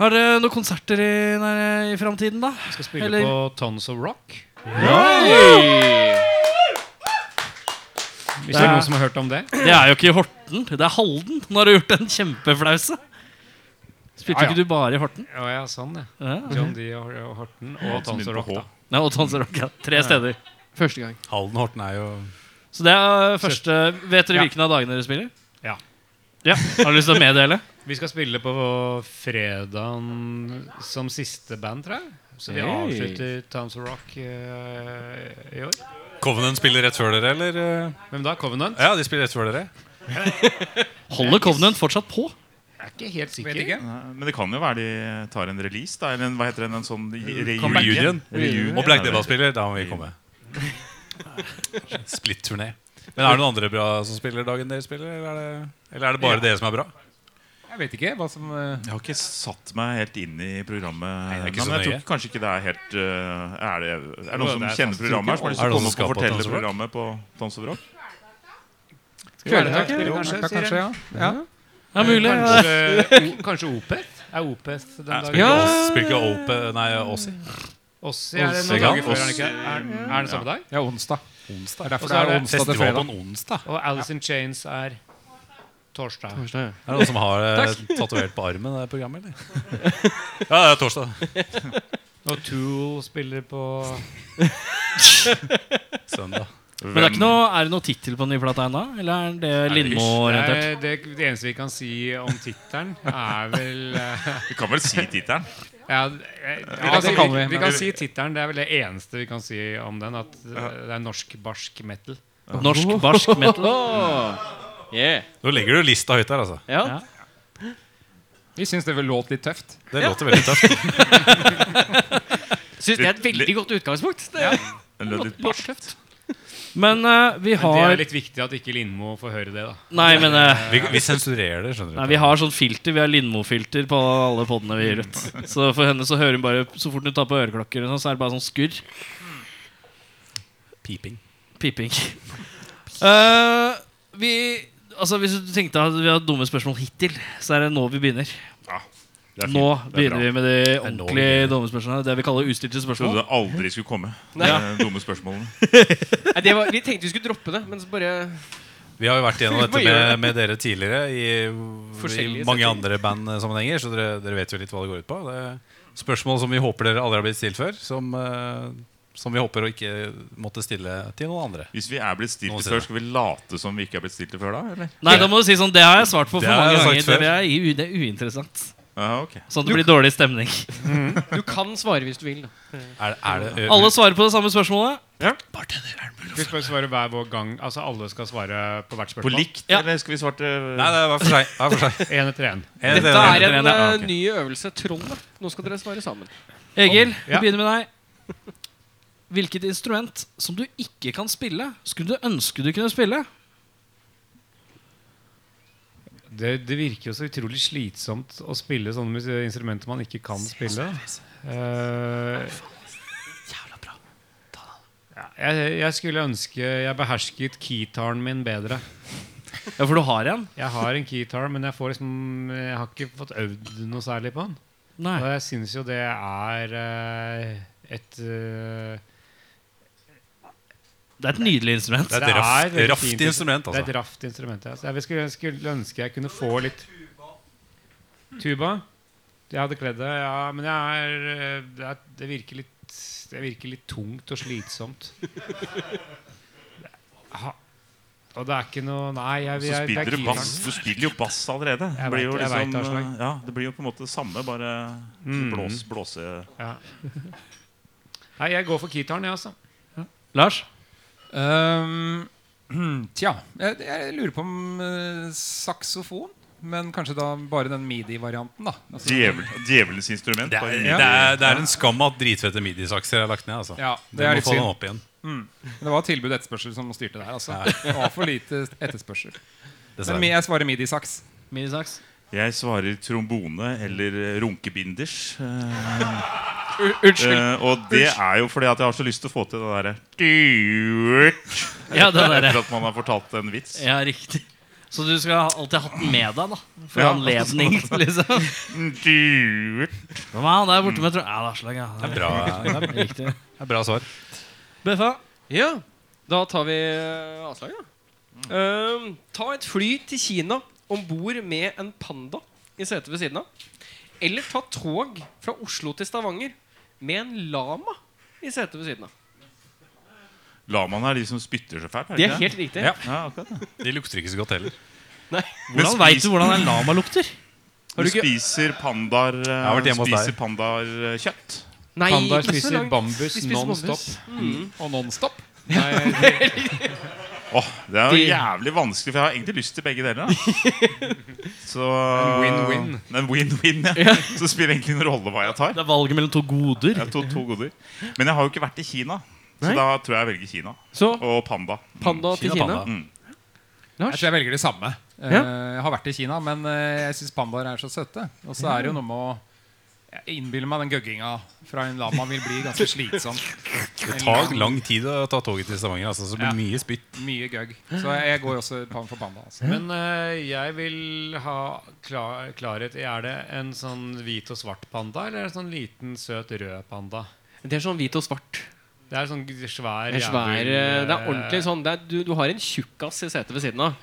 A: Har dere noen konserter i, nei, i framtiden, da?
E: Skal spille
A: Eller-
E: på Tons of Rock. Hvis det er noen som har hørt om det.
A: Det er jo ikke i Horten, det er Halden. Nå har du gjort en kjempeflause. Spilte
E: Ja, ja.
A: ikke du bare i Horten?
E: Å ja, sånn, ja.
A: Ja.
E: John D. og og Horten og Tons of Rock, da.
A: Nei, og Tons Rock, ja. Tre steder.
B: Første gang.
C: Halden Horten er jo
A: Så det er første Vet dere
E: Ja.
A: hvilken av dagene dere spiller?
E: Ja.
A: ja. Har du lyst til å meddele?
E: Vi skal spille på fredagen som siste band, tror jeg. Så vi
B: Hey.
E: avslutter Tons of Rock eh, i år.
C: Covenant spiller rett før dere, eller? eh?
E: Hvem da? Covenant?
C: Ja, de spiller rett før dere.
A: Holder Covenant fortsatt på?
E: Jeg er ikke helt sikker.
G: Vet ikke.
D: Nei, Men det kan jo være de tar en release, da. Eller en, hva heter den, en sånn re
A: Comeback.
C: Reunion.
D: Reunion.
C: Og Black Della spiller, da må vi komme. Splitt-turné. Men er det noen andre bra som spiller dagen dere spiller, eller er det, eller er det bare dere som er bra?
G: Jeg vet ikke hva som eh,
D: Jeg har ikke satt meg helt inn i programmet.
C: det er ikke
D: ennå,
C: så
D: men jeg
C: nøye.
D: tror kanskje ikke det er helt uh, Er det, er det noen som
E: det er
D: kjenner programmet her, som har lyst
C: Er det noen som
D: til å komme opp og
C: skal på
D: fortelle
C: Tons of Rock?
D: programmet på Tons of Rock?
E: Kvelertak,
G: Ja,
E: kanskje, sier
G: kanskje,
E: jeg.
G: ja. ja.
A: Ja, mulig.
E: Kanskje, eh, o- kanskje Opeth? Er Opeth den
C: Nei, spiller
E: dagen?
C: ikke Ås- spiller ikke Ope, nei, Åsi.
E: Ossi er det noen
C: Ossi, ja.
E: dager før, er det ikke? Er, er den samme dag?
G: Det er onsdag. Det er
E: Og
G: derfor
E: så
G: det
E: er
G: er
E: det
G: onsdag til
C: Festival på
G: fredag.
C: en onsdag.
E: Og Alice in Chains er torsdag.
C: Er det noen som har eh, tatovert på armen det programmet, eller?
G: *laughs*
C: Ja, det er torsdag.
E: Og Tool spiller på
C: Søndag.
A: Men det er, ikke noe, er det noe tittel på den nye plata ennå? Eller er det Lindmo-orientert?
E: Nei, eh, det, det eneste vi kan si om tittelen, er vel eh, *laughs*
D: Vi kan vel si tittelen?
E: Ja, eh,
G: Ja, det kan vi,
E: vi
G: men-
E: kan si tittelen. Det er vel det eneste vi kan si om den. At eh, det er norsk barsk metal.
A: Norsk barsk metal?
B: Yeah.
C: Nå legger du lista høyt her, altså.
B: Ja.
A: Ja.
G: Vi syns det vel låt litt tøft.
C: Det låter veldig tøft.
B: Syns det er et veldig godt utgangspunkt. Det.
D: Den lød litt barskt.
A: Men eh, vi
E: Det
A: har
E: er litt viktig at ikke Lindmo får høre det, da.
A: Nei, men eh,
C: Vi, vi sensurerer det, skjønner du.
A: Nei, Vi har sånn filter, vi har Lindmo-filter på alle podene vi gir ut. Så for henne så hører hun bare Så fort hun tar på øreklokker, og sånn, så er det bare sånn skurr.
C: Piping.
A: Piping. *laughs* Eh, vi Altså Hvis du tenkte at vi har hatt dumme spørsmål hittil, så er det nå vi begynner.
D: Det er fint.
A: Nå
D: Det er
A: begynner
D: bra.
A: vi med de
C: er nå vi
A: ordentlig dumme spørsmålene. Det vi kaller ustilte
D: Trodde
A: spørsmål.
D: det aldri skulle komme.
B: Nei.
D: de Dumme spørsmålene.
B: Nei, det var, vi tenkte vi skulle droppe det, men så bare
C: Vi har jo vært gjennom
B: Vi må
C: dette
B: gjøre
C: med, med dere tidligere i, i
B: Forskjellige
C: mange
B: settinger.
C: andre bandsammenhenger, så dere, dere vet jo litt hva det går ut på. Det er spørsmål som vi håper dere aldri har blitt stilt før, som, eh, som vi håper å ikke måtte stille til noen andre.
D: Hvis vi er blitt stilt
C: Nå
D: det
C: sier
D: før,
C: det.
D: skal vi late som vi ikke er blitt stilt det før da? Eller?
A: Nei, da må du si sånn Det har jeg svart på for
C: Det har jeg
A: mange
C: sagt
A: ganger.
C: før.
A: Det er, u- det er uinteressant.
D: Ja, ok
A: Sånn at det blir dårlig
C: *laughs*
A: stemning.
B: Du kan svare hvis du vil. Da.
C: Er, er det, eh,
A: Alle svarer på det samme spørsmålet.
E: Vi skal svare hver vår gang. Altså alle skal svare på hvert
D: På
E: spørsmål.
D: likt,
A: Ja.
D: eller skal vi svarte
C: Nei, det er hver for seg. Hver for seg.
E: *laughs* En etter en
C: En
B: Dette
C: del-
B: er en
D: Ja, ok.
B: eh, ny øvelse. Trollet. Nå skal dere svare sammen.
A: Egil, vi
E: Ja.
A: begynner med deg. Hvilket instrument som du ikke kan spille, skulle du ønske du kunne spille?
E: Det, det virker jo så utrolig slitsomt å spille sånne mus- instrumenter man ikke kan spille. Jævla bra. Jeg, jeg skulle ønske jeg behersket keytaren min bedre.
A: Ja, for du har en?
E: Jeg har en keytar, men jeg, får liksom, jeg har ikke fått øvd noe særlig på den.
A: Nei.
E: Og jeg syns jo det er eh, et eh,
A: Det er et nydelig instrument.
F: *laughs*
C: Det er et raft,
E: veldig
C: raft
E: fint
C: instrument,
E: Det er
C: altså.
E: et raft instrument. ja. Så Jeg skulle, jeg skulle ønske jeg kunne få litt Tuba. Jeg hadde kledd det, ja. Men jeg er, eh, det, er, det, virker litt, det virker litt tungt og slitsomt. Ha- Og det er ikke noe Nei, jeg,
D: Så
E: jeg, det
D: spiller
E: er
D: du
E: keytaren.
D: bass. Du spiller jo bass allerede. Det
E: Jeg
D: blir jo
E: vet- jeg vet,
D: liksom,
E: Aslak.
D: ja, det blir jo på en måte det samme, bare
E: Mm.
D: blås, blåse
E: Ja. Nei, jeg går for keytaren, jeg, altså.
A: Lars?
G: Ehm, *clears throat* tja, jeg, jeg lurer på om eh, saksofon. Men kanskje da bare den midi-varianten, da. Altså,
D: Djevel, Djevelens instrument.
C: Det
D: bare
C: er,
D: i
C: det,
D: midten.
C: er, det er en skam at dritfette midisakser er lagt ned. Altså.
G: Ja, det
C: Vi
G: er
C: må
G: litt
C: få den
G: synd.
C: opp igjen.
G: det var tilbud og etterspørsel som styrte der. Altså. Det var for lite etterspørsel. Men
C: Dessverre.
G: jeg svarer midi-saks.
A: Minisaks?
D: Jeg svarer trombone eller runkebinders. eh,
B: U- Unnskyld.
D: eh, og det er jo fordi at jeg har så lyst til å få til det derre
A: Ja, den derre.
D: *laughs* Etter at man har fortalt en vits.
A: Ja, riktig.
F: Så du skal ha- alltid ha hatt den med deg, da. For
D: Ja.
F: *laughs* anledning, liksom.
D: Duet.
F: Hva med han der borte med tro... Ja, det er slag, ja.
C: Det er bra, det er,
F: Riktig.
C: det er bra svar.
F: Beffa.
B: Ja, da tar vi eh, avslaget. da. Ehm, ta et fly til Kina om bord med en panda i setet ved siden av. Eller ta tog fra Oslo til Stavanger med en lama i setet ved siden av.
D: Lamaene er de som spytter så fælt?
B: Det er helt riktig.
C: Ja.
D: ja, akkurat det.
C: De lukter ikke så godt heller.
F: Hvordan
D: Men
F: veit
D: spis-
F: du hvordan en lama lukter?
B: Har du
D: Du
B: ikke-
D: spiser pandaer
C: har vært
D: eh,
C: hjemme hos
D: Spiser eh,
C: deg.
D: pandaerkjøtt?
B: Nei,
E: Pandaer
B: ikke så
E: spiser
B: langt.
E: bambus
B: De spiser bambus.
E: nonstop.
B: Mm.
E: Og nonstop?
D: Åh, det er jo
B: De-
D: jævlig vanskelig, for jeg har egentlig lyst til begge
B: *laughs*
D: deler. da. Så
E: win-win.
D: En win-win, ja. Så det spiller egentlig ingen rolle hva jeg tar.
F: Det er valget mellom to goder.
D: Jeg har to, to goder. Men jeg har jo ikke vært i Kina, så
B: Nei.
D: da tror jeg jeg velger Kina.
B: Så
D: Og panda.
B: panda Mm. til
C: Kina,
B: Kina.
C: panda.
G: Jeg tror jeg velger det samme. Eh,
B: Ja.
G: Jeg har vært i Kina, men eh, jeg syns pandaer er så søte. Og så er det jo noe med å Jeg innbiller meg den gøgginga fra en lama vil bli ganske slitsom.
C: Det tar lang tid å ta toget til Stavanger. Altså, så det blir
G: Ja.
C: mye spytt.
G: Mye gøgg. Så jeg går også pan- for panda. Altså.
E: Men eh, jeg vil ha kla- klarhet i Er det en sånn hvit og svart panda, eller en sånn liten, søt rød panda?
B: Det er sånn hvit og svart.
E: Det er sånn g- svær
B: Det er, svær,
E: jævel,
B: eh, det er
E: eh,
B: ordentlig sånn det er, du, du har en tjukkas i setet ved siden av.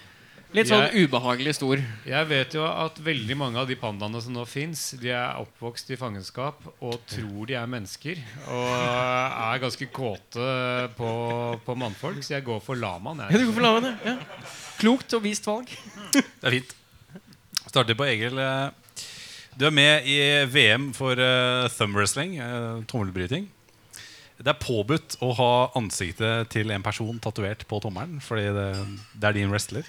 B: Litt sånn
E: Jeg-
B: ubehagelig stor.
E: Jeg vet jo at veldig mange av de pandaene som nå fins, de er oppvokst i fangenskap og tror de er mennesker. Og eh, er ganske kåte på, på mannfolk, så jeg går for lamaen.
B: Ja, du
E: Jeg.
B: går for lamaen, ja. ja. Klokt og vist valg.
C: Det er fint. Starter på Egil. eh, Du er med i VM for eh, thumb wrestling, eh, tommelbryting. Det er påbudt å ha ansiktet til en person tatovert på tommelen, fordi det, det er din wrestler.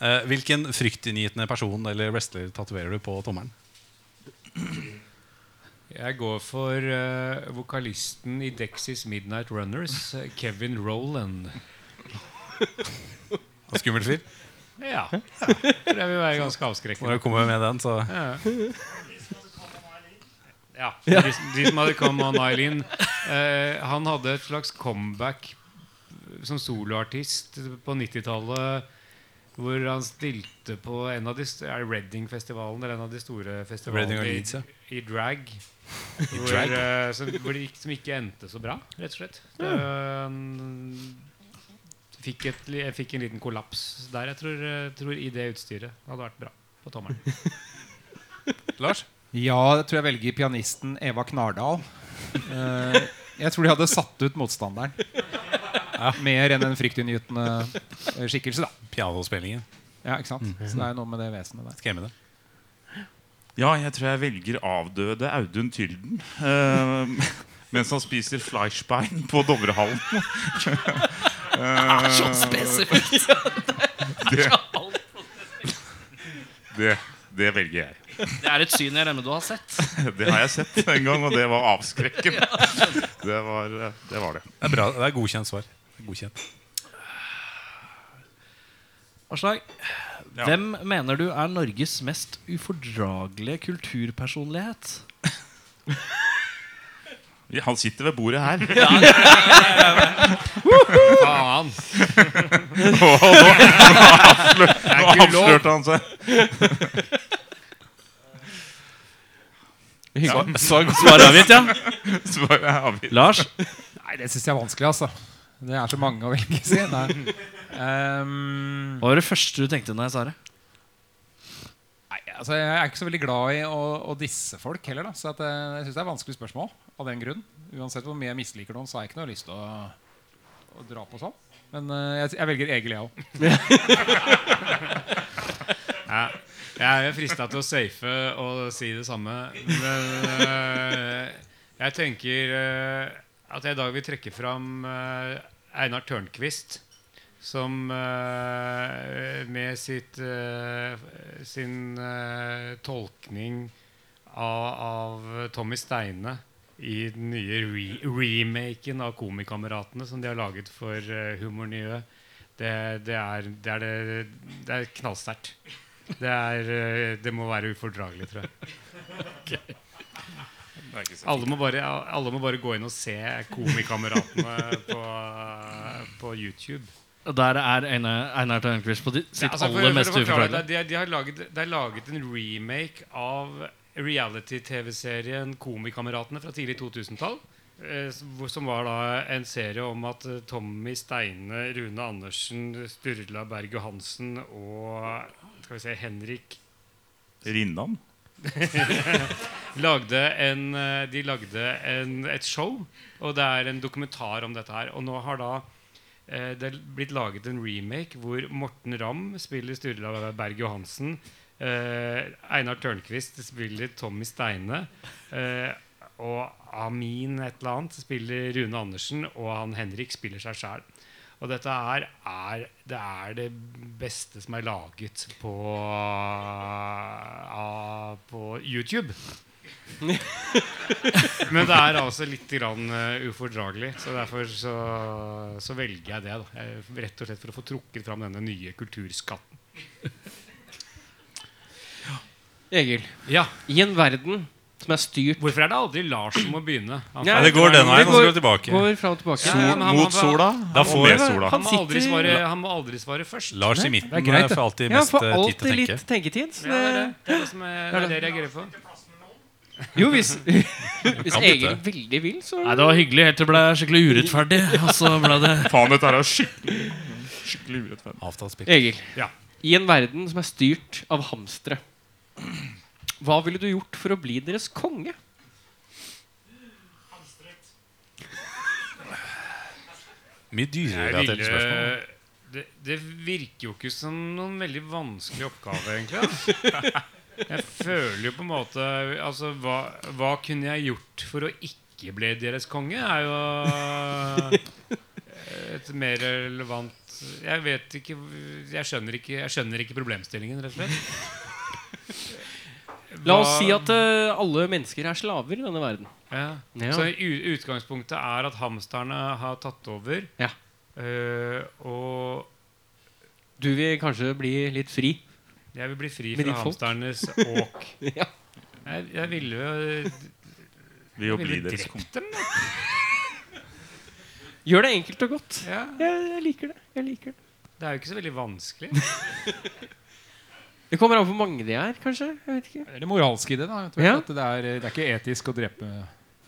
C: Eh, Hvilken fryktinngytende person eller wrestler tatoverer du på tommelen?
E: jeg går for eh, vokalisten i Dexys Midnight Runners, eh, Kevin Roland.
C: Skummel fyr.
E: Ja. Det vil være ganske avskrekkende.
C: Når du kommer med den, så
E: Ja, de, de som hadde Come On Eileen eh, Han hadde et slags comeback som soloartist på 90-tallet. Hvor han stilte på en av de st- er det Reading-festivalen Eller en av de store
C: Reading
E: festivalene
C: og
E: i,
C: Leeds, ja.
E: i drag. Hvor,
C: drag?
E: eh, som, hvor det gikk, som ikke endte så bra, rett og slett. Eh, fikk et, li- jeg fikk en liten kollaps der. Jeg tror, eh, tror i det utstyret hadde vært bra på tommelen.
C: Lars?
G: Ja, jeg tror jeg velger pianisten Eva Knardal. Eh, jeg tror de hadde satt ut motstanderen. Mer enn en fryktinngytende eh, skikkelse, da.
C: Pianospillingen.
G: Ja, ikke sant? Så det er noe med det vesenet der.
C: Skremmende.
D: Ja, jeg tror jeg velger avdøde Audun Tylden. eh, *laughs* mens han spiser fleischbein på
B: *laughs*
D: Dovrehallen.
F: Så spesifikt!
D: *laughs* Det, det velger jeg.
F: Det er et syn jeg regner med du har sett.
D: Det har jeg sett en gang, og det var avskrekkende. Det var eh, det. Var det.
C: Det er, bra. Det er godkjent svar. Det er Godkjent.
F: Aslak, hvem mener du er Norges mest ufordragelige kulturpersonlighet?
D: Han sitter ved bordet her. *laughs*
E: Faen!
D: Og nå, nå, avslør, nå
E: ikke lov.
D: avslørte han seg.
F: Svar avgitt, ja.
D: Så var jeg avgitt.
F: Lars?
G: Nei, det syns jeg er vanskelig, altså. Det er så mange å velge, si. Nei. Ehm,
F: Hva var det første du tenkte når jeg sa det?
G: Nei, altså Jeg er ikke så veldig glad i å, å disse folk heller. da Så at, eh, jeg syns det er vanskelig spørsmål av den grunn. Uansett hvor mye jeg misliker noen, så har jeg ikke noe lyst til å, å dra på sånn. Men eh, jeg, jeg velger Egil, jeg òg.
E: Ja, jeg er frista til å safe og si det samme. Men eh, jeg tenker eh, at jeg i dag vil trekke fram eh, Einar Tørnquist. Som eh, med sitt, eh, sin eh, tolkning av, av Tommy Steine i den nye re remaken av Komikameratene som de har laget for eh, Humor Nye, det, det er, det er, det, det er knallsterkt. Det, er, eh, det må være ufordragelig, tror jeg. Alle må, bare, alle må bare gå inn og se Komikameratene på, på YouTube.
F: Der er Einar, Einar Tørnquist på de- sitt
E: altså, for-
F: aller
E: for å
F: mest
E: forklare
F: uforklarlige.
E: deg, de, de, har laget, de har laget en remake av reality-TV-serien Komikameratene fra tidlig 2000-tall. eh, s- hvor- Som var da en serie om at eh, Tommy Steine, Rune Andersen, Sturla Berg Johansen og skal vi se, Henrik
D: Rinnan?
E: lagde en, eh, de lagde en, et show, og det er en dokumentar om dette her. Og nå har da eh, det er blitt laget en remake hvor Morten Ramm spiller Sturla Berg Johansen. Eh, Einar Tørnquist spiller Tommy Steine. Eh, og Amin et eller annet spiller Rune Andersen, og han Henrik spiller seg sjæl. Og dette her er det, er det beste som er laget på, av- på YouTube. Men det er altså litt grann eh, ufordragelig, så derfor så, så velger jeg det. Da. Eh, Rett og slett for å få trukket fram denne nye kulturskatten.
B: Egil,
E: Ja,
B: i en verden som er styrt
E: Hvorfor er det aldri Lars som må begynne? Han,
B: Ja,
C: Nei, det går den veien, og så går det tilbake.
B: Går fram og tilbake.
E: Ja, men han-
D: Mot
E: han-
D: sola?
C: Da
D: Og med
C: får
D: sola.
B: han
E: han, må aldri
B: sitter-
E: svare, han må aldri svare først.
C: Lars i midten
G: det er greit,
C: eh, får alltid
B: Ja,
C: mest
B: for
C: eh, tid til
B: alltid
C: å
B: litt
C: tenke.
B: tenketid. så
E: Ja, det, er det.
B: det-
E: Det, er det, som er, det er det jeg reagerer på.
B: Jo, hvis, *laughs* hvis
C: Kan
B: Egil
C: bytte.
B: veldig vil, så
F: Nei, det var hyggelig helt til det altså ble skikkelig urettferdig. Og så ble det
D: Faen, dette her er skikkelig Skikkelig urettferdig.
C: Avtalsspill.
B: Egil,
E: Ja.
B: i en verden som er styrt av hamstere, hva ville du gjort for å bli deres konge?
C: Mye
E: Jeg
C: dyrerelaterte spørsmål.
E: ville, det, det virker jo ikke som noen veldig vanskelig oppgave, egentlig. da. Jeg føler jo på en måte Altså, hva, hva kunne jeg gjort for å ikke bli deres konge? Er jo eh, et mer relevant Jeg vet ikke Jeg skjønner ikke, jeg skjønner ikke problemstillingen, rett og slett.
B: La oss
E: Hva-
B: si at eh, alle mennesker er slaver i denne verden.
E: ja.
B: Ja.
E: Så u- utgangspunktet er at hamsterne har tatt over.
B: Ja.
E: eh, og
B: Du vil kanskje bli litt fri. *laughs*
E: Jeg vil bli fri
B: Med
E: fra
B: ditt folk?
E: hamsternes åk.
B: Ja.
E: jeg, jeg ville jo
D: Ved å
E: jeg
D: bli
E: ville
D: deres konge.
E: drept dem. da.
B: Gjør det enkelt og godt.
E: Ja.
B: Jeg, jeg liker det. jeg liker Det
E: Det er jo ikke så veldig vanskelig.
B: Det kommer an på hvor mange de er, kanskje. jeg vet ikke
G: Det er det moralske i det. da eventuelt,
B: Ja.
G: at det, er, det er ikke etisk å drepe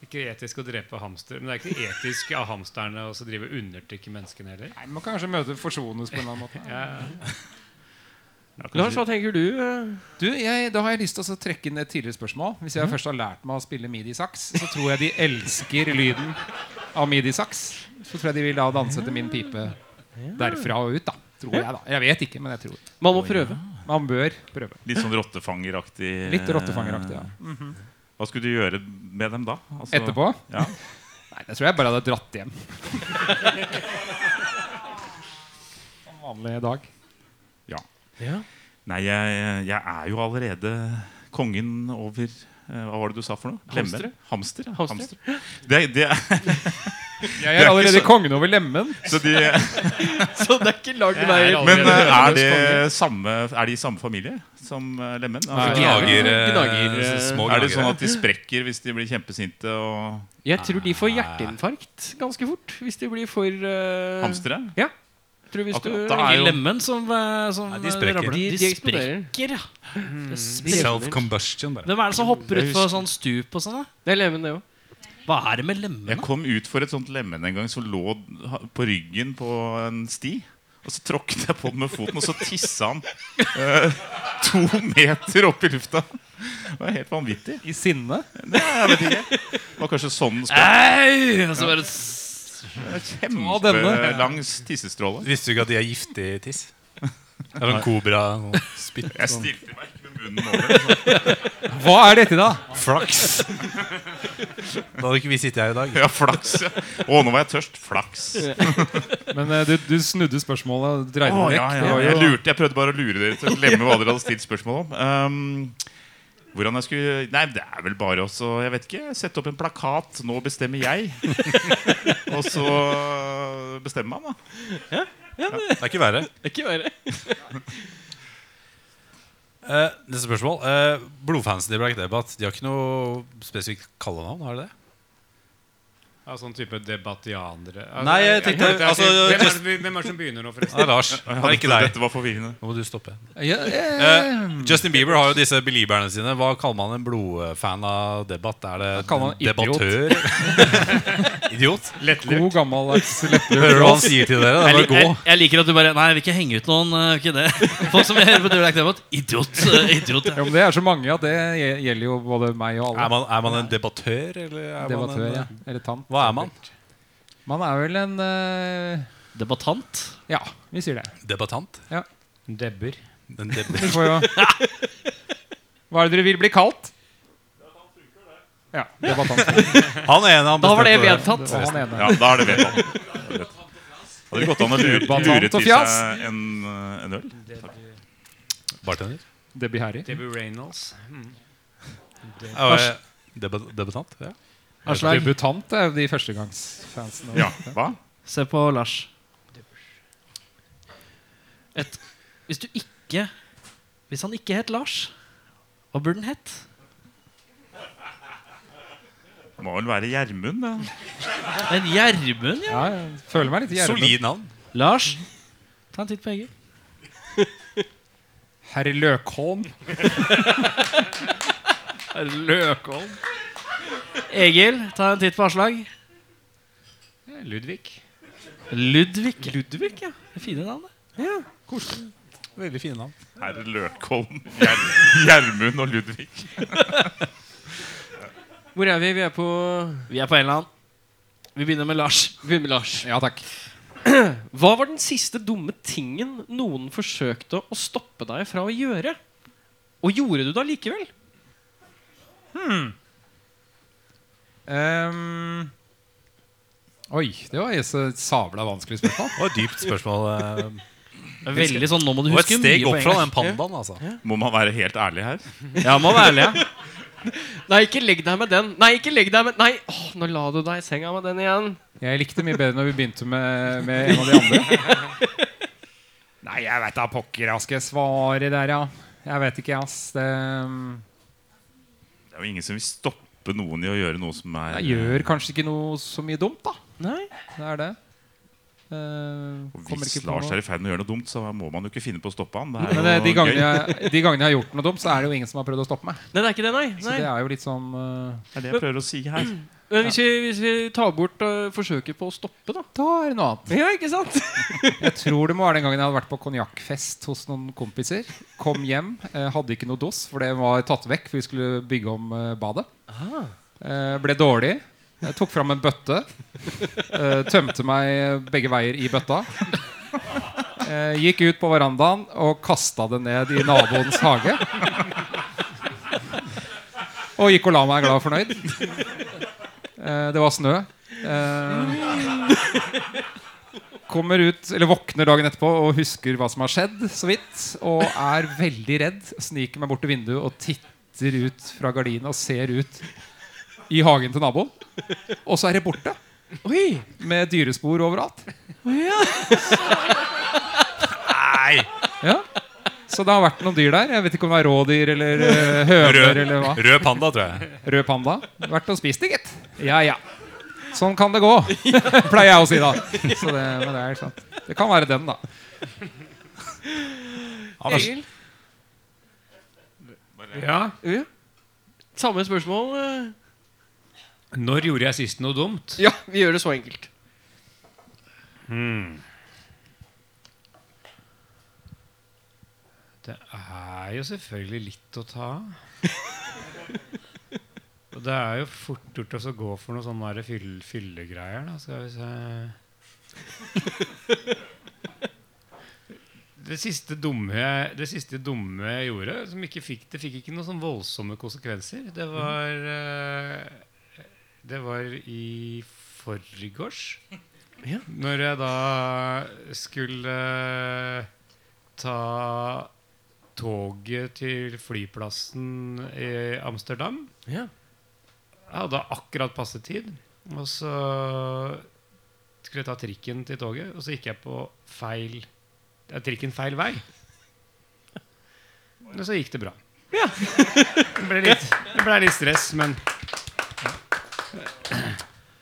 E: Ikke etisk å drepe hamster. Men det er ikke etisk av hamsterne å så drive og undertrykke menneskene heller.
G: Nei, Man kan kanskje møte forsones på en eller annen måte.
E: Ja.
B: Lars, hva tenker du? eh?
G: *laughs* Du, jeg, Da har jeg lyst til å trekke inn et tidligere spørsmål. Hvis jeg først har lært meg å spille midi-saks, så tror jeg de elsker lyden av midi-saks. Så tror jeg de vil da danse til min pipe derfra og ut, da. Tror jeg, da. Jeg vet ikke, men jeg tror.
B: Man må prøve.
G: Man bør prøve.
D: Litt sånn rottefangeraktig. eh,
G: Litt rottefangeraktig, ja.
D: Hva skulle du gjøre med dem da? Altså-
G: Eh, Etterpå?
D: Ja.
G: Nei, det tror jeg bare hadde dratt hjem. *laughs* Som vanlig i dag.
D: Nei, jeg, jeg er jo allerede kongen over eh, Hva var det du sa for noe? Lemmer? Hamster. ja,
B: Hamster.
D: Hamster. Det, det, Det er
G: Jeg er
D: ikke
G: allerede
D: så-
G: kongen over lemmen.
D: så de,
B: Så det er ikke lang
E: Jeg
B: vei.
E: er
D: men
E: *laughs* allerede
D: eh, er,
E: kongenes
D: det
E: konge.
D: samme, er de i samme familie som eh, lemmen?
G: Nei.
D: Altså,
C: Gnager, eh,
B: Gnager, eh,
C: små
D: er det
C: gnagere.
D: sånn at de sprekker hvis de blir kjempesinte og
B: Jeg tror de får hjerteinfarkt ganske fort hvis de blir for eh,
D: hamstere?
B: Tror hvis du,
D: Akkurat,
B: de,
D: da er
F: I
D: jo
F: lemmen som, eh, som
C: Nei, de
F: eh,
C: sprekker.
F: rabler.
B: de,
F: De, Mm. sprekker.
B: eksploderer.
F: ja. Det sprekker.
C: Self-combustion, bare.
F: Hvem er det som hopper utfor sånn stup og sånn? da?
B: Det er lemen, det òg.
F: Hva er det med
D: Jeg
F: lemmene?
D: kom ut for et sånt lemen en gang som lå ha- på ryggen på en sti. Og så tråkket jeg på den med foten, og så tissa han eh, to meter opp i lufta. Det var helt vanvittig.
G: I sinne.
D: Det var kanskje sånn spøk.
F: Au! Og så bare s-
G: denne.
D: Kjempelang tissestråle.
C: Visste du ikke at de er giftig tiss? Det *laughs* er sånn kobra og spytt.
D: Jeg
G: sånn.
D: stilte meg ikke med munnen over.
G: Hva er dette, da?
C: *laughs* Flaks! Da hadde ikke vi sittet her i dag.
D: Ja, flaks. ja. Å, nå var jeg tørst. Flaks.
G: Men eh, du, du snudde spørsmålet. og Dreide
D: Å,
G: det
D: ja,
G: vekk.
D: ja.
G: Det var
D: Jeg
G: jo-
D: lurte, jeg prøvde bare å lure dere til å glemme hva dere hadde stilt spørsmål om. Um, hvordan jeg skulle Nei, det er vel bare også Jeg vet ikke. Sette opp en plakat. 'Nå bestemmer jeg'. Og så bestemmer man, da.
C: Det er ikke verre.
B: Ikke verre.
C: *laughs* Eh, neste spørsmål. Eh, blodfansen i Black Debatt De har ikke noe spesifikt kallenavn, har de det?
E: Av sånn type debattianere? Altså,
C: Nei, jeg tenkte-
E: vet ikke,
C: altså,
E: hvem, er
C: just-
E: det, vi- hvem er det som begynner nå, forresten?
C: Det er Lars. Det er ikke deg.
D: Dette var forvirrende.
C: Nå må du stoppe.
G: Ja, eh,
C: Eh, Justin Bieber har jo disse belieberne sine. Hva kaller man en blodfan av debatt? Er det
G: kaller man idiot.
C: debattør? idiot?
G: god gammeldags *laughs* lettlurt.
C: Hører du hva han sier til dere? Det er
A: Jeg,
C: bare å
A: jeg,
C: gå.
A: jeg liker at du bare Nei, jeg vil ikke henge ut noen.
F: eh,
A: øh, Ikke det.
F: *laughs*
A: Folk som jeg hører på Durlac Debatt. Idiot. øh, Idiot.
G: Ja, men det er så mange at det gje- gjelder jo både meg og alle.
C: Er man, er man en debattør, eller er
G: Debattør,
C: man en, eh,
G: ja. Eller tant.
C: Hva er man?
G: Man er vel en eh,
A: Debattant.
G: Ja, vi sier det. *laughs*
C: Debattant?
E: Debber.
C: En deb
G: Vi får jo Hva er det dere vil bli kalt? Ja, det var tant.
C: han ene han
F: Da var det
C: bestemte
F: vedtatt.
G: Det var han ene.
D: Ja, da er det vedtatt. Hadde det gått an å lure, lure
G: og
D: til
G: fjas.
D: seg en, eh, en øl?
C: det. Bartender?
G: Det blir Harry.
E: Debbie Reynolds. Mm.
C: Ja, var jeg- Debat debattant? Ja.
F: Aslak,
G: Debutant er jo de førstegangsfansene.
D: Ja, hva?
F: se på Lars. Et, hvis du ikke Hvis han ikke het Lars, hva burde han hett?
D: Det må vel være Gjermund, da.
F: En Gjermund, ja.
G: Ja, jeg føler meg litt gjerrig.
C: Solid navn.
F: Lars, ta en titt på Egil. *laughs*
G: Herr Løkholm.
F: Løkholm. Egil, ta en titt på Aslak.
E: Ludvig.
F: Ludvig. Ludvig, ja. Fine navn, det.
C: Veldig fine navn.
D: Herr Løkholm, Gjer- Gjermund og Ludvig.
B: Hvor er vi? Vi er på
F: Vi er på en eller annen. Vi begynner med Lars.
B: vi er med Lars.
G: Ja takk.
B: *clears throat* Hva var den siste dumme tingen noen forsøkte å stoppe deg fra å gjøre? Og gjorde du det allikevel?
G: Ehm, oi, det var et så sabla vanskelig spørsmål.
C: Det var et dypt spørsmål. eh.
F: Veldig sånn, nå må du
C: Og et
F: huske
C: steg
F: mye
C: opp fra
F: poeng.
C: den pandaen, altså.
D: Må man være helt ærlig her?
F: Ja, må være ærlig, ja.
B: Nei, ikke legg deg med den. Nei, ikke legg deg med Nei, åh, nå la du deg i senga med den igjen.
G: Jeg likte mye bedre når vi begynte med, med en av de andre. Nei, jeg veit da pokker. jeg Skal jeg svare der, ja? Jeg vet ikke, ass. Det,
D: Det er jo ingen som vil stoppe noen i å gjøre noe som er eh,
G: jeg gjør kanskje ikke noe så mye dumt, da.
B: Nei.
G: Det er det. Eh,
D: Og
G: kommer
D: Hvis
G: ikke på
D: Lars
G: noe.
D: er i ferd med å gjøre noe dumt, så må man jo ikke finne på å stoppe han.
G: Men
D: Det
G: eh,
D: er
G: de
D: jo
G: gangene,
D: gøy.
G: jeg, de gangene jeg har gjort noe dumt, så er det jo ingen som har prøvd å stoppe meg.
B: Nei, det er ikke det, nei.
G: Så
B: nei.
G: det er jo litt sånn eh,
D: Det er det jeg prøver å si her.
B: Men hvis vi, hvis vi tar bort øh, forsøket på å stoppe, da.
G: Da er det noe annet.
B: Ja, ikke sant?
G: Jeg tror det må være den gangen jeg hadde vært på konjakkfest hos noen kompiser. Kom hjem, eh, hadde ikke noe dass, for det var tatt vekk, for vi skulle bygge om eh, badet. Eh, ble dårlig. Jeg tok fram en bøtte. Eh, tømte meg begge veier i bøtta. Eh, gikk ut på verandaen og kasta det ned i naboens hage. Og gikk og la meg glad og fornøyd. Eh, det var snø. Eh, Kommer ut, eller våkner dagen etterpå og husker hva som har skjedd, så vidt. Og er veldig redd. Sniker meg bort til vinduet og titter ut fra gardinen og ser ut i hagen til naboen. Og så er det borte.
B: *laughs* Oi!
G: Med dyrespor overalt.
C: Nei!
G: Ja. Så det har vært noen dyr der. Jeg vet ikke om det er rådyr eller eh, høner eller hva.
C: Rød panda, tror jeg.
G: Rød panda. Vært og spist det, gitt. Ja, ja. Sånn kan det gå, *laughs* pleier jeg å si da. Så det, men det er sant. Det kan være den, da.
C: Anders.
E: Ja.
B: Samme spørsmål. øh.
E: Når gjorde jeg sist noe dumt?
B: Ja, vi gjør det så enkelt.
E: Det er jo selvfølgelig litt å ta av. Og det er jo fort gjort å så gå for noe sånn der fyll, fyllegreier, da. Skal vi se Det siste, dumme, jeg- det siste dumme jeg gjorde, som ikke fikk, det fikk ikke noen sånn voldsomme konsekvenser, det var eh, Det var i forgårs. Når jeg da skulle eh, ta toget til flyplassen i Amsterdam.
B: Ja.
E: Jeg hadde akkurat passe tid. Og så skulle jeg ta trikken til toget, og så gikk jeg på feil ja, trikken feil vei. Men så gikk det bra. det ble litt, det ble litt stress, men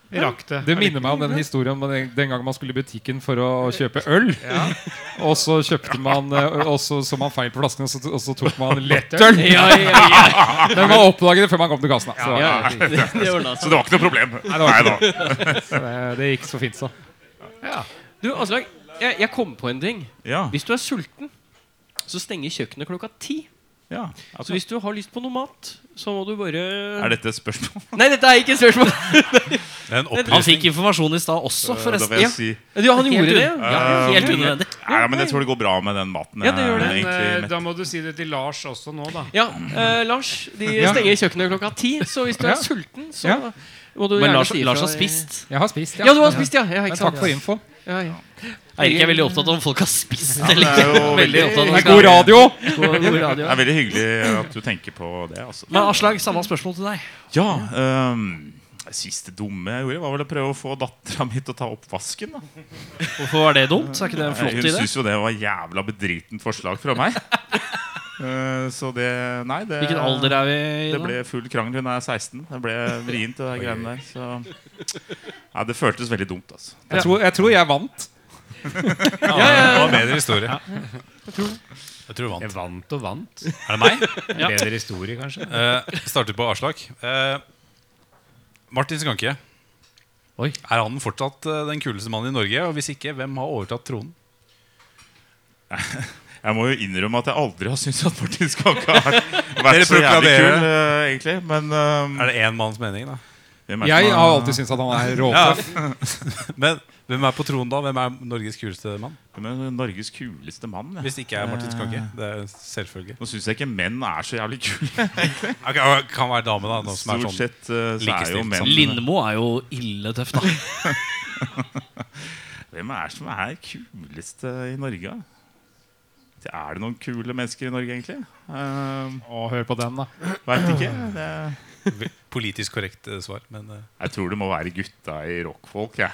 E: Rakk det.
G: Det minner meg om den historien om den, den gang man skulle i butikken for å kjøpe øl. Og så kjøpte man eh, Og så så man feil på flasken, og så, og så tok man lettøl.
B: Ja, ja, ja,
G: Den var oppdaget før man kom til kassen. da. Så,
B: ja, Det,
F: *laughs*
B: det ordnet
F: altså.
B: seg.
D: Så det var ikke noe problem. Nei da.
G: så det, det gikk så fint, så.
B: Du, Aslag, jeg, jeg kom på en ting.
D: Ja.
B: Hvis du er sulten, så stenger kjøkkenet klokka ti.
D: ja.
B: Så hvis du har lyst på noe mat, så må du bare
D: Er dette et spørsmål?
B: Nei, dette er ikke et spørsmål! *laughs*
C: Det er en
F: Han
C: opplysning.
F: fikk informasjon i stad også,
D: Da
F: forresten.
D: vil jeg si
B: Ja, han gjorde det.
F: un-
B: Ja,
D: Eh,
F: Helt unødvendig.
D: Nei, men jeg tror det går bra med den maten.
B: Ja, det gjør det.
E: Men
D: Jeg er
E: eh,
D: egentlig mett.
E: da må du si det til Lars også nå, da.
B: ja eh, Lars. De stenger kjøkkenet klokka ti, så hvis du er sulten, så
G: Ja.
B: må du
F: Men
B: gjerne
F: Lars,
B: si ifra
F: Lars har
B: i-
F: spist.
G: Jeg har spist,
B: Ja, du har spist, ja. ja
G: Men
B: ikke
G: takk
B: sant?
G: for info.
B: Ja, ja.
F: Eirik er veldig opptatt av om folk har spist eller
D: det er
F: ikke.
D: jo
F: Veldig opptatt
G: Det er
F: av
G: god radio!
F: God- god radio.
D: Det er veldig hyggelig eh, at du tenker på det. Altså.
F: Men Aslag, samme spørsmål til deg.
D: Ja, ehm, Siste dumme jeg gjorde, var vel å prøve å få dattera mi til å ta oppvasken. Da.
F: Hvorfor var det dumt? Så er ikke det en flott
D: Hun
F: idé?
D: syntes jo det var jævla bedritent forslag fra meg. Eh, så det Nei, det
F: Hvilken alder er vi i
D: Det
F: nå?
D: ble full krangel. Hun er 16. Det ble vrient, det der greiene der. Så Nei, det føltes veldig dumt, altså.
G: Jeg tror jeg, tror jeg vant.
C: Det var en bedre historie. Jeg tror du vant.
E: Jeg vant og vant.
C: Er det meg?
E: Bedre historie, kanskje.
C: Eh, starter på Aslak. Eh, Martin Skanke.
F: Oi.
C: Er han fortsatt eh, den kuleste mannen i Norge? Og hvis ikke, hvem har overtatt tronen?
D: Jeg må jo innrømme at jeg aldri har syntes at Martin Skanke har vært
C: Dere
D: så jævlig
C: proklamerer
D: kul, eh, egentlig. Men eh,
C: Er det én manns mening, da? *laughs*
D: hvem er det
G: Jeg
D: som
G: har alltid syntes at han er råtøff.
C: Men hvem er på tronen da? Hvem er Norges kuleste mann?
D: hvem er Norges kuleste mann. jeg?
C: Hvis det ikke er Martin Skanke. Det er en selvfølge.
D: Nå syns jeg ikke menn er så jævlig kule.
C: Ok, det kan være dame, da. Nå som er
D: Stort
C: sånn.
D: sett eh, så er jo
C: likestilt,
D: menn
C: sant?
F: Lindmo er jo ille tøff, da.
D: Hvem er det som er kuleste i Norge? da? Er det noen kule mennesker i Norge, egentlig? Uh,
G: Å, hør på den, da.
D: Veit ikke. Det,
C: Politisk korrekt eh, svar, men eh,
D: jeg tror det må være gutta i rockfolk. jeg.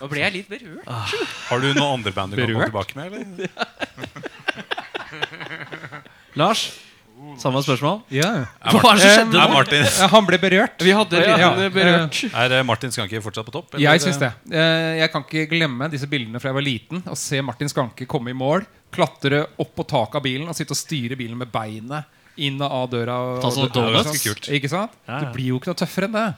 B: Nå ble jeg litt berørt.
C: Har du noen andre band du kan komme
G: Berørt?
C: tilbake med? eller?
F: Lars, samme spørsmål.
G: Ja.
F: Hva er det som skjedde nå?
C: Er Martin,
G: Han ble berørt.
B: Vi hadde litt
G: Ja.
B: berørt.
C: er eh, Martin Skanke fortsatt på topp? eller?
G: Jeg syns det. Eh, Jeg kan ikke glemme disse bildene fra jeg var liten. Å se Martin Skanke komme i mål, klatre opp på taket av bilen og sitte og styre bilen med beinet inn og av døra. og-
F: Ta sånne
G: og- og-
F: donuts.
G: sånn. Ikke sant?
F: Ja, ja.
G: Det blir jo ikke noe tøffere enn det.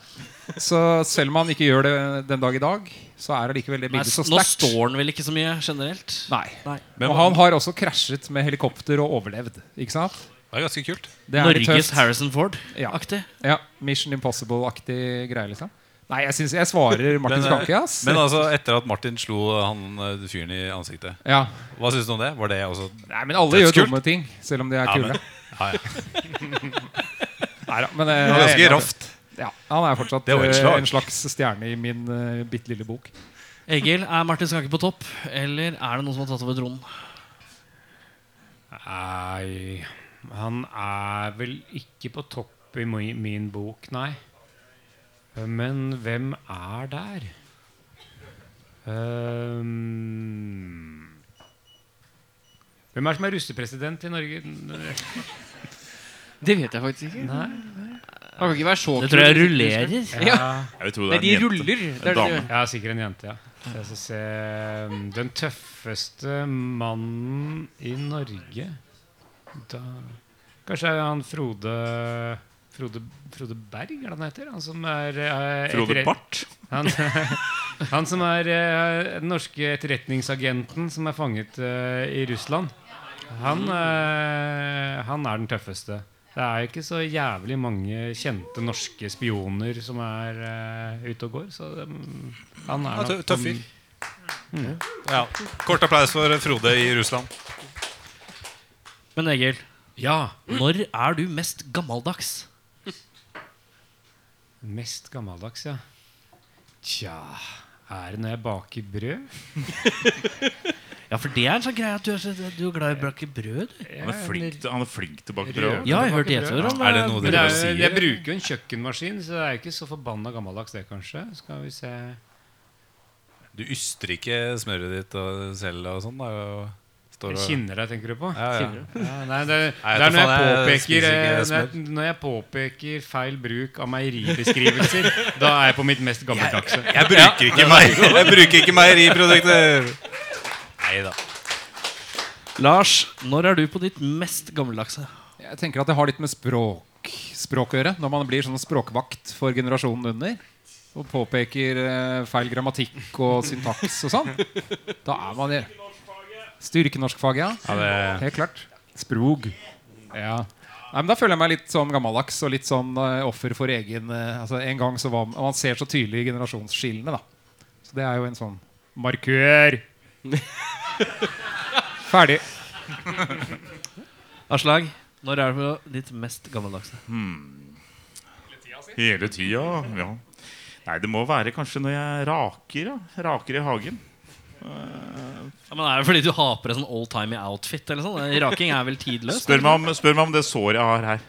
G: Så selv om han ikke gjør det den dag i dag, så er det likevel det
F: Nei,
G: bildet så
F: nå
G: sterkt.
F: står han vel ikke så mye generelt?
G: Nei.
F: Nei.
C: Men
G: og han har også krasjet med helikopter og overlevd. Ikke sant?
C: Det er ganske kult.
G: Det er litt
F: Norges
G: tøft.
F: Harrison
G: Ja.
F: Ford-aktig.
G: Ja, Mission Impossible-aktig greie, liksom. Nei, jeg syns jeg svarer Martin
C: Men, eh,
G: Skanke, ass.
C: Men altså, etter at Martin slo eh, han eh, fyren i ansiktet,
G: ja.
C: hva syns du om det? Var det også
G: Nei, men alle gjør
C: Dødskult.
G: dumme ting, selv om de er
C: Ja,
G: kule.
C: men- ja, ja.
G: Neida,
C: Det var
G: men eh, jeg er enig i
C: ganske
G: at-
C: raft.
G: Ja, han er fortsatt
C: Det var et
G: eh,
C: slag.
G: en slags stjerne i min uh, bitte lille bok.
F: Egil, er Martin Skanke på topp, eller er det noen som har tatt over tronen?
E: Nei Han er vel ikke på topp i mi- min bok, nei. Men hvem er der? Ehm, hvem er det som er russepresident i Norge?
B: Det vet jeg faktisk ikke.
E: Nei.
B: Han kan ikke være så
F: Det tror jeg
B: kul.
F: rullerer.
B: Ja.
D: Jeg vil tro det
B: Nei,
D: er
B: de
D: en jente.
B: ruller. Det er det de
D: Dame.
B: gjør.
E: Ja, sikkert en jente, ja. Jeg skal se um, Den tøffeste mannen i Norge da, Kanskje er han Frode Frode, Frode Berg, er det han heter? Han som er eh,
D: Frode
E: etterret-
D: Bart.
E: Han, han som er eh, den norske etterretningsagenten som er fanget eh, i Russland. Han, eh, han er den tøffeste. Det er ikke så jævlig mange kjente norske spioner som er eh, ute og går. Så mm, han er
C: Ja, tø-
E: nok
C: tøff fyr. Ja. Kort applaus for Frode i Russland.
F: Men Egil,
E: Ja,
F: når er du mest gammeldags?
E: Mest gammeldags, ja. Tja Er det når jeg baker brød?
F: Ja, for det er en sånn greie at du er, så, du er glad i å bake brød. du.
D: Han er flink, til- han er flink til å bake
E: Rød.
D: brød.
F: Ja, jeg hørte gjeter om
C: Er det noe
E: Men
C: dere
E: det
C: bare
E: er, jo- jeg
C: sier?
E: bruker jo en kjøkkenmaskin, så det er jo ikke så forbanna gammeldags, det, kanskje. Skal vi se
C: Du yster ikke smøret ditt og selv og sånn? da, og står og
E: Kinner deg, tenker du på?
C: ja, ja.
E: Ja, nei,
C: Nei,
E: det, det er når jeg,
C: faen, jeg
E: påpeker,
C: spiser ikke
E: eh, når,
C: smør.
E: jeg, når jeg påpeker feil bruk av meieribeskrivelser, *laughs* da er jeg på mitt mest gammeldagse.
C: Jeg bruker ikke, meg, jeg bruker ikke meieriprodukter! Nei da.
F: Lars, når er du på ditt mest gammeldagse?
G: Jeg tenker at det har litt med språk, språk å gjøre. Når man blir sånn språkvakt for generasjonen under og påpeker eh, feil grammatikk og syntaks og sånn, da er man der. Styrkenorskfaget, ja. Helt klart. Sprog. Ja. Nei, men Da føler jeg meg litt sånn gammeldags og litt sånn eh, offer for egen eh, altså En gang så var man, man ser så tydelig generasjonsskillene, da. Så det er jo en sånn markør. Ferdig.
F: Aslag, når er du på ditt mest gammeldagse?
D: Hele tida, ja. Nei, det må være kanskje når jeg raker, ja. Raker i hagen.
F: Ja, men er det fordi du har på deg sånn oldtimey outfit? eller sånn? *laughs* Raking er vel tidløst?
D: Spør meg om, spør meg om det såret jeg har her,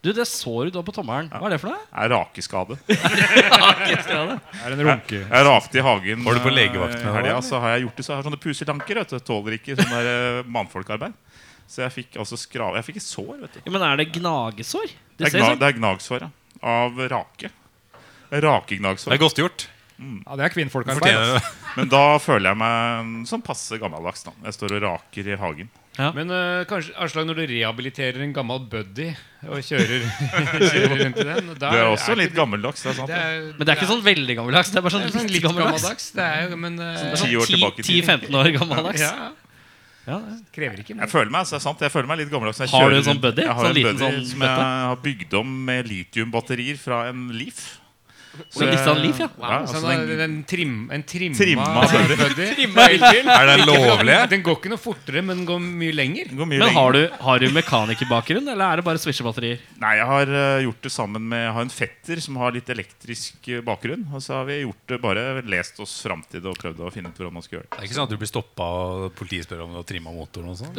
F: Du, det såret du har på tommelen, hva er det for noe?
D: er rakeskade.
E: Er det en runke?
D: Jeg rakte i hagen
C: Var du på legevakt med
D: eh, i
C: det,
D: helga, så har jeg gjort det. Så jeg har sånne puselanker. Vet du. Tåler ikke sånn der eh, mannfolkarbeid. Så jeg fikk altså skrav... Jeg fikk et sår, vet du.
F: Ja, men er det gnagesår?
D: Det
F: Det
D: er,
F: ser
D: gna,
F: sånn.
D: det er gnagsår, ja. Av rake.
C: Det
D: Rakegnagsår.
C: er godt gjort.
G: Ja, Det er kvinnfolkarbeid.
C: Fortjener det.
D: Men da føler jeg meg mm, sånn passe gammeldags. da Jeg står og raker i hagen.
E: Men eh, kanskje, Aslag, når du rehabiliterer en gammel buddy og kjører,
C: *laughs*
E: kjører rundt i den da
D: Du er også
E: ikke
D: litt gammeldags. Det er sant.
E: det
D: det.
E: er,
F: Men det er ikke sånn veldig gammeldags. Det er bare sånn
E: det er sånn
F: litt
E: litt
F: gammeldags.
E: gammeldags. Det er jo, men eh,
F: Det er sånn
D: Ti år
F: 10
D: tilbake i tid.
F: 10-15 år gammeldags.
E: ja.
F: Ja, det-
E: Krever ikke
D: Jeg
E: mer.
D: føler meg, så er det sant, jeg føler meg litt gammeldags. Jeg
F: Har du
D: kjører
F: en sånn
D: rundt-
F: buddy?
D: Jeg har
F: Sånn
D: en
F: liten
D: buddy
F: sånn
D: som jeg har bygd om med litiumbatterier fra en Leaf. Så
F: Men
D: jeg-
F: Nissan Leaf, ja.
D: ja altså
E: Sånn,
D: den,
E: eh, en, trim, en trimma, *laughs*
D: Trimma buddy.
E: buddy.
C: Er det lovlig?
E: Den går ikke noe fortere, men den går mye lenger.
D: den går mye
F: Men
D: lenger.
F: har du, har du mekanikerbakgrunn, eller er det bare switchebatterier?
D: Nei, jeg har eh, gjort det sammen med Jeg har en fetter som har litt elektrisk eh, bakgrunn. Og så har vi gjort det bare lest oss fram til det og prøvd å finne ut hvordan man skal gjøre det.
C: Det er ikke sånn at du blir stoppa og politiet spør om du har trimma motoren og sånn?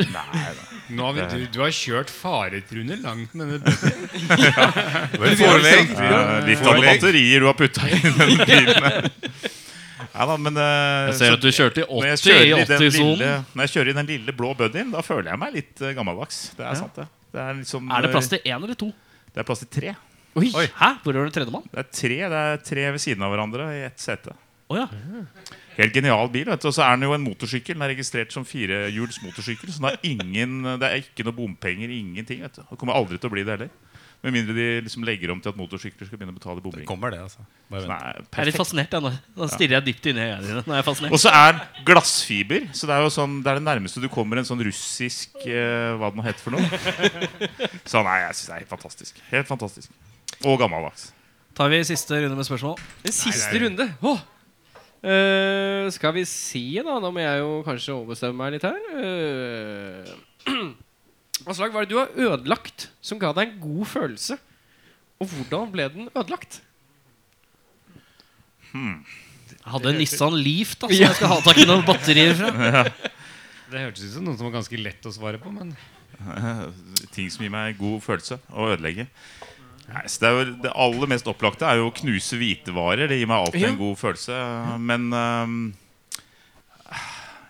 E: Nå har vi, du, du har kjørt faretruende langt med denne buddyen.
C: Forelegg.
D: Eh, litt av
C: Forelegg.
D: batterier du har putta i den bilen. *laughs* Ja da, men eh,
F: Jeg ser
D: så-
F: at du kjørte i
D: når jeg
F: 80 i
D: kjører i den
F: 80-sonen.
D: lille- Når jeg kjører i den lille blå buddyen, da føler jeg meg litt eh, gammeldags. Det er sant, det. Det er, liksom,
F: Er det plass til én eller to?
D: eh, Det er plass til tre.
F: Oi, Hæ? Hvor var det tredjemann?
D: Det er tre, det er tre ved siden av hverandre i ett sete.
F: Å ja.
D: Helt genial bil. vet du Og så er den jo en motorsykkel. Den er registrert som firehjuls motorsykkel. Så den har ingen, det er ikke noe bompenger. Ingenting. vet du Og kommer aldri til å bli det heller. Med mindre de liksom legger om til at motorsykler skal begynne å betale
C: Det
D: bomringer.
C: kommer, det, altså. Bare vent.
D: Den er
F: Jeg er litt
D: perfekt.
F: fascinert. Jeg, nå. Da stirrer jeg dypt inn i øynene dine. Nå er jeg fascinert.
D: Og så er den glassfiber. Så det er jo sånn, det er det nærmeste du kommer en sånn russisk eh, Hva den nå heter for noe. Så nei, jeg syns det er helt fantastisk. Helt fantastisk. Og gammeldags.
F: Tar vi siste runde med spørsmål?
B: En siste runde. Åh. Eh, skal vi si, da Da må jeg jo kanskje overbestemme meg litt her. Eh, *clears throat* Aslak, hva er det du har ødelagt som ga deg en god følelse? Og hvordan ble den ødelagt?
F: Jeg hadde en Nissan Leaf da, som jeg skal ha tak i noen batterier fra.
E: Det hørtes ut som noen som var ganske lett å svare på, men
D: ting som gir meg god følelse å ødelegge. Nei, så det, er jo, det aller mest opplagte er jo å knuse hvitevarer. Det gir meg alltid
B: Ja.
D: en god følelse. Men øhm,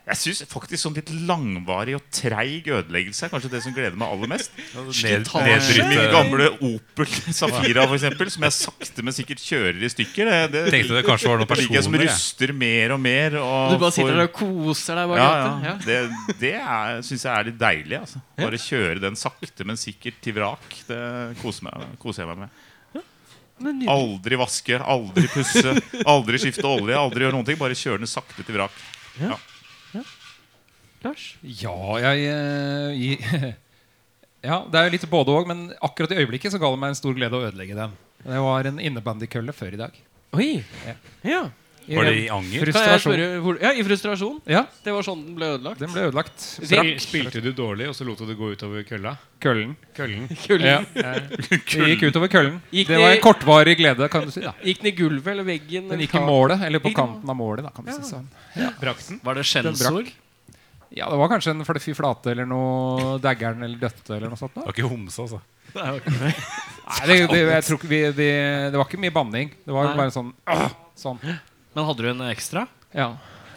D: jeg syns faktisk sånn litt langvarig og treig ødeleggelse er kanskje det som gleder meg aller mest.
C: Ned,
D: Min
C: nedbryte
D: gamle Opel Safira, for eksempel, som jeg sakte, men sikkert kjører i stykker. Det, det,
C: Tenkte det kanskje var noen
D: liker jeg som
C: personer. jeg.
D: ruster mer og mer. Og
B: Du bare sitter
D: får-
B: der og koser deg bak rattet.
D: ja,
B: Ja.
D: ja. Det, det er- syns jeg er litt deilig. Altså. Bare kjøre den sakte, men sikkert til vrak. Det koser, meg, koser jeg meg med.
B: Men nydelig.
D: Aldri vaske, aldri pusse, aldri skifte olje. Aldri gjøre noen ting Bare kjøre den sakte til vrak.
B: Lars?
G: Ja, jeg eh, i- *laughs* Ja, det er jo litt både òg, men akkurat i øyeblikket så ga det meg en stor glede å ødelegge den. Det var en innebandykølle før i dag.
B: Oi. Ja.
G: I
C: Var det
G: ren
C: i anger?
B: Kan jeg
G: frustrasjon.
B: spørre hvor, Ja, i frustrasjon.
G: Ja,
B: Det var sånn den ble ødelagt.
G: den ble ødelagt. Sprakk
E: spil, spilte du dårlig, og så lot du det gå utover kølla?
G: køllen.
E: Køllen.
B: Kulden. *laughs*
G: Det gikk utover køllen.
B: Gikk
G: Det var
B: det-
G: en kortvarig glede, kan du si. da
B: Gikk den i gulvet eller veggen?
G: Den
B: eller
G: gikk i
B: taket?
G: målet, eller på
B: Gikk i mål.
G: kanten av målet. da, kan du si sånn
E: Braksen.
F: Var det
G: Den
F: skjellsord?
G: brakk. Ja, det var kanskje en fluffy flate eller noe daggeren eller døtte eller noe sånt. Da.
C: Det var ikke homse, altså.
G: Nei, det, det, jeg tror ikke vi, det, det var ikke mye banning. Det var bare sånn «Åh!» Sånn.
F: Men hadde du en ekstra?
G: Ja.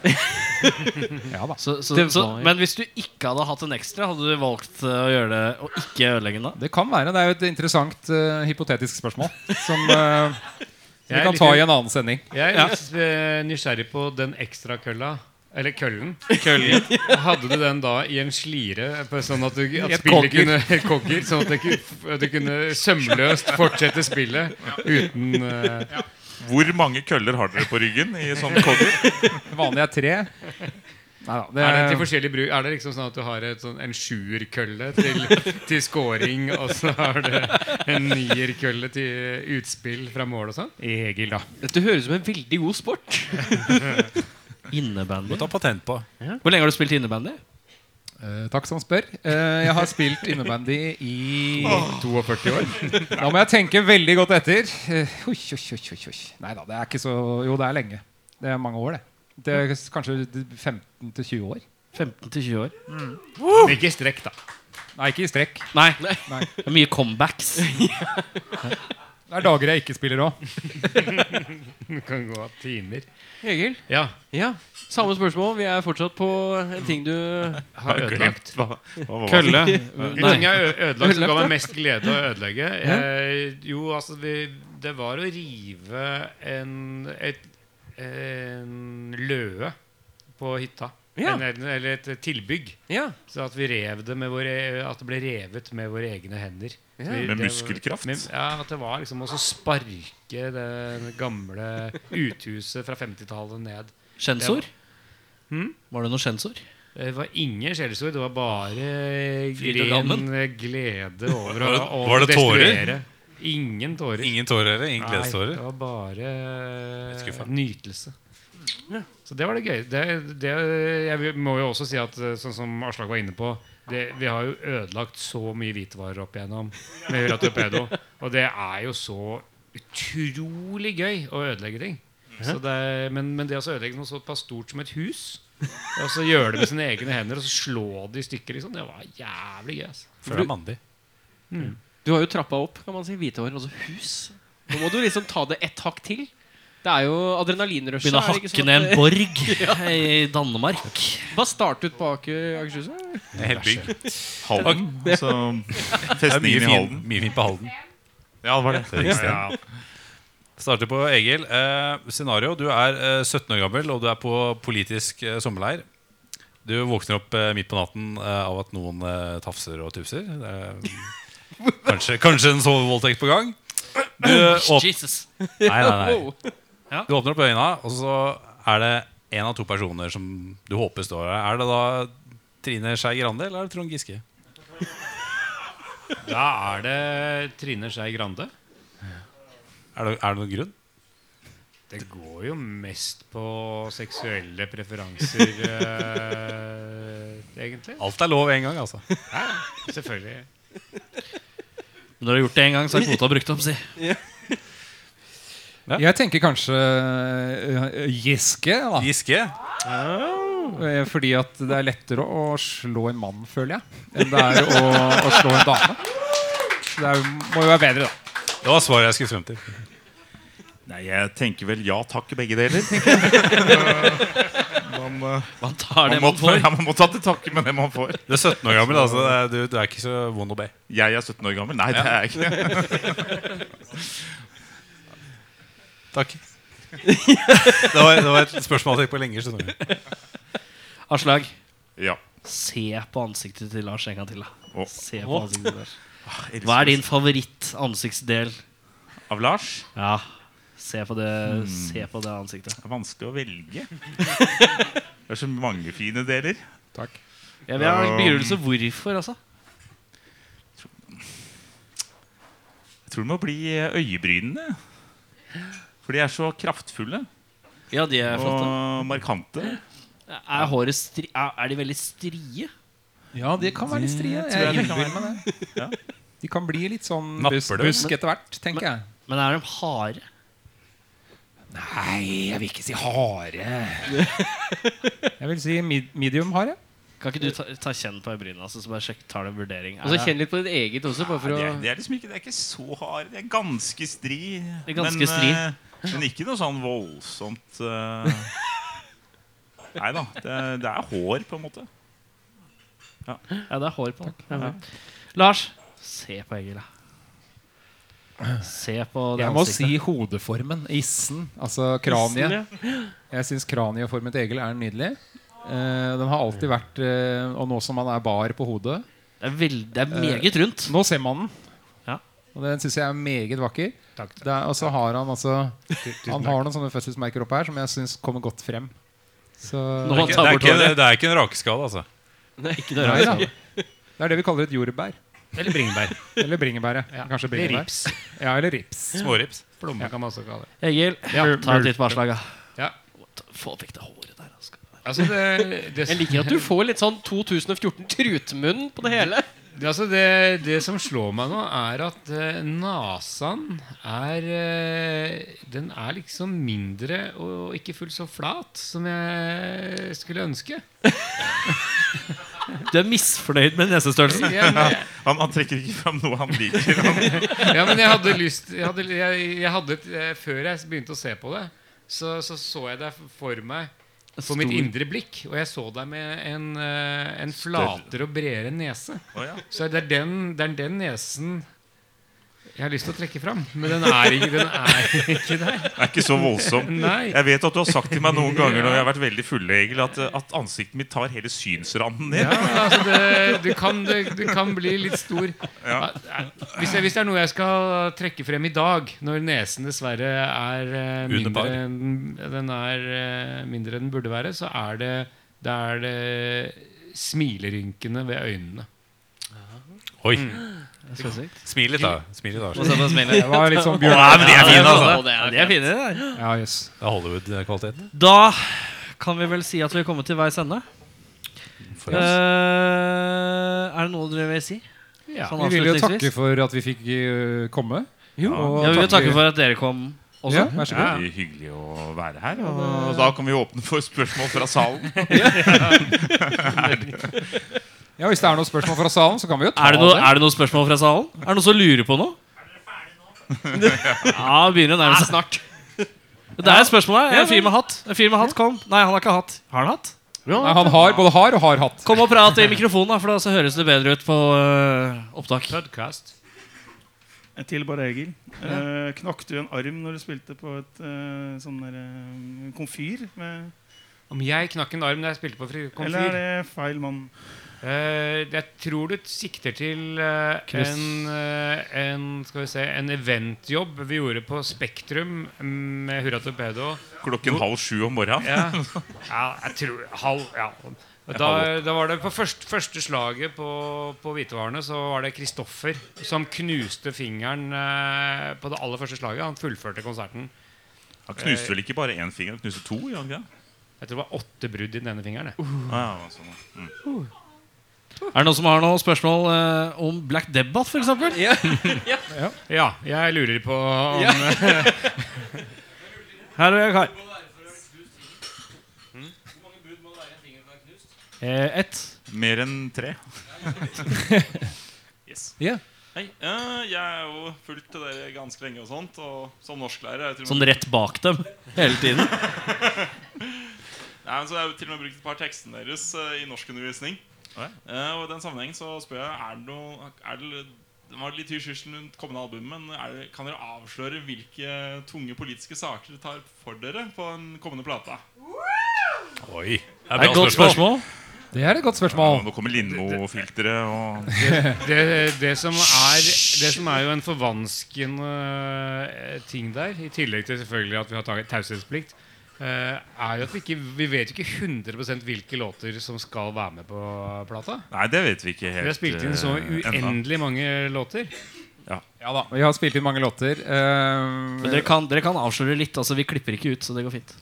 B: *laughs*
G: Ja da.
F: Så, så,
B: Det
F: så,
B: var-
F: men hvis du ikke hadde hatt en ekstra, hadde du valgt eh, å gjøre det og ikke ødelegge den da?
G: Det kan være. Det er jo et interessant eh, hypotetisk spørsmål som
E: *laughs*
G: eh, som vi
E: Jeg er
G: kan ta
E: litt-
G: i en annen sending.
E: Jeg er litt eh, nysgjerrig på den ekstra kølla. Eller køllen. Hadde du den da i en slire, på- sånn at, du,
G: I
E: at
G: et
E: spillet
G: kogger.
E: kunne et kogger, Sånn at det ku- du kunne sømløst fortsette spillet uten eh,
D: Hvor mange køller har dere på ryggen i sånn kogger?
G: Det vanlige er tre. Neida, det
E: Er det til
G: er,
E: forskjellig bruk? Er det liksom sånn at du har et, sånn, en sjuerkølle til, *laughs* til scoring, og så har du en nierkølle til utspill fra mål og sånn? Egil, da.
B: Dette høres ut som en veldig god sport.
F: Innebandy?
C: Må ta patent på.
F: Hvor lenge har du spilt innebandy?
G: Eh, takk som spør. Eh, jeg har spilt innebandy i *laughs* 42 år. Da må jeg tenke veldig godt etter. Eh, oi, oi, oi, oi, oi. Nei da, det er ikke så Jo, det er lenge. Det er mange år, det. Det er Kanskje 15-20 år.
F: 15-20 år.
E: Men ikke strekk, da.
G: Nei, ikke i strekk.
F: Nei.
G: Nei.
F: Det er mye comebacks.
G: Det er dager jeg ikke spiller òg.
E: Du kan gå av timer.
B: *laughs* Egil?
E: Ja.
B: Ja. Samme spørsmål. Vi er fortsatt på en ting du
E: Har ødelagt.
D: Hva, hva, var det?
F: Kølle.
E: En
F: Nei.
E: ting jeg ø- ødelagt som ga
B: Ødelagt,
E: meg mest glede å ødelegge eh, Jo, altså vi, Det var å rive en, et, en løe på hytta.
B: Ja.
E: En, en, eller et tilbygg.
B: Ja.
E: Så at vi rev det med våre, At det ble revet med våre egne hender. Så vi-
D: Med
E: det-
D: muskelkraft?
E: Med, ja, at det var liksom å så sparke det gamle uthuset fra 50-tallet ned.
F: Skjensord?
E: Hm?
F: Var det noe skjensord?
E: Det var ingen skjellsord. Det var bare
F: Fryd og
E: ren
F: gammen.
E: glede over å
C: Var det-
E: over
C: var det
E: å
C: tårer?
E: destruere. Ingen tårer.
C: Ingen tårer heller. Ingen
E: Nei, det
C: gledestårer.
E: var bare
C: Skuffa.
E: nytelse. Så det var det gøy. Det, det, jeg vil- må jo også si at eh, sånn som Aslak var inne på det, Vi har jo ødelagt så mye hvitvarer opp igjennom med Hurra Torpedo. Og det er jo så utrolig gøy å ødelegge ting. Så det, er- men, men det å så ødelegge noe såpass stort som et hus, og så gjøre det med sine egne hender og så slå det i stykker, liksom, det var jævlig gøy. Altså.
C: Føler deg mandig.
B: Du har jo trappa opp, kan man si. Hvitehår, altså hus. Nå må du liksom ta det ett hakk til. Det er jo adrenalinrushet.
F: Begynne å
B: er det ikke
F: hakke
B: sånn
F: ned
B: at-
F: en borg i Danmark.
B: Bare start ut bak eh, Akershushuset.
C: Helt bygg.
D: Halden? Altså,
C: Det er mye
D: festningen i
C: fint,
D: Halden?
C: mye fint på Halden.
D: Ja, det var det.
C: Det er riktig. Starter på Egil. Eh, scenario. Du er eh, 17 år gammel, og du er på politisk eh, sommerleir. Du våkner opp eh, midt på natten eh, av at noen eh, tafser og tufser. Det er,
D: *laughs*
C: kanskje, kanskje en sovevoldtekt på gang. Du, åp
F: Jesus.
C: nei, nei, nei.
B: Wow.
C: du åpner opp øynene, og så er det én av to personer som du håper står her. Er det da Trine Skei Grande eller er det Trond Giske?
E: Da er det Trine Skei Grande.
C: Er det, er det noen grunn?
E: Det går jo mest på seksuelle preferanser, eh, egentlig.
C: Alt er lov én gang, altså.
E: Selvfølgelig.
F: Men Når du har gjort det en gang, så er kvota brukt opp, si.
G: Jeg tenker kanskje eh, Giske, da.
C: Giske?
G: Eh, Fordi at det er lettere å slå en mann, føler jeg, enn det er å, å slå en dame. Så Det er, jo- må jo være bedre, da.
C: Det var svaret jeg skulle frem til.
D: Nei, jeg tenker vel ja takk, begge deler. tenker jeg. Man, eh,
F: Man tar det
D: man, må,
F: man får.
D: ja, man må ta til takke med det man får.
C: Du er 17 år gammel, altså. Det er- Du, du er ikke så vond å be.
D: Jeg er 17 år gammel. Nei, det er jeg ikke.
C: Takk. det, var, det var et spørsmål jeg tenkte på lenge. skjønner du.
F: Aslag,
D: Ja.
F: se på ansiktet til Lars en gang til. da
D: Å.
F: Se på ansiktet til Lars Hva er din favoritt-ansiktsdel?
D: Av Lars?
F: Ja, se på det, se på det ansiktet.
D: Det er vanskelig å
F: *laughs*
D: velge. Det er så mange fine deler.
F: Jeg vil
C: Um.
F: ha en begrunnelse hvorfor, altså.
D: Jeg tror det må bli eh, øyebrynene. For de er så kraftfulle
F: Ja, de er flotte.
D: og markante.
F: Er, håret stri er, er de veldig strie?
G: Ja, de kan være litt strie.
D: tror jeg
G: Jeg
D: det kan
G: innbiller meg det.
D: Ja.
G: De kan bli litt sånn
C: Napper
G: busk,
C: det,
G: busk etter hvert, tenker jeg.
F: Men er de harde?
G: Nei, jeg vil ikke si hare. Jeg vil si mid medium hare.
F: Kan ikke du ta, ta kjenn på øyebryna, altså, så bare sjekk, tar det en vurdering?
B: Og så Altså, kjenn litt på ditt eget også. Bare for
D: Nei,
B: å
D: det, er, det er liksom ikke, det er ikke så hard. Det er ganske stri.
F: Det er ganske stri. *laughs*
D: eh, men ikke noe sånn voldsomt eh, Nei da. Det, det er hår, på en måte.
F: Ja, det er hår på den. Ja. Lars, se på Egil, da. Se på det
G: Jeg må si
F: ansiktet.
G: hodeformen. Issen. Altså kraniet. Jeg syns kranieformen til Egil er nydelig. Eh, den har alltid vært eh, Og nå som han er bar på hodet
F: Det er, veld, det er meget rundt.
G: Nå ser man den.
F: Ja.
G: Og den syns jeg er meget vakker.
E: Takk, takk.
G: Det er, og så har han altså Han har noen sånne fødselsmerker oppe her som jeg syns kommer godt frem. Så
F: Når han
C: Det
F: tar
C: er
F: bort
C: ikke,
F: håret.
C: det er ikke en rakeskade, altså.
F: Nei, altså. ikke
G: Nei,
F: noe
G: da.
F: rart.
G: Det er det vi kaller et jordbær.
E: Eller bringebær.
G: Eller bringebæret. Kanskje
E: Eller
G: bringebær.
E: rips.
G: Ja, eller rips.
C: Smårips.
E: Plomme kan man også kalle det.
F: Egil, ta et titt på avslaget.
E: Ja.
F: Få vekk det håret der. Altså.
E: Altså det, det,
B: Jeg liker at du får litt sånn 2014 trutmunn på det hele.
E: det, altså det, det som slår meg nå, er at uh, nasaen er eh, Den er liksom mindre og ikke fullt så flat som jeg skulle ønske.
F: Du er misfornøyd med nesestørrelsen?
E: Ja, men,
D: Han, han trekker ikke fram noe han liker. Han,
E: ja, men jeg hadde lyst jeg hadde, jeg, jeg hadde, et- eh, Før jeg begynte å se på det, så så, så jeg det for meg på mitt indre blikk. Og jeg så deg med en, eh, en flatere og bredere nese.
D: Å ja.
E: Så det er den, det er den nesen jeg har lyst til å trekke fram. Men den er ikke, den er ikke der.
D: Det er ikke så voldsom.
E: Nei.
D: Jeg vet at du har sagt til meg noen ganger når jeg har vært veldig fulle, Egil, at, eh, at ansiktet mitt tar hele synsranden ned.
E: Ja, altså det, du, kan, det, du kan bli litt stor. Hvis, jeg, hvis det er noe jeg skal trekke frem i dag, når nesen dessverre er eh, mindre
C: Underbar.
E: enn den, er, eh, mindre enn den burde være, så er det, det, er det smilerynkene ved øynene.
C: Oi. Smil litt, da. Smil litt, da.
G: Det var litt sånn
C: Å,
G: bjørn...
C: nei, men de er fine, altså.
B: Og det er
F: Ja, de er fine. de der.
G: Ja, jøss.
C: Det er Hollywood-kvalitet.
F: Da kan vi vel si at vi er kommet til veis ende. Eh, er det noe dere vil si?
E: Ja,
F: Sånn
G: Vi vil jo
F: avslutningsvis?
G: takke for at vi fikk øh, komme. og
F: Ja, vi vil takke for at dere kom også.
G: Ja, vær så god.
D: Veldig hyggelig å være her. Og da kan vi åpne for spørsmål fra salen.
G: Ja, Hvis det er noen spørsmål fra salen, så kan vi jo ta
F: Er det, noe, er det noen spørsmål fra salen? Er det noen som lurer på *laughs* noe? Ja, det begynner å nærme seg snart. Det er et spørsmål her. En fyr med hatt. En fyr med hatt, kom. Nei, han har ikke hatt. Har han hatt?
G: Nei, han har både har og har hatt.
F: Kom og prat i mikrofonen, da, for da så høres det bedre ut på øh, opptak.
E: Podcast.
H: Til bare Egil. Eh, knakk du en arm når du spilte på et eh, sånn der, eh, komfyr? Med,
E: Om jeg knakk en arm da jeg spilte på fri-
H: Eller er
E: komfyr?
H: det feil mann?
E: Eh, jeg tror du sikter til eh, en, eh, en, skal vi se, en eventjobb vi gjorde på Spektrum mm, med Hurra Torpedo.
D: Klokken halv sju om morgenen.
E: Ja, *laughs* ja jeg tror Halv, ja. Da, da var det på først, første slaget på, på hvitevarene så var det Kristoffer som knuste fingeren eh, på det aller første slaget. Han fullførte konserten.
D: Han knuste vel ikke bare én finger, han knuste to? gjorde han ikke det?
E: Jeg tror det var åtte brudd i den ene fingeren. jeg.
D: Ah, ja, sånn.
F: Er det noen som har noen spørsmål øh, om Black Debbath, for eksempel?
E: Ja, jeg lurer på om
F: Her er jeg kar. Eh, Ett.
D: Mer enn tre. yes.
G: Ja.
D: Hei. eh, jeg er jo fulgt til dere ganske lenge og sånt. Og som norsklærer er jeg til og
F: Sånn
D: med,
F: rett bak dem hele tiden.
D: Nei, men så har jeg til og med brukt et par tekstene deres eh, i norskundervisning. Eh, og i den sammenhengen så spør jeg Er det noe er det, Det var litt hysj-hysj rundt kommende album, men er det, kan dere avsløre hvilke tunge politiske saker dere tar for dere på den kommende plata?
C: Oi. Det
F: Det er et godt spørsmål.
G: Det er et godt spørsmål.
D: nå kommer Lindmo-filteret og
E: *laughs* det, det, som er, det som er jo en forvanskende eh, ting der, i tillegg til selvfølgelig at vi har tatt taushetsplikt, eh, er jo at vi ikke vi vet jo ikke 100 hvilke låter som skal være med på plata.
D: Nei, det vet vi ikke helt.
E: Vi har spilt inn så
D: eh, ennå.
E: uendelig mange låter.
G: Ja da, Vi har spilt inn mange låter. eh,
F: Men dere kan, dere kan avsløre litt. altså Vi klipper ikke ut, så det går fint.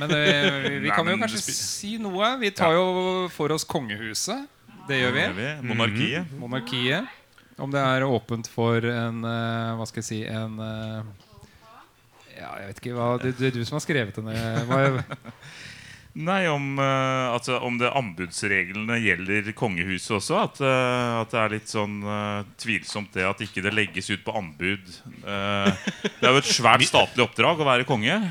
G: Men eh, vi, vi
D: Nei,
G: kan jo
D: men
G: kanskje
D: spi-
G: si noe. Vi tar jo for oss kongehuset. Det gjør vi.
D: Gjør vi? Monarkiet.
G: Monarkiet. Om det er åpent for en eh, Hva skal jeg si En eh, Ja, jeg vet ikke hva Det, det er du som har skrevet denne. Hva,
D: Nei, om, eh, altså, om det anbudsreglene gjelder kongehuset også. At, eh, at det er litt sånn eh, tvilsomt det at ikke det legges ut på anbud. Eh, det er jo et svært statlig oppdrag å være konge. eh,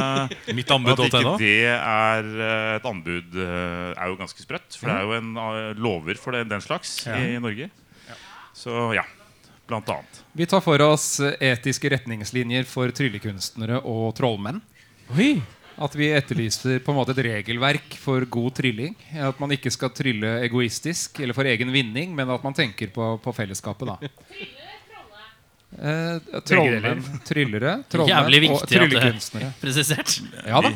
D: at ikke
C: Mittanbud.no.
D: det er eh, et anbud, eh, er jo ganske sprøtt. For det er jo en eh, lover for det, den slags i, i Norge. Så ja. Blant annet. *laughs*
G: Vi tar for oss etiske retningslinjer for tryllekunstnere og trollmenn.
B: Oi.
G: At vi etterlyser på en måte et regelverk for god trylling. At man ikke skal trylle egoistisk eller for egen vinning, men at man tenker på, på fellesskapet, da. Eh, trollmenn, tryllere,
F: Jævlig
G: trollmenn og
F: viktig at det-
G: tryllekunstnere.
F: Presisert.
G: Ja
F: *laughs*
G: da.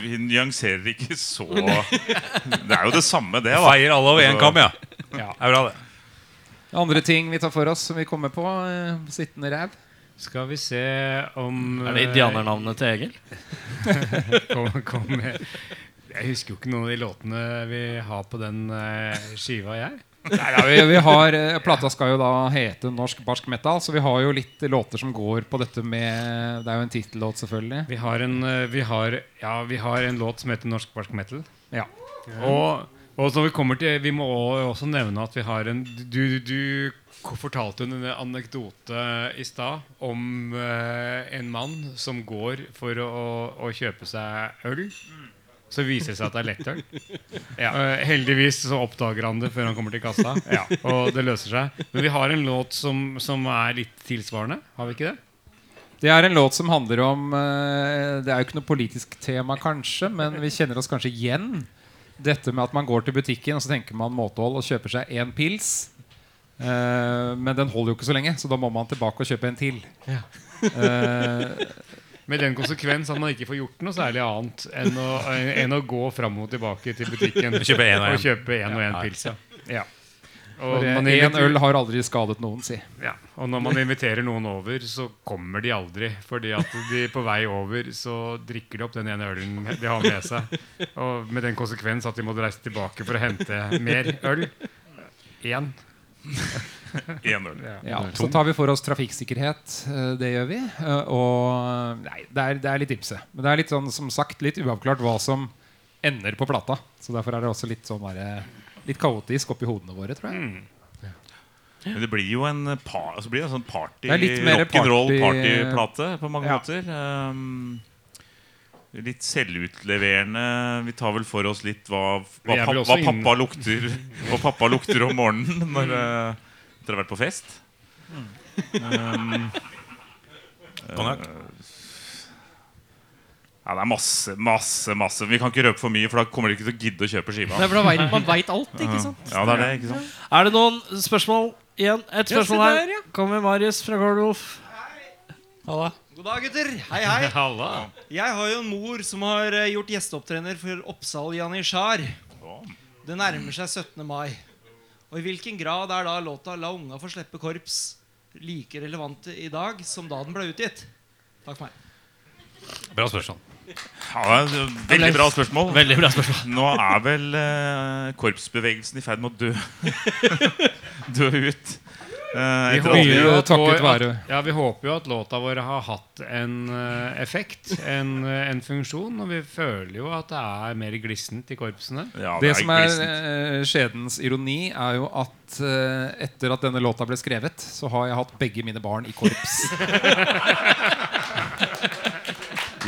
D: Vi nyanserer ikke så Det er jo det samme, det. da
C: Feier alle over én kam, ja.
G: Ja.
C: Det er bra, det.
G: Andre ting vi tar for oss som vi kommer på. Eh, sittende ræv.
E: Skal vi se om eh,
F: Er det indianernavnet til Egil?
E: kom, kom med. Jeg husker jo ikke noen av de låtene vi har på den eh, skiva, jeg.
G: Ja, vi, vi har, eh, plata skal jo da hete Norsk barsk metal, så vi har jo litt låter som går på dette med Det er jo en tittellåt, selvfølgelig.
E: Vi har en, eh, vi har, ja, vi har en låt som heter Norsk barsk metal.
G: Ja.
E: Og, og så vi kommer til Vi må o- også nevne at vi har en Du, du k- fortalte en anekdote i stad om eh, en mann som går for å, å kjøpe seg øl. Så viser det seg at det er lettøl. Ja. Eh, heldigvis så oppdager han det før han kommer til kassa. Ja. Og det løser seg. Men vi har en låt som, som er litt tilsvarende. Har vi ikke det?
G: Det er en låt som handler om eh, Det er jo ikke noe politisk tema, kanskje, men vi kjenner oss kanskje igjen. Dette med at man går til butikken og så tenker man måtehold og kjøper seg én pils. Eh, men den holder jo ikke så lenge, så da må man tilbake og kjøpe en til. Eh,
E: Med den konsekvens at man ikke får gjort noe særlig annet enn å, enn å gå fram og tilbake til butikken og
C: kjøpe en og en.
E: kjøpe en og en pils. Ja. Ja. *laughs* Og,
G: for
E: man
G: én
E: inviterer-
G: øl har aldri skadet noen, si.
E: ja. og når man inviterer noen over, så kommer de aldri. Fordi at de på vei over så drikker de opp den ene ølen de har med seg. Og med den konsekvens at de må reise tilbake for å hente mer øl. Igjen.
D: Én øl.
G: Ja, så tar vi for oss trafikksikkerhet. eh, Det gjør vi. Eh, Og nei, det er, det er litt ymse. Men det er litt sånn, som sagt, litt uavklart hva som ender på plata. Så derfor er det også litt sånn derre Litt kaotisk oppi hodene våre, tror jeg.
D: Men det blir jo en, eh, par, altså blir det en sånn party
G: Det er litt mer
D: rock'n'roll
G: party-
D: partyplate på mange
G: Ja.
D: måter. Ehm, litt selvutleverende. Vi tar vel for oss litt hva, hva,
E: Vi er
D: pap,
E: vel
D: hva
E: også inn- Mm.
D: pappa lukter Hva pappa lukter om morgenen når eh, dere har vært på fest. Ehm,
C: Konjakk.
D: ja, det er masse, masse, masse. Vi kan ikke røpe for mye, for da kommer de ikke til å gidde å kjøpe skiva.
B: Nei, for da vet, man veit alt, ikke sant?
D: Ja, det er det, ikke sant?
F: Er det noen spørsmål igjen? Et
B: Ja, se
F: spørsmål
B: der, ja.
F: her. Kommer Marius fra Gardolf.
I: God dag, gutter.
F: *laughs*
I: Hei, hei.
E: Halla.
I: Jeg har jo en mor som har eh, gjort gjesteopptrener for Oppsal Janitsjar. Det nærmer seg 17. mai. Og i hvilken grad er da låta 'La unga få slippe korps' like relevant i dag som da den ble utgitt? Takk for meg.
C: Bra spørsmål.
D: Ja, det er et veldig bra spørsmål.
F: Veldig bra spørsmål.
D: *laughs* Nå er vel eh, korpsbevegelsen i ferd med å dø *laughs* Dø ut. Eh,
E: Vi håper,
D: etter alle-
E: jo
G: Mye
E: at
G: takket
E: vår-
G: være.
E: at, ja, vi håper jo at låta vår har hatt en eh, effekt, en, eh, en funksjon. Og vi føler jo at det er mer glissent i korpsene.
D: ja,
G: Det som er
D: glissent.
G: eh, skjedens ironi, er jo at eh, etter at denne låta ble skrevet, så har jeg hatt begge mine barn i korps. eh,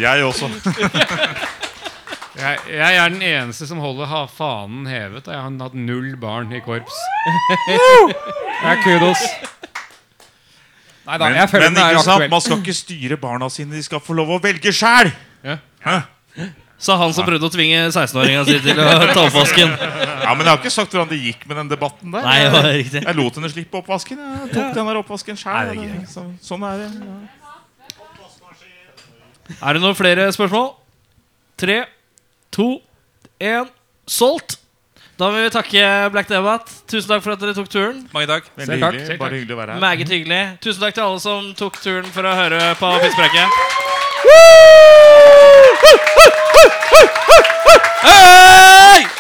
D: Jeg også.
E: Jeg, jeg er den eneste som holder ha fanen hevet. Og jeg har hatt null barn i korps.
G: Det er kudos. Nei da,
D: Men,
G: jeg føler
D: men
G: den er
D: ikke sant,
G: aktuell.
D: man skal ikke styre barna sine. De skal få lov å velge sjæl!
F: Sa han som prøvde å tvinge 16-åringa si til å ta oppvasken. *laughs*
D: Ja, men jeg har ikke sagt hvordan det gikk med den debatten der.
F: Nei, det var riktig.
D: Jeg lot henne slippe oppvasken. Jeg tok den der oppvasken sjæl. Så, sånn er det.
F: Er det noen flere spørsmål? Tre, to, én solgt! Da vil vi takke Black Debatt. Tusen takk for at dere tok turen.
C: Mange takk.
D: Veldig
G: takk,
D: hyggelig.
G: selv
D: Bare hyggelig å være her.
F: Meget hyggelig. Tusen takk til alle som tok turen for å høre på Pisspreket. Hey!